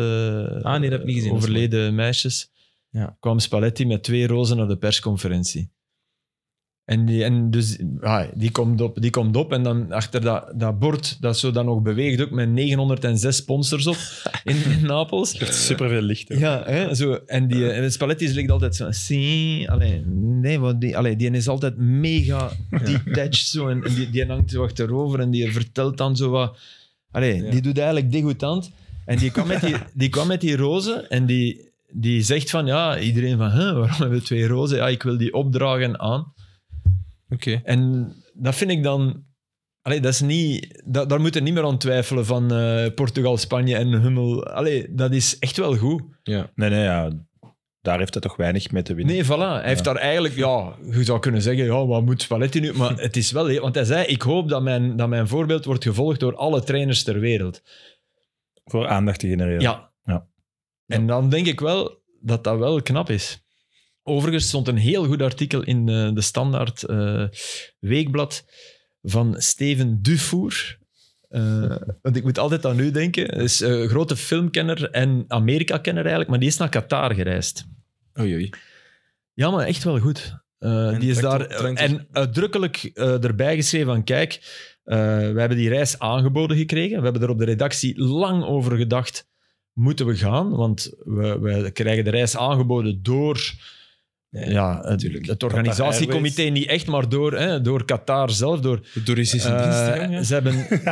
Speaker 1: Ah, nee, dat heb ik niet gezien. Dat is
Speaker 4: overleden meisjes
Speaker 1: Ja.
Speaker 4: kwam Spalletti met twee rozen naar de persconferentie. En, die, en dus, ah, die, komt op, die komt op en dan achter dat, dat bord dat zo dan nog beweegt, ook met 906 sponsors op in, in Napels.
Speaker 2: Superveel licht. ook.
Speaker 4: Ja, hè, zo. En die eh, en Spalletti ligt altijd zo. "Sí." Allee, nee, want die, allee, die is altijd mega detached. Zo, en en die, die hangt zo achterover en die vertelt dan zo wat. Allee,
Speaker 1: Ja.
Speaker 4: die doet eigenlijk degoutant. En die kwam met die, die, kwam met die rozen en die, die zegt van ja, iedereen van hè, waarom hebben we twee rozen? Ja, ik wil die opdragen aan.
Speaker 1: Oké.
Speaker 4: En dat vind ik dan. Allee, dat is niet, da- daar moet je niet meer aan twijfelen van eh, Portugal, Spanje en Hummel. Allee, dat is echt wel goed.
Speaker 1: Ja.
Speaker 2: Nee, nee, ja. Daar heeft hij toch weinig mee te winnen.
Speaker 4: Nee, voilà. Hij heeft daar eigenlijk, ja, je zou kunnen zeggen, ja, wat moet Spalletti nu? Maar het is wel, heel- want hij zei, ik hoop dat mijn, dat mijn voorbeeld wordt gevolgd door alle trainers ter wereld.
Speaker 2: Voor aandacht te genereren.
Speaker 4: Ja.
Speaker 2: Ja.
Speaker 4: En dan denk ik wel dat dat wel knap is. Overigens stond een heel goed artikel in eh, de Standaard eh, Weekblad van Steven Dufour. Eh, want ik moet altijd aan u denken. Hij is een grote filmkenner en Amerika-kenner eigenlijk, maar die is naar Qatar gereisd.
Speaker 1: Oei, oei.
Speaker 4: Ja, maar echt wel goed. Eh,
Speaker 1: En
Speaker 4: die is
Speaker 1: trekt
Speaker 4: daar
Speaker 1: op- trekt op-
Speaker 4: en uitdrukkelijk eh, erbij geschreven van kijk, eh, we hebben die reis aangeboden gekregen. We hebben er op de redactie lang over gedacht, moeten we gaan? Want we, we krijgen de reis aangeboden door ja, het,
Speaker 1: tuurlijk.
Speaker 4: het organisatiecomité, niet echt, maar door, hè, door Qatar zelf. Door,
Speaker 1: De toerist is in
Speaker 4: eh,
Speaker 1: dienst, hè, jongen.
Speaker 4: ze hebben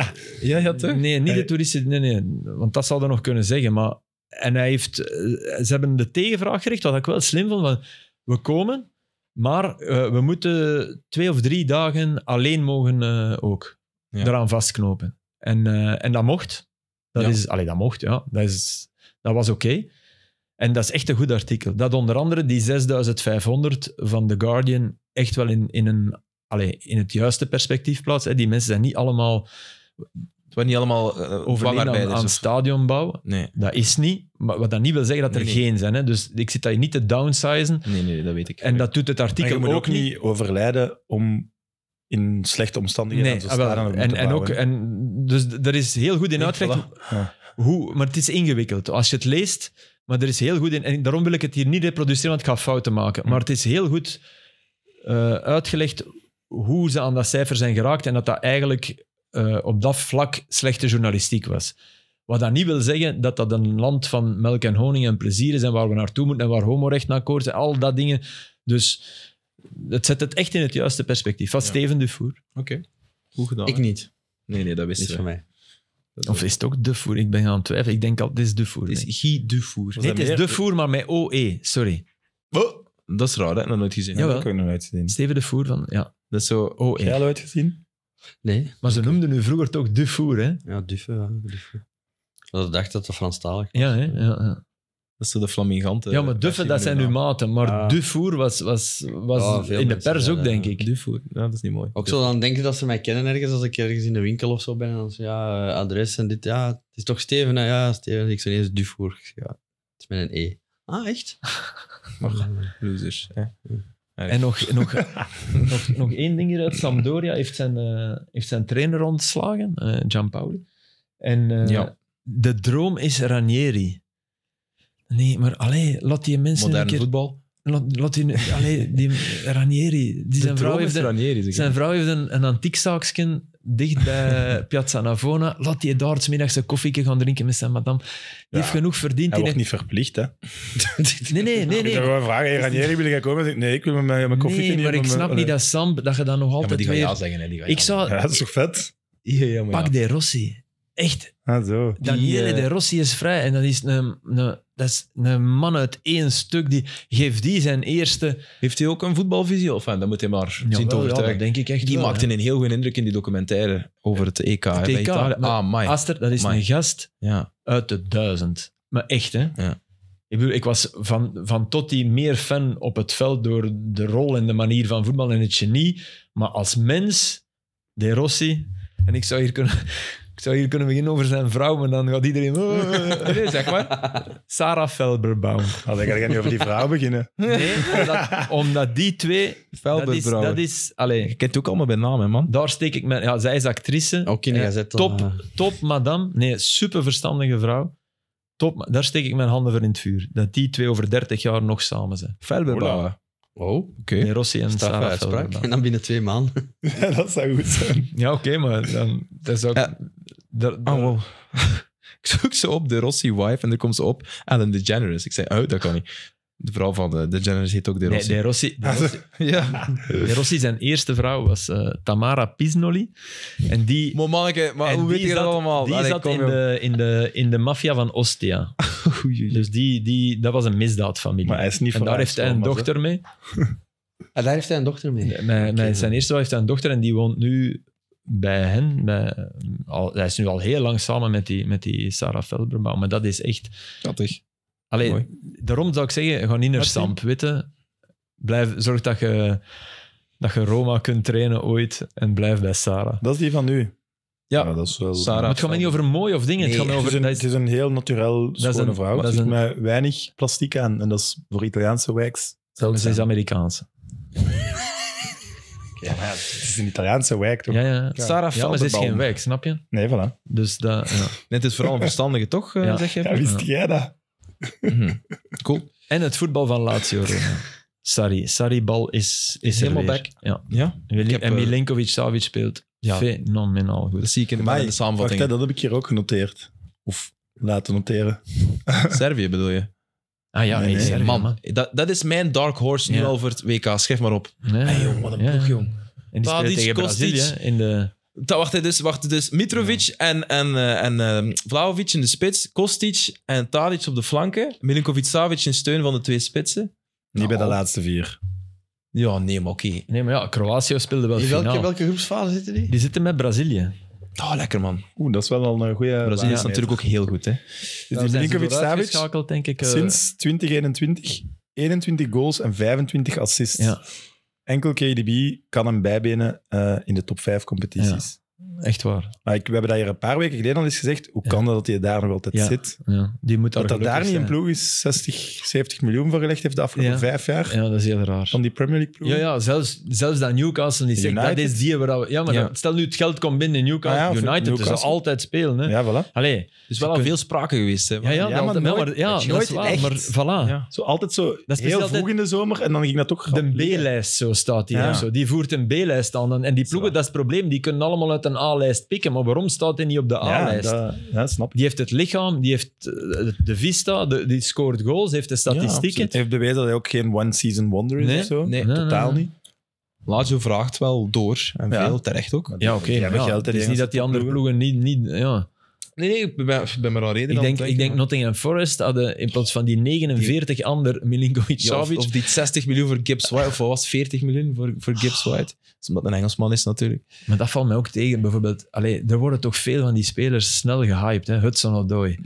Speaker 1: Ja, ja, toch? Eh.
Speaker 4: Nee, niet
Speaker 2: Hey.
Speaker 4: de toeristen. Nee, nee, want dat zou hij nog kunnen zeggen. Maar, en hij heeft, eh, ze hebben de tegenvraag gericht, wat ik wel slim vond. Van, we komen, maar eh, we moeten twee of drie dagen alleen mogen eh, ook.
Speaker 1: Ja.
Speaker 4: Daaraan vastknopen. En, eh, en dat mocht. Dat,
Speaker 1: Ja.
Speaker 4: is, allee, dat mocht, ja. Dat, is, dat was oké. En dat is echt een goed artikel. Dat onder andere die 6500 van The Guardian echt wel in, in, een, allee, in het juiste perspectief plaatst. hè. Die mensen zijn niet allemaal
Speaker 1: Het waren niet allemaal eh,
Speaker 4: overleden aan,
Speaker 1: wangarbeiders
Speaker 4: aan
Speaker 1: of-
Speaker 4: stadionbouw.
Speaker 1: Nee.
Speaker 4: Dat is niet, maar wat dat niet wil zeggen dat er
Speaker 1: Nee, nee.
Speaker 4: geen zijn. Hè? Dus ik zit daar niet te downsizen.
Speaker 1: nee, nee, dat weet ik.
Speaker 4: En dat doet het
Speaker 2: Maar je
Speaker 4: artikel
Speaker 2: moet
Speaker 4: ook,
Speaker 2: ook
Speaker 4: niet.
Speaker 2: niet overlijden om in slechte omstandigheden
Speaker 4: Nee,
Speaker 2: zo'n
Speaker 4: ah, wel.
Speaker 2: stadion op
Speaker 4: en,
Speaker 2: te
Speaker 4: en ook,
Speaker 2: bouwen.
Speaker 4: en, dus d- er is heel goed in
Speaker 1: Nee,
Speaker 4: uitgelegd
Speaker 1: voilà.
Speaker 2: Ja.
Speaker 4: hoe, maar het is ingewikkeld. Als je het leest, maar er is heel goed in, en daarom wil ik het hier niet reproduceren, want ik ga fouten maken. Maar het is heel goed eh, uitgelegd hoe ze aan dat cijfer zijn geraakt en dat dat eigenlijk eh, op dat vlak slechte journalistiek was. Wat dat niet wil zeggen dat dat een land van melk en honing en plezier is en waar we naartoe moeten en waar homorecht naar koort en al dat dingen. Dus het zet het echt in het juiste perspectief. Van
Speaker 1: Ja.
Speaker 4: Steven Dufour.
Speaker 1: Oké. Goed gedaan.
Speaker 3: Ik
Speaker 1: hè?
Speaker 3: niet.
Speaker 1: Nee, nee, dat wist
Speaker 3: Niet
Speaker 1: je.
Speaker 3: van mij.
Speaker 4: Of is het ook Dufour? Ik ben aan het twijfelen. Ik denk al, dit is Dufour.
Speaker 1: Het
Speaker 4: denk ik.
Speaker 1: is Guy Dufour.
Speaker 2: Was
Speaker 4: Nee,
Speaker 2: dat
Speaker 4: het is
Speaker 2: meer?
Speaker 4: de voer, maar met OE. Sorry.
Speaker 1: Oh, dat is raar, hè? Nog nooit gezien.
Speaker 2: Ja,
Speaker 4: Jawel.
Speaker 2: dat heb ik ook nog nooit gezien.
Speaker 4: Steven de voer van. Ja,
Speaker 1: Dat is zo... oh,
Speaker 4: OE.
Speaker 2: Heb jij al ooit gezien?
Speaker 3: Nee.
Speaker 4: Maar ze noemden nu vroeger toch de voer, hè?
Speaker 3: Ja, eh, duffe. Ja, duffe. Dat dacht dat het Franstalig was.
Speaker 4: Ja, hè? Ja, ja.
Speaker 1: Dat is zo de flaminganten.
Speaker 4: ja maar duffen, dat zijn nu maten. Maar
Speaker 3: Ah.
Speaker 4: de voer was, was,
Speaker 3: Ja,
Speaker 4: was
Speaker 3: veel
Speaker 4: in de
Speaker 3: mensen
Speaker 4: pers
Speaker 3: zijn,
Speaker 4: ook, denk
Speaker 3: eh,
Speaker 4: ik.
Speaker 1: Dufour. Ja, dat is niet mooi.
Speaker 3: Ook zo dan denken dat ze mij kennen ergens, als ik ergens in de winkel of zo ben. En dan zo, ja, eh, adres en dit. Ja, het is toch Steven? hè? Ja, Steven. Ik zo ineens Dufour. Ik zeg, Ja, het is met een E. Ah, echt?
Speaker 1: Losers. Hè?
Speaker 4: En nog, nog, nog, nog één ding hieruit. Sampdoria heeft zijn, eh, heeft zijn trainer ontslagen, eh Gianpaoli. En eh,
Speaker 1: Ja.
Speaker 4: de droom is Ranieri. Nee, maar allee, laat die mensen
Speaker 1: Moderne
Speaker 4: een keer...
Speaker 1: voetbal.
Speaker 4: Laat, laat die, allee, die Ranieri, die zijn vrouw heeft er Zijn vrouw heeft een, een antiek zaakje dicht bij Piazza Navona. Laat die daar 's middags een koffieke gaan drinken met zijn madame. Die
Speaker 2: Ja.
Speaker 4: heeft genoeg verdiend.
Speaker 2: Hij
Speaker 4: Die
Speaker 2: wordt niet verplicht, hè?
Speaker 4: heeft- Nee, nee, nee.
Speaker 2: Je
Speaker 4: nee.
Speaker 2: kan gewoon vragen, hey, Ranieri, wil jij komen? Ik zeg, Nee, ik wil mijn, mijn koffie
Speaker 4: Nee, maar ik snap niet dat Sam, dat je dan
Speaker 1: eh. Ja,
Speaker 4: nog
Speaker 1: maar
Speaker 4: altijd
Speaker 1: die gaan
Speaker 4: weer...
Speaker 1: ja zeggen. Hè, die gaan
Speaker 4: ik
Speaker 1: ja
Speaker 4: zou...
Speaker 2: Ja, dat is toch vet?
Speaker 1: zeggen. Ja, ja, maar
Speaker 4: Pak
Speaker 1: ja.
Speaker 4: de Rossi. Echt.
Speaker 2: Ah, zo.
Speaker 1: Die,
Speaker 4: Daniele
Speaker 1: eh,
Speaker 4: de Rossi is vrij. En dat is een, een, dat is een man uit één stuk. Die, geeft die zijn eerste...
Speaker 1: Heeft hij ook een voetbalvisie? Of eh, dat moet hij maar zien te
Speaker 4: Jawel, ja, dat
Speaker 1: overtuigen.
Speaker 4: denk ik echt
Speaker 1: die
Speaker 4: wel,
Speaker 1: maakte
Speaker 4: hè.
Speaker 1: een heel goede indruk in die documentaire over het EK. hè,
Speaker 4: Het
Speaker 1: bij
Speaker 4: EK,
Speaker 1: Italië.
Speaker 4: maar-
Speaker 1: Ah, my.
Speaker 4: Aster, dat is
Speaker 1: Amai.
Speaker 4: een gast
Speaker 1: Ja.
Speaker 4: uit de duizend. Maar echt, hè?
Speaker 1: Ja.
Speaker 4: Ik, bedoel, ik was van, van Totti meer fan op het veld door de rol en de manier van voetbal en het genie. Maar als mens, De Rossi. En ik zou hier kunnen, ik zou hier kunnen beginnen over zijn vrouw, maar dan gaat iedereen. Nee, zeg maar. Sarah Felberbaum.
Speaker 2: Ah, dan ga je niet over die vrouw beginnen.
Speaker 4: Nee, omdat, omdat die twee. Dat is.
Speaker 1: Velderbrouwer.
Speaker 4: Dat is allee,
Speaker 1: Je kent ook allemaal bij naam, hè, man.
Speaker 4: daar steek ik mijn. Ja, zij is actrice.
Speaker 3: Ook in de
Speaker 4: Eh,
Speaker 3: gazette.
Speaker 4: top,
Speaker 3: dan, eh,
Speaker 4: top madame. Nee, super verstandige vrouw. Top, ma- daar steek ik mijn handen voor in het vuur. Dat die twee over 30 jaar nog samen zijn.
Speaker 1: Velberbouwer. Oké.
Speaker 3: Oh,
Speaker 4: Nee, Rossi en
Speaker 3: straffe
Speaker 4: Sarah
Speaker 3: uitspraak. En
Speaker 4: Velderman.
Speaker 3: dan binnen twee maanden.
Speaker 2: dat zou goed zijn.
Speaker 4: Ja, oké, maar dan, dat is ook...
Speaker 1: Ja.
Speaker 4: daar- daar-
Speaker 1: Oh, wow. ik zoek ze op, de Rossi wife, en er komt ze op, Ellen DeGeneres. Ik zei, oh, dat kan niet. De vrouw van de DeGeneres heet ook de
Speaker 4: Nee,
Speaker 1: Rossi.
Speaker 4: de Rossi, de,
Speaker 2: Ah, zo.
Speaker 4: Rossi,
Speaker 1: Ja.
Speaker 4: de Rossi, zijn eerste vrouw was eh, Tamara Pisnoli. En die,
Speaker 1: Maar manneke, maar
Speaker 4: en
Speaker 1: hoe weet
Speaker 4: die
Speaker 1: je dat
Speaker 4: zat-
Speaker 1: allemaal?
Speaker 4: Die
Speaker 1: Allee,
Speaker 4: zat
Speaker 1: kom,
Speaker 4: in
Speaker 1: joh.
Speaker 4: de, in de, in de maffia van Ostia. Dus die, die, dat was een misdaadfamilie.
Speaker 2: Maar hij is niet
Speaker 4: en daar
Speaker 2: verhuisd,
Speaker 4: heeft hij een
Speaker 2: maar zo.
Speaker 4: dochter mee.
Speaker 3: En daar heeft hij een dochter mee.
Speaker 4: Nee, Mijn, mijn- zijn eerste vrouw heeft een dochter en die woont nu bij hen. Bij, al, hij is nu al heel lang samen met die, met die Sarah Velberbaum. Maar dat is echt...
Speaker 1: Schattig.
Speaker 4: Allee,
Speaker 1: Mooi.
Speaker 4: daarom zou ik zeggen, ga niet naar
Speaker 1: Merci.
Speaker 4: Samp, weet je. Blijf, zorg dat je, dat je Roma kunt trainen ooit en blijf bij Sarah.
Speaker 2: Dat is die van nu.
Speaker 1: Ja.
Speaker 2: dat is wel...
Speaker 1: Sarah.
Speaker 4: Maar het gaat mij niet over mooi of dingen.
Speaker 1: Nee,
Speaker 4: het gaat mij
Speaker 2: Het is,
Speaker 4: over...
Speaker 2: een,
Speaker 4: dat
Speaker 2: het
Speaker 4: is-
Speaker 2: is een heel naturel
Speaker 4: is
Speaker 2: schone
Speaker 4: een-
Speaker 2: vrouw.
Speaker 4: dat
Speaker 2: Er
Speaker 4: is
Speaker 2: zit
Speaker 4: een-
Speaker 2: met weinig plastic aan. En dat is voor Italiaanse wijks
Speaker 4: Zelfs is Amerikaanse.
Speaker 2: Het is een Italiaanse wijk, toch?
Speaker 4: Ja, ja.
Speaker 1: Sarah
Speaker 4: Ja, maar ze is
Speaker 1: Veldenbaum.
Speaker 4: geen wijk, snap je?
Speaker 2: Nee, voilà.
Speaker 4: Dus dat, ja.
Speaker 1: Net is vooral een verstandige, toch? eh,
Speaker 4: Ja.
Speaker 1: Zeg je?
Speaker 2: Ja, wist
Speaker 4: Ja.
Speaker 2: jij dat?
Speaker 1: Mhm. Cool.
Speaker 4: En het voetbal van Lazio. Roma. Sarri. Sarri-bal is, is
Speaker 1: Helemaal
Speaker 4: er weer. Ja.
Speaker 1: Ja,
Speaker 4: Wil-
Speaker 1: Ik heb,
Speaker 4: en
Speaker 1: eh,
Speaker 4: Milinkovic-Savic speelt
Speaker 1: Ja.
Speaker 4: fenomenaal goed.
Speaker 1: dat zie ik in de,
Speaker 2: Amai,
Speaker 1: in de
Speaker 2: Wacht,
Speaker 1: samenvatting.
Speaker 2: hè, dat heb ik hier ook genoteerd. Of laten noteren.
Speaker 1: Servië bedoel je?
Speaker 4: Ah ja,
Speaker 2: Nee,
Speaker 4: ik
Speaker 2: nee,
Speaker 4: zeg,
Speaker 1: Man, dat, dat is mijn dark horse nu
Speaker 4: Ja. Eh,
Speaker 1: al voor het WK. Schrijf maar op.
Speaker 4: Nee. Ja.
Speaker 1: jong.
Speaker 4: En die
Speaker 1: Tadic,
Speaker 4: speelt tegen
Speaker 1: Kostic.
Speaker 4: Brazilië in de...
Speaker 1: Dat, wacht, hè, dus, wacht, dus Mitrovic en, en, eh, en eh, Vlahovic in de spits, Kostic en Tadic op de flanken, Milinkovic-Savic in steun van de twee spitsen.
Speaker 2: Niet bij de
Speaker 1: Nou,
Speaker 2: laatste vier.
Speaker 1: Ja, nee, maar oké.
Speaker 4: Nee, maar ja, Kroatië speelde wel
Speaker 3: In welke,
Speaker 4: finaal.
Speaker 3: welke groepsfase zitten die?
Speaker 4: Die zitten met Brazilië. Dus
Speaker 1: Oh, lekker man.
Speaker 2: Oeh, dat is wel al een goede...
Speaker 1: Brazilië is natuurlijk ook heel goed, hè.
Speaker 2: Dus
Speaker 4: Nou,
Speaker 2: die Milinkovic-Savic,
Speaker 4: geschakeld, denk ik. eh,
Speaker 2: sinds 2021, 21 goals en 25 assists.
Speaker 4: Ja.
Speaker 2: Enkel KDB kan hem bijbenen eh, in de top 5 competities.
Speaker 4: Echt waar.
Speaker 2: Maar ik, we hebben dat hier een paar weken geleden al eens gezegd. Hoe
Speaker 4: Ja.
Speaker 2: kan dat dat hij daar nog altijd
Speaker 4: Ja.
Speaker 2: zit?
Speaker 4: Ja, die moet
Speaker 2: Dat dat
Speaker 4: gelukkig
Speaker 2: daar niet
Speaker 4: zijn.
Speaker 2: een ploeg is 60, 70 miljoen voor gelegd heeft de afgelopen
Speaker 4: Ja.
Speaker 2: vijf jaar.
Speaker 4: Ja, dat is heel raar.
Speaker 2: Van die Premier League ploeg.
Speaker 4: Ja, ja zelfs, zelfs dat Newcastle niet zegt,
Speaker 2: United.
Speaker 4: dat is die waar we... Ja, maar
Speaker 1: Ja.
Speaker 4: dan- stel nu het geld komt binnen in Newcastle.
Speaker 2: Ah ja, of
Speaker 4: United, dus dat
Speaker 2: Newcastle.
Speaker 4: altijd spelen. Hè.
Speaker 2: Ja, voilà.
Speaker 4: Allee,
Speaker 1: Dus wel al veel sprake geweest, hè.
Speaker 4: ja, ja,
Speaker 2: Ja,
Speaker 4: dat-
Speaker 2: maar
Speaker 4: ja,
Speaker 2: nooit-
Speaker 4: maar, ja,
Speaker 2: dat is
Speaker 4: dat is
Speaker 2: nooit
Speaker 4: waar,
Speaker 2: echt.
Speaker 4: maar voilà.
Speaker 1: Ja.
Speaker 2: Zo, altijd zo
Speaker 4: is
Speaker 2: heel vroeg
Speaker 4: altijd-
Speaker 2: in de zomer en dan ging dat ook
Speaker 4: De
Speaker 2: grap liggen.
Speaker 4: B-lijst, zo staat hier.
Speaker 2: Ja.
Speaker 4: of Zo. Die voert een B-lijst aan. En- En die ploegen, dat is het probleem. Die kunnen allemaal uit een A-lijst pikken. Maar waarom staat hij niet op de
Speaker 2: Ja,
Speaker 4: A-lijst?
Speaker 2: dat, ja, snap ik.
Speaker 4: Die heeft het lichaam, die heeft eh, de- de vista, de- die scoort goals, heeft de
Speaker 2: Ja,
Speaker 4: statistieken.
Speaker 2: absoluut. heeft bewezen dat hij ook geen one-season wonder is
Speaker 4: Nee,
Speaker 2: of zo.
Speaker 1: nee.
Speaker 2: totaal niet.
Speaker 1: Lazio vraagt wel door, en
Speaker 2: Ja.
Speaker 1: veel, terecht ook.
Speaker 2: Maar
Speaker 4: Ja,
Speaker 2: die-
Speaker 4: oké.
Speaker 2: die hebben
Speaker 4: ja.
Speaker 2: geld
Speaker 4: Het is
Speaker 2: tegen
Speaker 4: niet dat die andere ploegen niet... niet ja.
Speaker 1: Nee, nee, ik ben, ik ben maar al reden
Speaker 4: ik,
Speaker 1: aan
Speaker 4: denk,
Speaker 1: het
Speaker 4: ik denk
Speaker 1: denken.
Speaker 4: Nottingham Forest hadden in plaats van die 49 ander
Speaker 1: Ja, of,
Speaker 4: Milinkovic-Savic...
Speaker 1: of die 60 miljoen voor Gibbs White, of wat was het, 40 miljoen voor, voor Gibbs
Speaker 4: Ah.
Speaker 1: White? Dat is omdat het een Engelsman is natuurlijk.
Speaker 4: Maar dat valt mij ook tegen. Bijvoorbeeld, allee, er worden toch veel van die spelers snel gehyped. Hè? Hudson Odoi.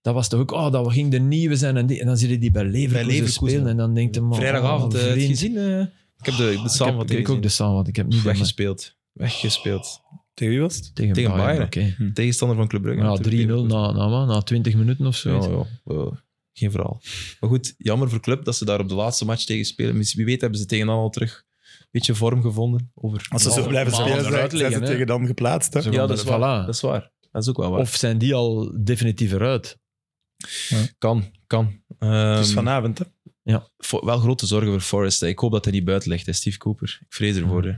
Speaker 4: Dat was toch ook, oh, dat ging de nieuwe zijn. En, die, en dan zit je die bij Leverkusen,
Speaker 1: Leverkusen.
Speaker 4: spelen. En dan denkt hij, man,
Speaker 1: Vrijdagavond
Speaker 4: oh,
Speaker 1: eh, het
Speaker 4: vriend.
Speaker 1: gezien. eh, ik heb de, de
Speaker 4: Ik heb, ik
Speaker 1: samenvatting
Speaker 4: ook de
Speaker 1: gezien.
Speaker 4: Sam, want ik heb niet bij mij-
Speaker 1: weggespeeld. Weggespeeld.
Speaker 2: Tegen wie was het?
Speaker 4: tegen,
Speaker 1: tegen
Speaker 4: Bayern.
Speaker 1: Bayern.
Speaker 4: oké.
Speaker 1: Tegenstander van Club Brugge.
Speaker 4: Maar
Speaker 1: natuurlijk,
Speaker 4: Hm. Ja, nou, 3-0
Speaker 1: Leverkusen.
Speaker 4: na, na, wat, na 20 minuten of zo.
Speaker 1: Ja, ja, ja, geen verhaal. Maar goed, jammer voor Club dat ze daar op de laatste match tegen spelen. Misschien- Wie weet hebben ze tegen dan al terug een beetje vorm gevonden. Over
Speaker 2: Als ze zo
Speaker 4: Ja,
Speaker 2: blijven
Speaker 4: maar
Speaker 2: spelen, zijn
Speaker 4: onderuit
Speaker 2: zijn ze
Speaker 4: liggen, hè.
Speaker 2: tegen dan geplaatst. Hè?
Speaker 4: Zo
Speaker 1: ja,
Speaker 4: van,
Speaker 1: dat is,
Speaker 4: voilà.
Speaker 1: waar. dat is waar. Dat is ook wel waar.
Speaker 4: Of zijn die al definitief eruit?
Speaker 1: kan, kan.
Speaker 2: Het is
Speaker 1: Ehm,
Speaker 2: vanavond, hè?
Speaker 1: Fo- wel grote zorgen voor Forrest. hè. Ik hoop dat hij niet buiten ligt, hè, Steve Cooper. Ik vrees ervoor.
Speaker 4: Mhm.
Speaker 1: hè.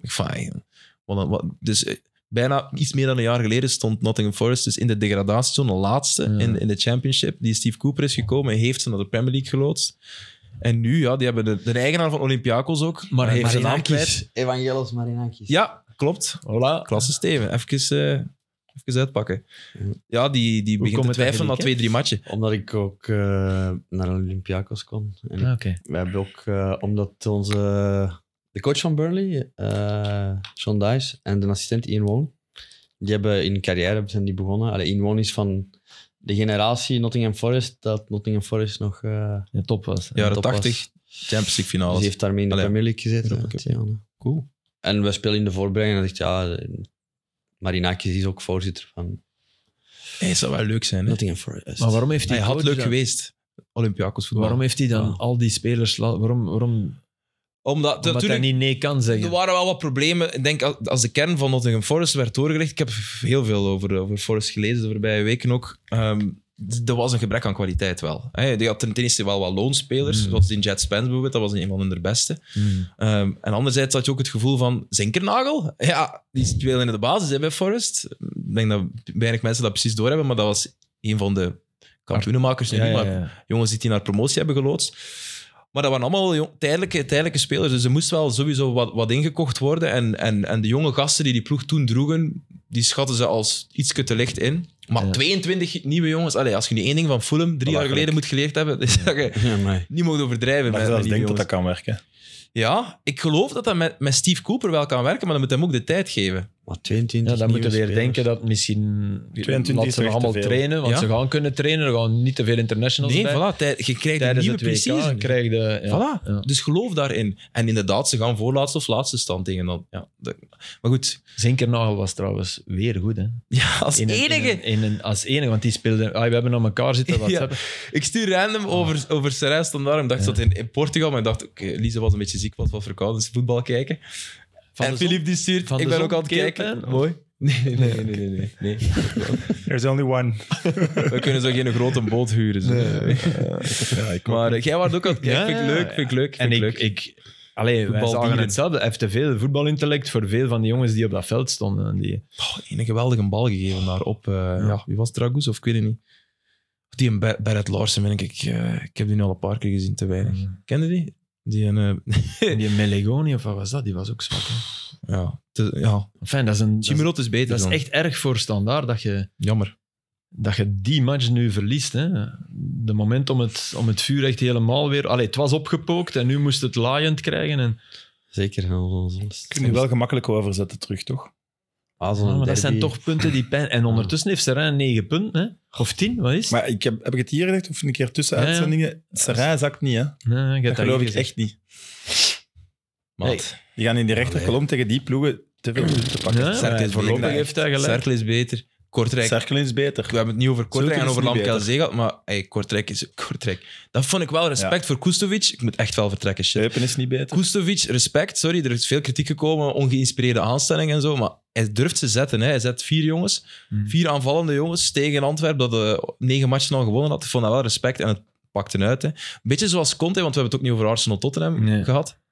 Speaker 1: Ik fijn. Wat een- wat- dus eh, bijna iets meer dan een jaar geleden stond Nottingham Forest dus in de degradatiezone, laatste
Speaker 4: Ja.
Speaker 1: in, in de championship. Die Steve Cooper is gekomen en heeft ze naar de Premier League geloodst. En nu, ja, die hebben de, de eigenaar van Olympiakos ook, maar heeft zijn naam kwijt.
Speaker 3: Marinakis. Evangelos Marinakis.
Speaker 1: Ja, klopt.
Speaker 4: Voilà.
Speaker 1: Klasse Steven. Even, eh, even uitpakken. Ja, die, die begint
Speaker 4: komt
Speaker 1: te
Speaker 4: het dat
Speaker 1: twijfelen na
Speaker 4: je die
Speaker 1: twee, drie matchen.
Speaker 3: Omdat ik ook eh, naar Olympiakos kon. En
Speaker 4: Ah, Oké.
Speaker 3: we hebben ook, eh, omdat onze... De coach van Burnley, eh Sean Dice, en de assistent Ian Wong, die hebben in carrière zijn die begonnen. Allee, Ian Wong is van de generatie Nottingham Forest, dat Nottingham Forest nog eh
Speaker 4: Ja, top was.
Speaker 1: Ja. Jaren
Speaker 3: top was.
Speaker 1: 80, Champions League
Speaker 3: Dus
Speaker 1: finales.
Speaker 3: die heeft daarmee in de
Speaker 1: Allee,
Speaker 3: Premier League gezeten.
Speaker 1: Europa Cup.
Speaker 3: twee jaar, ja.
Speaker 1: Cool.
Speaker 3: En we spelen in de voorbereiding en ik dacht, ja, eh, Marinakis is ook voorzitter van
Speaker 1: Hey, zou wel leuk zijn, hè?
Speaker 3: Nottingham Forest.
Speaker 4: Maar waarom heeft die
Speaker 1: Hij had
Speaker 4: coach
Speaker 1: leuk
Speaker 4: dat-
Speaker 1: geweest, Olympiakos voetbal.
Speaker 4: Waarom heeft hij dan
Speaker 1: Ja.
Speaker 4: al die spelers... la- Waarom, waarom
Speaker 1: Omdat,
Speaker 4: Omdat
Speaker 1: natuurlijk,
Speaker 4: hij niet nee kan zeggen.
Speaker 1: er waren wel wat problemen. Ik denk, als- als de kern van Nottingham Forest werd doorgelicht... Ik heb heel veel over, over Forest gelezen de voorbije weken ook. Ehm, d- er was een gebrek aan kwaliteit wel. Hè, Die had ten ten eerste wel wat loonspelers,
Speaker 4: Mm.
Speaker 1: zoals die Jet Spence bijvoorbeeld. Dat was een van hun beste.
Speaker 4: Hmm.
Speaker 1: Ehm, en anderzijds had je ook het gevoel van Zinkernagel. Ja, die speelde in de basis hè, bij Forest. Ik denk dat weinig mensen dat precies doorhebben, maar dat was een van de kampioenenmakers. nu
Speaker 4: Ah, Ja,
Speaker 1: niet,
Speaker 4: ja,
Speaker 1: maar
Speaker 4: ja.
Speaker 1: jongens die die naar promotie hebben geloodst. Maar dat waren allemaal jong- tijdelijke, tijdelijke spelers. Dus er moest wel sowieso wat, wat ingekocht worden. En, en, en de jonge gasten die die ploeg toen droegen, die schatten ze als iets te licht in. Maar
Speaker 4: Ja.
Speaker 1: 22 nieuwe jongens. Allee, als je nu één ding van Fulham drie jaar
Speaker 2: Belachelijk.
Speaker 1: geleden moet geleerd hebben, is dat je
Speaker 3: Ja, maar
Speaker 1: niet mogen overdrijven.
Speaker 2: Dat
Speaker 1: met- met
Speaker 2: je zelfs
Speaker 1: die
Speaker 2: denkt
Speaker 1: jongens.
Speaker 2: dat dat kan werken.
Speaker 1: Ja, ik geloof dat dat met, met Steve Cooper wel kan werken, maar dan moet hij hem ook de tijd geven.
Speaker 3: Maar 22
Speaker 4: Ja, dan moeten we
Speaker 3: Dus nieuwe
Speaker 4: weer
Speaker 3: spelers.
Speaker 4: denken dat misschien...
Speaker 2: 22
Speaker 4: laat
Speaker 2: is
Speaker 4: ze nog
Speaker 2: echt te
Speaker 4: allemaal
Speaker 2: veel.
Speaker 4: trainen, want
Speaker 1: Ja.
Speaker 4: ze gaan kunnen trainen. Er gaan niet te veel internationals
Speaker 1: Nee,
Speaker 4: bij.
Speaker 1: voilà, tij- je krijgt een
Speaker 4: Tijdens
Speaker 1: nieuwe
Speaker 4: het
Speaker 1: pre-season.
Speaker 4: WK krijg je... Ja.
Speaker 1: voilà. Dus geloof daarin. En inderdaad, ze gaan voorlaatste of laatste stand tegen. Dan, ja, dat- maar goed,
Speaker 4: Zinkernagel was trouwens weer goed, hè.
Speaker 1: ja, als
Speaker 4: In een- in
Speaker 1: enige.
Speaker 4: een- in een- als enige, want die speelde... Ah, we hebben aan elkaar zitten WhatsApp.
Speaker 1: Ik stuur random over, over Serrail standaard. Ik dacht dat in, in Portugal, maar ik dacht, oké, Lisa was een beetje ziek, was wat verkouden, dus voetbal kijken.
Speaker 4: Van
Speaker 1: en
Speaker 4: de zon?
Speaker 1: Filip die stuurt,
Speaker 4: Van
Speaker 1: ik
Speaker 4: de
Speaker 1: ben
Speaker 4: zon
Speaker 1: ook aan het
Speaker 4: keert,
Speaker 1: kijken.
Speaker 4: hè?
Speaker 1: Mooi. Nee, nee, nee, nee, nee, nee, nee.
Speaker 2: There's only one.
Speaker 1: We kunnen zo geen grote boot huren. zo.
Speaker 2: Ja, ik
Speaker 1: Maar eh, jij was ook aan het kijken.
Speaker 4: Ja,
Speaker 1: vind ik
Speaker 4: ja,
Speaker 1: leuk,
Speaker 4: ja.
Speaker 1: vind ik leuk.
Speaker 4: En
Speaker 1: vind
Speaker 4: ik,
Speaker 1: leuk.
Speaker 4: ik allee, wij
Speaker 1: Voetbaldieren.
Speaker 4: zagen hetzelfde. Hij heeft te veel voetbalintellect voor veel van die jongens die op dat veld stonden. En die,
Speaker 1: Oh, een geweldige bal gegeven daar op. eh, ja. wie was het, Dragoes of ik weet het niet. Die een Ber- Barrett Larsen, ben ik. Ik, eh, ik heb die nu al een paar keer gezien, te weinig. Kende die? Die een. eh,
Speaker 4: en die Melegoni of wat was dat? Die was ook zwak. Hè?
Speaker 1: ja, te- ja.
Speaker 4: Enfin, dat is, een, dat, is,
Speaker 1: Chimirot is beter.
Speaker 4: dat is
Speaker 1: dan.
Speaker 4: echt erg voor standaard dat je,
Speaker 1: jammer.
Speaker 4: dat je die match nu verliest. Hè? De moment om het, om het vuur echt helemaal weer. Allee, het was opgepookt en nu moest het laaiend krijgen. En,
Speaker 3: Zeker.
Speaker 2: Kun je wel gemakkelijk overzetten terug, toch?
Speaker 3: Azon
Speaker 4: Ah, maar dat zijn toch punten die pijn. En ondertussen heeft Serijn 9 punten, hè? of 10, wat is het?
Speaker 2: Maar ik heb, heb ik het hier gezegd of een keer tussen
Speaker 4: Ja, ja.
Speaker 2: uitzendingen? Serrain zakt niet, hè? Dat,
Speaker 4: Nee, je hebt dat
Speaker 2: geloof
Speaker 4: hier
Speaker 2: ik
Speaker 4: gezegd.
Speaker 2: echt niet.
Speaker 1: Maat.
Speaker 2: Die gaan in die rechterkolom tegen die ploegen te veel punten pakken.
Speaker 4: Ja,
Speaker 1: Cercle is
Speaker 2: voorlopig
Speaker 1: beter.
Speaker 4: heeft hij gelijk.
Speaker 1: Cercle is beter. Kortrijk.
Speaker 2: Cerkel is beter.
Speaker 1: we hebben het niet over Kortrijk en
Speaker 2: Zulke
Speaker 1: over
Speaker 2: is niet
Speaker 1: Lamkelzee gehad, maar hey, Kortrijk is Kortrijk. Dat vond ik wel respect voor Kustovic. Ik moet echt wel vertrekken, shit.
Speaker 2: Eupen is niet beter.
Speaker 1: Kustovic, respect. Sorry, er is veel kritiek gekomen, ongeïnspireerde aanstelling en zo. Maar hij durft ze zetten. Hè. Hij zet vier jongens,
Speaker 4: Hmm.
Speaker 1: vier aanvallende jongens tegen Antwerpen, dat eh negen matchen al gewonnen had. Ik vond dat wel respect en het pakte hem uit. Hè. Beetje zoals Conte, want we hebben het ook niet over Arsenal-Tottenham
Speaker 4: Nee.
Speaker 1: gehad.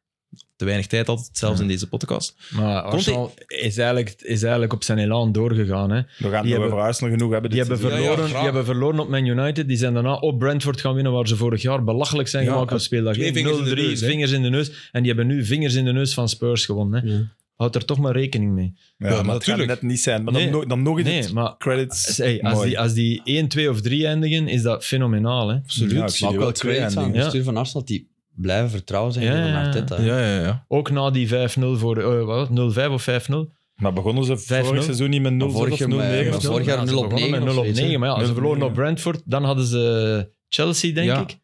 Speaker 1: Te weinig tijd altijd, zelfs
Speaker 4: Ja.
Speaker 1: in deze podcast.
Speaker 4: Maar Arsenal is eigenlijk, is eigenlijk op zijn elan doorgegaan. Hè?
Speaker 2: We gaan
Speaker 4: Die
Speaker 2: het
Speaker 4: hebben-
Speaker 2: over Arsenal genoeg hebben.
Speaker 4: Die
Speaker 2: dit
Speaker 4: hebben,
Speaker 1: Ja, ja,
Speaker 2: seizoen.
Speaker 4: verloren,
Speaker 1: graag.
Speaker 4: die hebben verloren op Man United. Die zijn daarna op Brentford gaan winnen, waar ze vorig jaar belachelijk zijn
Speaker 1: Ja,
Speaker 4: gemaakt op speeldag. 0-3,
Speaker 1: twee vingers in de neus, hè.
Speaker 4: vingers in de neus. En die hebben nu vingers in de neus van Spurs gewonnen. Hè. Houd er toch maar rekening mee.
Speaker 2: Ja,
Speaker 1: Ja,
Speaker 2: maar
Speaker 1: maar
Speaker 2: dat gaat
Speaker 1: natuurlijk.
Speaker 2: net niet zijn. Maar dan,
Speaker 4: Nee.
Speaker 2: nog- dan nog eens
Speaker 4: Nee,
Speaker 2: het
Speaker 4: maar
Speaker 2: credits.
Speaker 4: hey, als,
Speaker 2: Mooi.
Speaker 4: die, als die 1, 2 of 3 eindigen, is dat fenomenaal. Hè.
Speaker 2: Absoluut. Ja, ik
Speaker 3: Maar
Speaker 2: zie
Speaker 3: ook
Speaker 2: die
Speaker 3: wel
Speaker 2: wel twee
Speaker 3: credits aan
Speaker 2: eindigen.
Speaker 3: het bestuur van Arsenal die blijven vertrouwen zijn
Speaker 4: Ja,
Speaker 3: van
Speaker 4: ja, ja.
Speaker 3: Arteta.
Speaker 1: Ja, ja, ja.
Speaker 4: Ook na die 5-0 voor... eh, wat, 0-5 of 5-0?
Speaker 2: Maar begonnen ze
Speaker 4: 5-0?
Speaker 2: vorig seizoen niet met 0 of 0-9?
Speaker 3: vorig jaar met-
Speaker 2: of
Speaker 3: vorig
Speaker 2: zo?
Speaker 3: jaar
Speaker 4: Ja, ze
Speaker 3: 0 op
Speaker 4: begonnen
Speaker 3: 9
Speaker 4: met 0 op
Speaker 3: of zoiets,
Speaker 4: 9. Maar ja, ze
Speaker 2: 0 op
Speaker 4: verloren
Speaker 2: 9.
Speaker 4: op Brentford. Dan hadden ze Chelsea, denk
Speaker 1: Ja.
Speaker 4: ik.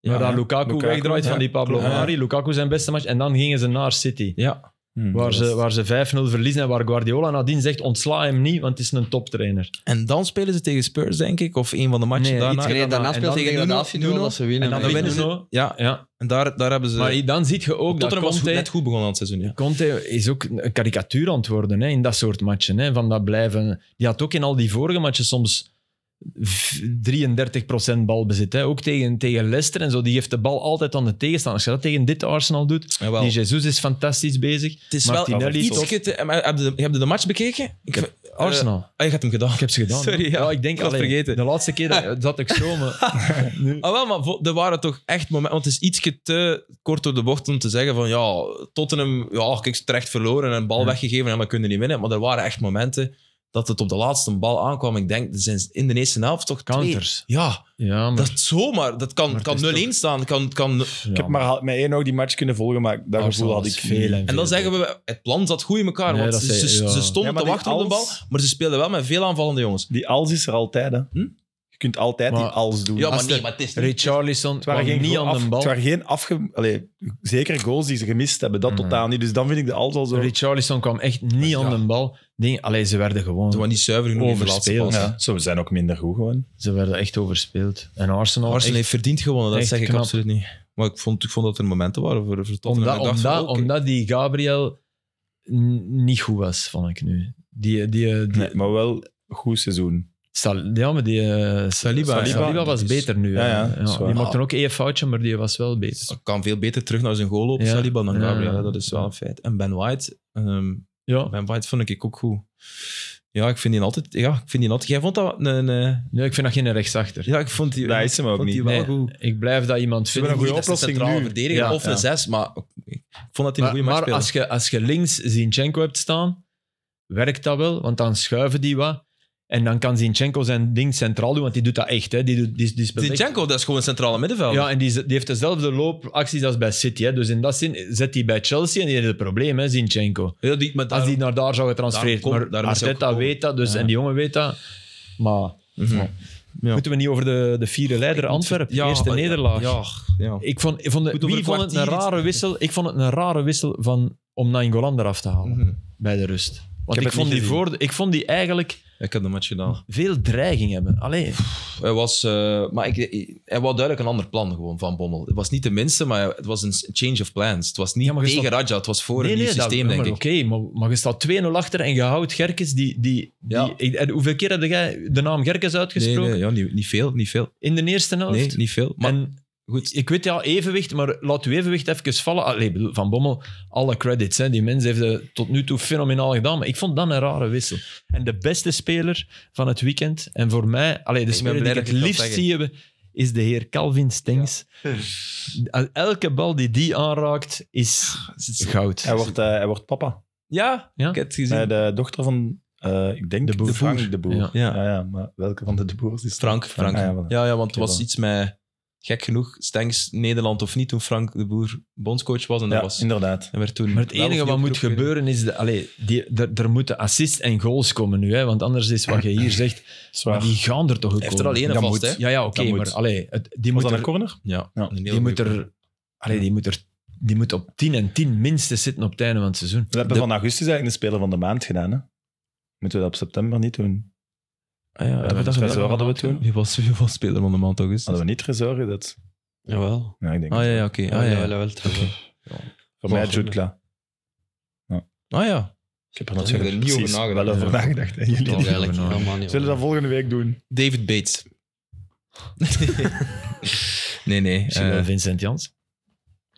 Speaker 4: Maar daar
Speaker 2: ja.
Speaker 4: Lukaku,
Speaker 2: Lukaku,
Speaker 4: wegdraait
Speaker 2: ja.
Speaker 4: van die Pablo
Speaker 2: Ja.
Speaker 4: Mari. Lukaku zijn beste match. En dan gingen ze naar City.
Speaker 1: ja.
Speaker 2: Hm,
Speaker 4: Waar
Speaker 2: dat
Speaker 4: ze,
Speaker 2: was-
Speaker 4: waar ze 5-0 verliezen en waar Guardiola nadien zegt: ontsla hem niet, want het is een toptrainer.
Speaker 1: En dan spelen ze tegen Spurs, denk ik, of een van de matchen
Speaker 4: Nee,
Speaker 1: daarna.
Speaker 4: iets
Speaker 3: Nee, daarna
Speaker 4: En
Speaker 3: speelt
Speaker 4: dan
Speaker 3: ze tegen
Speaker 1: tegen
Speaker 3: degradatie
Speaker 1: Nuno,
Speaker 3: doen dat ze winnen.
Speaker 1: En dan
Speaker 4: En
Speaker 1: winnen ze.
Speaker 4: Nuno-
Speaker 1: Ja,
Speaker 4: Ja.
Speaker 1: en daar, daar hebben ze.
Speaker 4: Maar dan ziet je ook dat
Speaker 1: Tottenham was
Speaker 4: Conte,
Speaker 1: goed, net goed begonnen aan het seizoen. Ja.
Speaker 4: Conte is ook een karikatuur aan het worden hè, in dat soort matchen. Hè, van dat blijven. Die had ook in al die vorige matchen soms v- 33% balbezit. Hè. Ook tegen, tegen Leicester en zo. Die geeft de bal altijd aan de tegenstander. Als je dat tegen dit Arsenal doet.
Speaker 1: Jawel.
Speaker 4: Die Jesus is fantastisch bezig.
Speaker 1: het is wel
Speaker 4: Martinelli
Speaker 1: iets.
Speaker 4: tof.
Speaker 1: Heb je, heb je de match bekeken? Ik,
Speaker 4: Arsenal.
Speaker 1: ah, je hebt hem gedaan.
Speaker 4: ik heb ze gedaan. hè.
Speaker 1: Sorry, ja.
Speaker 4: ik denk
Speaker 1: Ik had
Speaker 4: alleen,
Speaker 1: vergeten.
Speaker 4: De laatste keer dat, dat ik zo. Maar,
Speaker 1: Ah, wel, maar vo- er waren toch echt momenten. Want het is ietsje te kort door de bocht om te zeggen van ja, Tottenham, ja, kijk, terecht verloren en een bal
Speaker 4: Ja.
Speaker 1: weggegeven en we kunnen niet winnen. Maar er waren echt momenten dat het op de laatste bal aankwam. Ik denk, er zijn in de eerste helft toch twee-
Speaker 4: Counters.
Speaker 1: Ja,
Speaker 4: ja, maar,
Speaker 1: dat is zomaar. Dat kan,
Speaker 4: Maar het
Speaker 1: kan 0-1
Speaker 4: is
Speaker 1: staan. Kan, kan,
Speaker 2: Ik heb maar al- met één oog die match kunnen volgen, maar dat gevoel had ik niet.
Speaker 1: En dan zeggen we, het plan zat goed in elkaar.
Speaker 4: Nee,
Speaker 1: want
Speaker 4: dat
Speaker 1: ze,
Speaker 4: zei-
Speaker 1: ze-
Speaker 4: ja.
Speaker 1: ze stonden
Speaker 2: Ja, maar
Speaker 1: te
Speaker 2: die
Speaker 1: wachten op de bal,
Speaker 2: als-
Speaker 1: maar ze speelden wel met veel aanvallende jongens.
Speaker 2: Die als is er altijd, hè.
Speaker 1: Hm?
Speaker 2: Je kunt altijd
Speaker 4: Maar-
Speaker 2: die als doen.
Speaker 1: Ja,
Speaker 2: Als
Speaker 1: maar
Speaker 2: er-
Speaker 1: nee, maar het is niet-
Speaker 4: Richarlison
Speaker 2: Het waren, geen
Speaker 4: niet
Speaker 2: goal
Speaker 4: aan de
Speaker 2: af-
Speaker 4: bal.
Speaker 2: het waren geen afge... Allee, zekere goals die ze gemist hebben, dat
Speaker 4: Mhm.
Speaker 2: totaal niet. Dus dan vind ik de als al zo...
Speaker 4: Richarlison kwam echt niet
Speaker 1: Ja.
Speaker 4: aan de bal. Ding, allee, ze werden
Speaker 1: Ze
Speaker 4: gewoon...
Speaker 1: waren niet zuiver genoeg in de laatste
Speaker 4: Overspelen,
Speaker 1: pas.
Speaker 2: Ja, zo, we zijn ook minder goed gewoon.
Speaker 4: Ze werden echt overspeeld. En Arsenal...
Speaker 1: Arsenal
Speaker 4: echt-
Speaker 1: heeft verdiend gewonnen, dat
Speaker 4: echt
Speaker 1: zeg ik
Speaker 4: knap.
Speaker 1: absoluut niet. Maar ik vond, ik vond dat er momenten waren voor, voor Tottenham.
Speaker 4: omdat,
Speaker 1: Ik dacht van,
Speaker 4: omdat,
Speaker 1: oké.
Speaker 4: omdat die Gabriel n- niet goed was, vond ik nu. Die, eh, die, die,
Speaker 2: Nee, maar wel goed seizoen.
Speaker 4: Sal- ja, maar die eh, Saliba, Saliba,
Speaker 2: Saliba
Speaker 4: was
Speaker 1: is-
Speaker 4: beter nu.
Speaker 2: Ja,
Speaker 4: hè.
Speaker 2: ja, dat is waar.
Speaker 4: die maakte ook één foutje, maar die was wel beter.
Speaker 1: Hij kan veel beter terug naar zijn goal lopen,
Speaker 4: Ja.
Speaker 1: Saliba, dan
Speaker 4: Ja.
Speaker 1: Gabriel. Dat is wel een feit. En Ben White... ehm,
Speaker 4: Ja.
Speaker 1: ben White vond ik ook goed. Ja, ik vind die altijd... Ja, ik vind die altijd... Jij vond dat een... eh,
Speaker 4: Nee, ik vind dat geen rechtsachter.
Speaker 1: ja, ik vond die...
Speaker 2: Dat is hem ook
Speaker 1: vond die
Speaker 2: niet.
Speaker 1: wel
Speaker 4: Nee.
Speaker 1: goed.
Speaker 4: Ik blijf dat iemand vinden.
Speaker 2: hebben een goede
Speaker 1: Niet dat ze
Speaker 2: oplossing
Speaker 1: centraal
Speaker 2: nu.
Speaker 1: verdediger
Speaker 4: Ja,
Speaker 1: of een
Speaker 2: ja.
Speaker 1: zes, maar ik vond dat hij een
Speaker 4: Maar,
Speaker 1: goede match
Speaker 4: maar
Speaker 1: speelde.
Speaker 4: als, je, als je links Zinchenko hebt staan, werkt dat wel, want dan schuiven die wat. En dan kan Zinchenko zijn ding centraal doen, want die doet dat echt. Hè. Die, doet, die, die speelt echt-
Speaker 1: Zinchenko, dat is gewoon een centrale middenveld.
Speaker 4: Ja, en die, is- die heeft dezelfde loopacties als bij City. Hè. Dus in dat zin zet hij bij Chelsea en die heeft het probleem, hè, Zinchenko.
Speaker 1: Ja, Ah, die, maar
Speaker 4: als
Speaker 1: daarom-
Speaker 4: die naar daar zou getransfereerd
Speaker 1: daarom
Speaker 4: worden.
Speaker 1: komt-
Speaker 4: Maar
Speaker 1: daarom is hij ook
Speaker 4: Arteta
Speaker 1: gekomen.
Speaker 4: weet dat, dus,
Speaker 1: Ja.
Speaker 4: en die jongen weet dat. Maar
Speaker 1: Mhm.
Speaker 4: moeten we niet over de, de vierde leider Antwerpen,
Speaker 1: Ja,
Speaker 4: eerste
Speaker 1: ja,
Speaker 4: nederlaag.
Speaker 1: Ja, ja.
Speaker 4: Ik vond, ik vond,
Speaker 1: Goed,
Speaker 4: het,
Speaker 1: over
Speaker 4: wie
Speaker 1: een
Speaker 4: vond het een
Speaker 1: kwartier iets-
Speaker 4: rare wissel? Ik vond het een rare wissel van, om Nainggolan eraf te halen
Speaker 1: Mhm.
Speaker 4: bij de rust.
Speaker 1: heb
Speaker 4: Want ik,
Speaker 1: het
Speaker 4: vond
Speaker 1: niet
Speaker 4: die
Speaker 1: gezien.
Speaker 4: voor, ik vond die eigenlijk
Speaker 1: Ik heb de match gedaan.
Speaker 4: veel dreiging hebben. Allee,
Speaker 1: Hij was, eh, maar ik, ik- hij wou duidelijk een ander plan gewoon van Bommel. Het was niet de minste, maar het was een change of plans. Het was niet
Speaker 4: Ja, maar je
Speaker 1: tegen
Speaker 4: staat-
Speaker 1: Raja, het was voor een nieuw
Speaker 4: dat-
Speaker 1: systeem,
Speaker 4: maar
Speaker 1: denk ik.
Speaker 4: Oké, maar, maar je staat 2-0 achter en je houdt Gerkes. Die, die,
Speaker 1: Ja.
Speaker 4: die, ik- en hoeveel keer heb jij de naam Gerkes
Speaker 1: Nee,
Speaker 4: uitgesproken
Speaker 1: nee ja, niet, niet veel, niet veel.
Speaker 4: in de eerste helft?
Speaker 1: Nee, niet veel. Maar
Speaker 4: en
Speaker 1: goed.
Speaker 4: ik weet ja, evenwicht, maar laat uw evenwicht even vallen. Allee, ik bedoel, Van Bommel, alle credits. Hè. Die mens heeft het tot nu toe fenomenaal gedaan. Maar ik vond dat een rare wissel. En de beste speler van het weekend, en voor mij, allee, de
Speaker 1: ben
Speaker 4: speler die
Speaker 1: blij
Speaker 4: ik
Speaker 1: dat
Speaker 4: het
Speaker 1: je dat
Speaker 4: liefst
Speaker 1: zegt.
Speaker 4: zie hebben, is de heer Calvin Stengs. Elke bal die die aanraakt, is goud.
Speaker 2: Hij wordt, eh, hij wordt papa.
Speaker 1: Ja,
Speaker 4: Ja?
Speaker 1: ik heb het gezien.
Speaker 2: Bij de dochter van, eh, ik denk,
Speaker 4: De
Speaker 2: de
Speaker 4: Boer.
Speaker 2: Frank de Boer.
Speaker 4: Ja.
Speaker 2: Ja.
Speaker 1: Ja.
Speaker 2: Ja, maar welke van de De Boers is
Speaker 1: Frank, Frank.
Speaker 2: Ah, ja, voilà.
Speaker 1: Ja, ja want het was
Speaker 2: Oké,
Speaker 1: iets met, gek genoeg, Stengs, Nederland of niet, toen Frank de Boer bondscoach was. En, dat
Speaker 2: Ja,
Speaker 1: was,
Speaker 2: inderdaad.
Speaker 1: en werd toen
Speaker 4: Maar het
Speaker 1: wel of
Speaker 4: enige
Speaker 1: niet
Speaker 4: wat moet
Speaker 1: opgeroepen.
Speaker 4: gebeuren is... De, allee, die, er, er moeten assists en goals komen nu. Hè, want anders is wat je hier zegt... maar
Speaker 2: Zwaar.
Speaker 4: die gaan er toch ook
Speaker 1: Hij heeft er
Speaker 4: komen.
Speaker 1: al één
Speaker 2: Dat
Speaker 1: vast,
Speaker 2: moet.
Speaker 1: hè?
Speaker 4: Ja, ja, oké.
Speaker 2: Dat moet.
Speaker 4: maar allee, het- die,
Speaker 2: Was
Speaker 4: moet
Speaker 2: dat een
Speaker 4: er,
Speaker 2: corner?
Speaker 1: Ja,
Speaker 2: Ja,
Speaker 1: een hele
Speaker 4: die,
Speaker 1: goeie
Speaker 4: moet er, allee, die moet er... Die moet op 10 en 10 minstens zitten op het einde van het seizoen.
Speaker 2: We hebben van augustus eigenlijk de speler van de maand gedaan. Hè? Moeten we dat op september niet doen?
Speaker 1: Ah, ja,
Speaker 2: dat
Speaker 1: dat
Speaker 2: gesprek hadden we toen.
Speaker 1: Wie was, wie was speler van de maand augustus?
Speaker 4: Ah,
Speaker 2: Hadden we niet gezorgd dat...
Speaker 3: Jawel.
Speaker 2: Ja, ik denk
Speaker 1: Ah
Speaker 2: het.
Speaker 1: ja, ja, oké. Ah, ja,
Speaker 3: Jawel,
Speaker 1: ja.
Speaker 3: jawel, trouwens.
Speaker 2: Voor mij
Speaker 3: Goh,
Speaker 2: Jude Kla.
Speaker 1: Ah, ja.
Speaker 2: Ik heb er
Speaker 1: Daar heb ik
Speaker 2: natuurlijk
Speaker 1: er niet over
Speaker 2: precies
Speaker 1: nagedacht.
Speaker 2: wel over
Speaker 1: Ja.
Speaker 2: nagedacht. hè, jullie.
Speaker 3: Toch eigenlijk helemaal niet.
Speaker 2: Zullen we dat volgende week doen?
Speaker 1: David Bates. nee, nee.
Speaker 4: Misschien wel
Speaker 1: eh,
Speaker 4: Vincent Jans.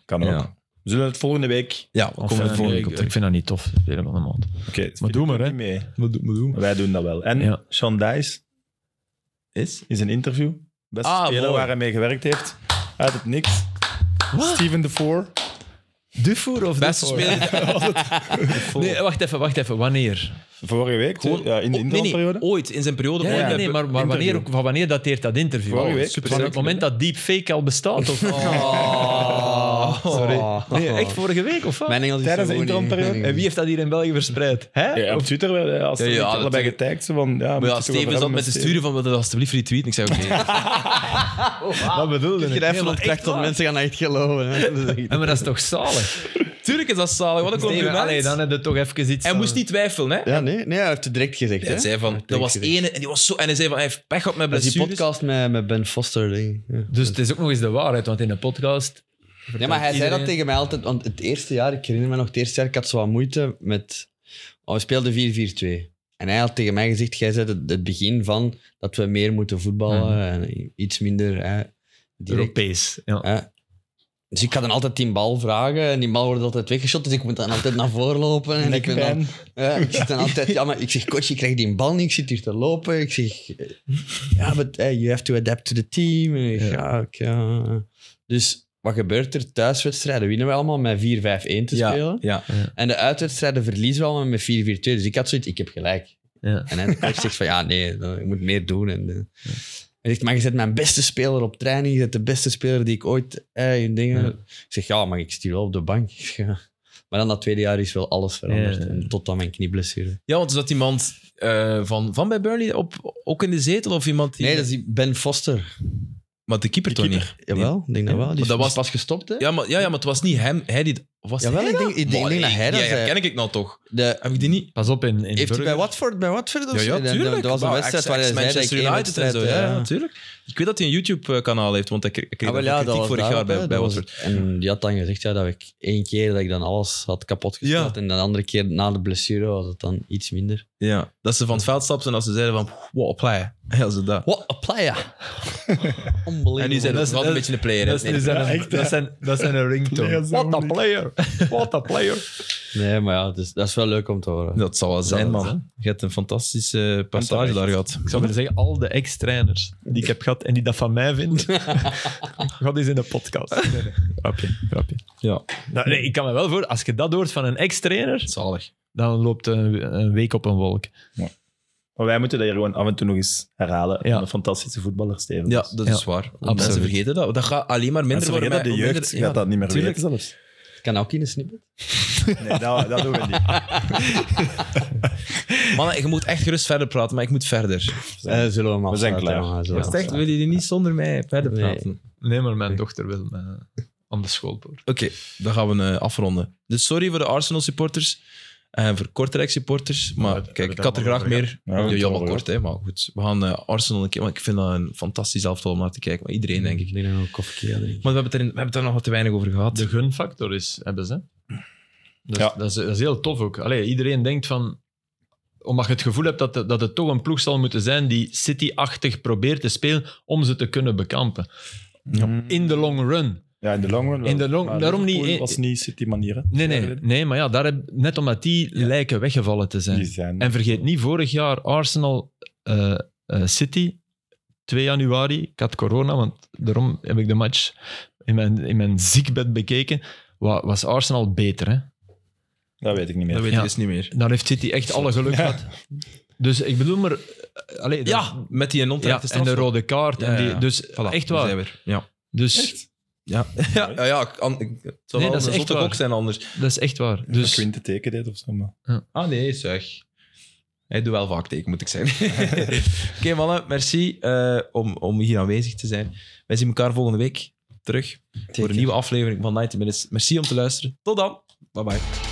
Speaker 2: Kan ook.
Speaker 1: ja,
Speaker 2: Zullen we het volgende week...
Speaker 1: ja we
Speaker 4: Of,
Speaker 1: komen
Speaker 4: eh,
Speaker 1: er volgende
Speaker 4: ik-
Speaker 1: week op
Speaker 4: Ik
Speaker 1: terug.
Speaker 4: vind dat niet tof. Speler van de maand.
Speaker 2: Oké, Filip
Speaker 4: doe maar,
Speaker 2: doet
Speaker 4: hè.
Speaker 2: niet mee.
Speaker 1: Wat doen we doen?
Speaker 2: Wij doen dat wel. En
Speaker 4: Ja.
Speaker 2: Sean Dice
Speaker 1: Is?
Speaker 2: is een interview. Beste
Speaker 1: Ah,
Speaker 2: speler
Speaker 1: mooi.
Speaker 2: waar hij mee gewerkt heeft. Uit het niks. Steven de Four.
Speaker 4: Dufour of
Speaker 1: Beste speler.
Speaker 4: Nee, wacht even, wacht even. Wanneer?
Speaker 2: Vorige week,
Speaker 1: Gewoon-
Speaker 2: ja, in de
Speaker 1: oh, nee, nee,
Speaker 2: interlandperiode.
Speaker 1: ooit, in zijn periode.
Speaker 4: Ja,
Speaker 1: ooit
Speaker 4: ja,
Speaker 1: hebben-
Speaker 4: nee, maar, maar wanneer,
Speaker 2: interview.
Speaker 4: van wanneer dateert dat interview?
Speaker 2: Vorige week,
Speaker 4: Van het
Speaker 2: precies.
Speaker 4: moment dat deepfake al bestaat? Of?
Speaker 1: Oh.
Speaker 3: Sorry.
Speaker 4: Nee, echt vorige week of wat?
Speaker 3: Mijn Engels is
Speaker 2: Tijdens de
Speaker 3: zo goed niet.
Speaker 2: interlandperiode?
Speaker 4: En wie heeft dat hier in België verspreid? Hè?
Speaker 2: Ja, op
Speaker 4: Of-
Speaker 2: Twitter, eh, als ze
Speaker 1: Ja, ja,
Speaker 2: ja, allebei
Speaker 1: natuurlijk.
Speaker 2: getagd zijn van... Ja,
Speaker 1: Maar
Speaker 2: moet
Speaker 1: ja,
Speaker 2: het erover
Speaker 1: Steven zat
Speaker 2: hebben
Speaker 1: met de
Speaker 2: Steven.
Speaker 1: sturen van, wil je dat alsjeblieft retweeten? Ik zei, oké.
Speaker 4: Wat bedoelde ik?
Speaker 3: Grijpen op trekt dat mensen gaan dat echt geloven. hè. Dat is echt-
Speaker 4: Ja, maar dat is toch zalig?
Speaker 1: Tuurlijk is dat zalig, wat een
Speaker 4: Steven, allee,
Speaker 1: compliment.
Speaker 4: dan heb je toch even iets...
Speaker 1: Hij
Speaker 4: aan-
Speaker 1: moest niet twijfelen, hè.
Speaker 3: Ja, nee, nee, hij heeft het direct gezegd.
Speaker 1: Hij
Speaker 3: hè.
Speaker 1: zei van, dat
Speaker 3: denk
Speaker 1: was
Speaker 3: ik.
Speaker 1: ene, en die was zo... En hij zei van, hij heeft pech op met
Speaker 3: Dat is die
Speaker 1: blessures.
Speaker 3: podcast met, met Ben Foster. Ding. Ja.
Speaker 4: Dus het is ook nog eens de waarheid, want in de podcast...
Speaker 3: Ja, maar hij zei
Speaker 4: Iedereen-
Speaker 3: dat tegen mij altijd. Want het eerste jaar, ik herinner me nog, het eerste jaar, ik had zo wat moeite met... Oh, we speelden 4-4-2. En hij had tegen mij gezegd, jij zei het, het begin van dat we meer moeten voetballen en iets minder hè, direct.
Speaker 4: Europees. Ja.
Speaker 3: hè. Dus ik ga dan altijd die bal vragen en die bal wordt altijd weggeschoten, dus ik moet dan altijd naar voren lopen. En ik, ben dan,
Speaker 2: Nekpijn.
Speaker 3: ja, ik zit dan altijd, ja, maar ik zeg, coach, ik krijg die bal niet, ik zit hier te lopen. Ik zeg, eh, ja, but eh, you have to adapt to the team. En ik, ja, oké, ja. Dus wat gebeurt er? Thuiswedstrijden winnen we allemaal met 4-5-1 te spelen.
Speaker 1: Ja,
Speaker 3: En de uitwedstrijden verliezen we allemaal met 4-4-2. Dus ik had zoiets, ik heb gelijk.
Speaker 4: Ja.
Speaker 3: En hij de coach zegt van, ja, nee, dan- ik moet meer doen. En, eh, hij zegt, maar je zet mijn beste speler op training. Je zet de beste speler die ik ooit eh, in dingen...
Speaker 4: Ja.
Speaker 3: Ik zeg, ja, maar ik stuur wel op de bank. Ik zeg, ja. Maar dan dat tweede jaar is wel alles veranderd.
Speaker 4: Ja, ja, ja.
Speaker 3: En tot aan mijn knieblessure.
Speaker 1: ja want er zat iemand eh, van, van bij Burnley op, ook in de zetel of iemand die...
Speaker 3: Nee, dat is die Ben Foster.
Speaker 1: Maar de keeper
Speaker 2: De
Speaker 1: toch
Speaker 2: keeper.
Speaker 1: niet?
Speaker 3: Jawel, ik denk dat wel. Die
Speaker 1: Maar
Speaker 3: is
Speaker 1: dat was-
Speaker 3: pas gestopt, hè?
Speaker 1: Ja maar, ja, ja, maar het was niet hem. Hij die... of Was
Speaker 3: Jawel,
Speaker 1: hij
Speaker 3: ik denk, ik denk, ik denk dat hij dat
Speaker 1: Ja,
Speaker 3: zei.
Speaker 1: herken ik nou toch?
Speaker 3: De-
Speaker 1: Heb ik die niet?
Speaker 4: Pas op, in, in
Speaker 3: heeft hij bij
Speaker 4: Burger-
Speaker 3: Watford, bij Watford of
Speaker 1: Ja,
Speaker 3: zo?
Speaker 1: ja,
Speaker 3: En Dus dan-
Speaker 1: tuurlijk.
Speaker 3: Dat was een
Speaker 1: Wauw,
Speaker 3: wedstrijd
Speaker 1: ex-
Speaker 3: waar hij zei dat ik
Speaker 1: Manchester
Speaker 3: één
Speaker 1: United en
Speaker 3: wedstrijd...
Speaker 1: zo. Ja, ja, tuurlijk. Ik weet dat hij een YouTube-kanaal heeft, want ik kreeg
Speaker 3: Ah, wel,
Speaker 1: daar
Speaker 3: ja, dat
Speaker 1: kritiek
Speaker 3: was
Speaker 1: vorig jaar
Speaker 3: daarop,
Speaker 1: bij,
Speaker 3: hè,
Speaker 1: bij
Speaker 3: dat was
Speaker 1: Watford.
Speaker 3: het. En die had dan gezegd ja, dat ik één keer dat ik dan alles had kapot gespeeld. En de andere keer na de blessure was het dan iets minder.
Speaker 1: Ja, dat ze van het veld stapten en dat ze zeiden van, wow, play. Ja, ze dat.
Speaker 3: What a player! Unbelievable.
Speaker 1: En nu zijn dat
Speaker 4: dat-
Speaker 1: wel een beetje een player.
Speaker 4: Dat,
Speaker 1: hè.
Speaker 4: is- dat zijn,
Speaker 2: Ja,
Speaker 4: een-
Speaker 2: echt,
Speaker 4: dat,
Speaker 2: ja.
Speaker 4: zijn, dat zijn een ringtone.
Speaker 2: Nee, dat is
Speaker 4: What a
Speaker 2: moeilijk.
Speaker 4: player. What a player.
Speaker 3: Nee, maar ja, dus, dat is wel leuk om te horen.
Speaker 1: dat zal wel zijn,
Speaker 4: het
Speaker 1: man.
Speaker 4: zijn.
Speaker 1: Je hebt een fantastische passage
Speaker 2: terecht.
Speaker 1: daar gehad.
Speaker 4: Ik zou willen zeggen, al de ex-trainers die ik heb gehad en die dat van mij vinden, gaat eens in de podcast. Grapje, grapje.
Speaker 1: Ja,
Speaker 4: Nou, nee, ik kan me wel voor, als je dat hoort van een ex-trainer,
Speaker 1: zalig.
Speaker 4: dan loopt een, een week op een wolk.
Speaker 2: Maar wij moeten dat hier gewoon af en toe nog eens herhalen.
Speaker 4: Ja.
Speaker 2: En de fantastische voetballer Steven.
Speaker 1: Ja,
Speaker 2: is.
Speaker 1: dat
Speaker 4: Ja,
Speaker 1: is waar. Want
Speaker 4: absoluut.
Speaker 1: Mensen vergeten dat. Dat gaat alleen maar minder
Speaker 2: Mensen
Speaker 1: worden.
Speaker 2: vergeten dat de
Speaker 1: mij-
Speaker 2: jeugd
Speaker 1: minder-
Speaker 2: gaat dat niet meer
Speaker 1: tuurlijk.
Speaker 2: weten zelfs.
Speaker 3: Kan ook in een snippet.
Speaker 2: Nee, dat, dat doen we niet.
Speaker 1: Mannen, je moet echt gerust verder praten, maar ik moet verder.
Speaker 3: Eh, zullen we hem
Speaker 2: We zijn
Speaker 3: afsluiten,
Speaker 2: klaar.
Speaker 3: jongen, zullen we
Speaker 1: Echt,
Speaker 3: afsluiten.
Speaker 1: willen jullie niet zonder mij verder
Speaker 3: Nee.
Speaker 1: praten?
Speaker 4: Nee, maar mijn dochter wil me aan de schoolpoort.
Speaker 1: Oké, dan gaan we eh, afronden. Dus sorry voor de Arsenal supporters en voor Kortrijk supporters. Maar
Speaker 4: we hebben
Speaker 1: kijk, ik
Speaker 4: het
Speaker 1: had er
Speaker 4: allemaal
Speaker 1: graag
Speaker 4: over
Speaker 1: meer.
Speaker 2: Ja,
Speaker 1: Ja,
Speaker 2: we hebben het
Speaker 1: jammer
Speaker 2: over
Speaker 1: kort, hè, maar goed. We gaan eh, Arsenal een keer. Want ik vind dat een fantastisch elftal om naar te kijken. Maar iedereen, denk ik.
Speaker 3: Ik denk dat we een koffie gaan drinken.
Speaker 1: Maar we hebben het er, in- we hebben het er nog wat te weinig over gehad.
Speaker 4: De gunfactor is, hebben ze. Dat,
Speaker 2: Ja.
Speaker 4: is, dat, is, dat is heel tof ook. Allee, iedereen denkt van omdat je het gevoel hebt dat, het- dat het toch een ploeg zal moeten zijn die City-achtig probeert te spelen om ze te kunnen bekampen. In de long run.
Speaker 2: Ja, in de long run. wel.
Speaker 4: In de long-
Speaker 2: Maar
Speaker 4: daarom niet-
Speaker 2: Liverpool was niet City manieren.
Speaker 4: Nee, nee, nee maar ja, daar heb, net omdat die lijken weggevallen te zijn.
Speaker 2: Die zijn.
Speaker 4: En vergeet niet, vorig jaar Arsenal eh, eh, City, 2 januari. Ik had corona, want daarom heb ik de match in mijn, in mijn ziekbed bekeken. Wa- Was Arsenal beter, hè?
Speaker 2: dat weet ik niet meer.
Speaker 1: Dat weet
Speaker 4: Ja.
Speaker 1: ik dus niet meer.
Speaker 4: Daar heeft City echt alle geluk gehad. Dus ik bedoel maar... eh, Allee, dat-
Speaker 1: Ja, met die
Speaker 4: ja,
Speaker 1: non-terechte
Speaker 4: en de rode kaart. en
Speaker 1: Ja,
Speaker 4: die,
Speaker 1: ja.
Speaker 4: Dus
Speaker 1: straf. Voilà,
Speaker 4: echt
Speaker 1: daar
Speaker 4: waar.
Speaker 1: zijn we er. Ja.
Speaker 4: Dus
Speaker 1: Ja. ja, ja, ja, ik- an- ik- het zal
Speaker 4: Nee,
Speaker 1: wel
Speaker 4: dat is
Speaker 1: een
Speaker 4: echt
Speaker 1: zotte
Speaker 4: waar.
Speaker 1: gok zijn anders.
Speaker 4: dat is echt waar.
Speaker 2: Dus...
Speaker 4: Dus,
Speaker 2: Quinte teken deed of zo. Maar.
Speaker 1: Ah nee, zeg. Hij doet wel vaak teken, moet ik zeggen. Oké mannen, merci eh, om, om hier aanwezig te zijn. Wij zien elkaar volgende week terug voor een nieuwe aflevering van 90 Minutes. Merci om te luisteren. Tot dan. Bye bye.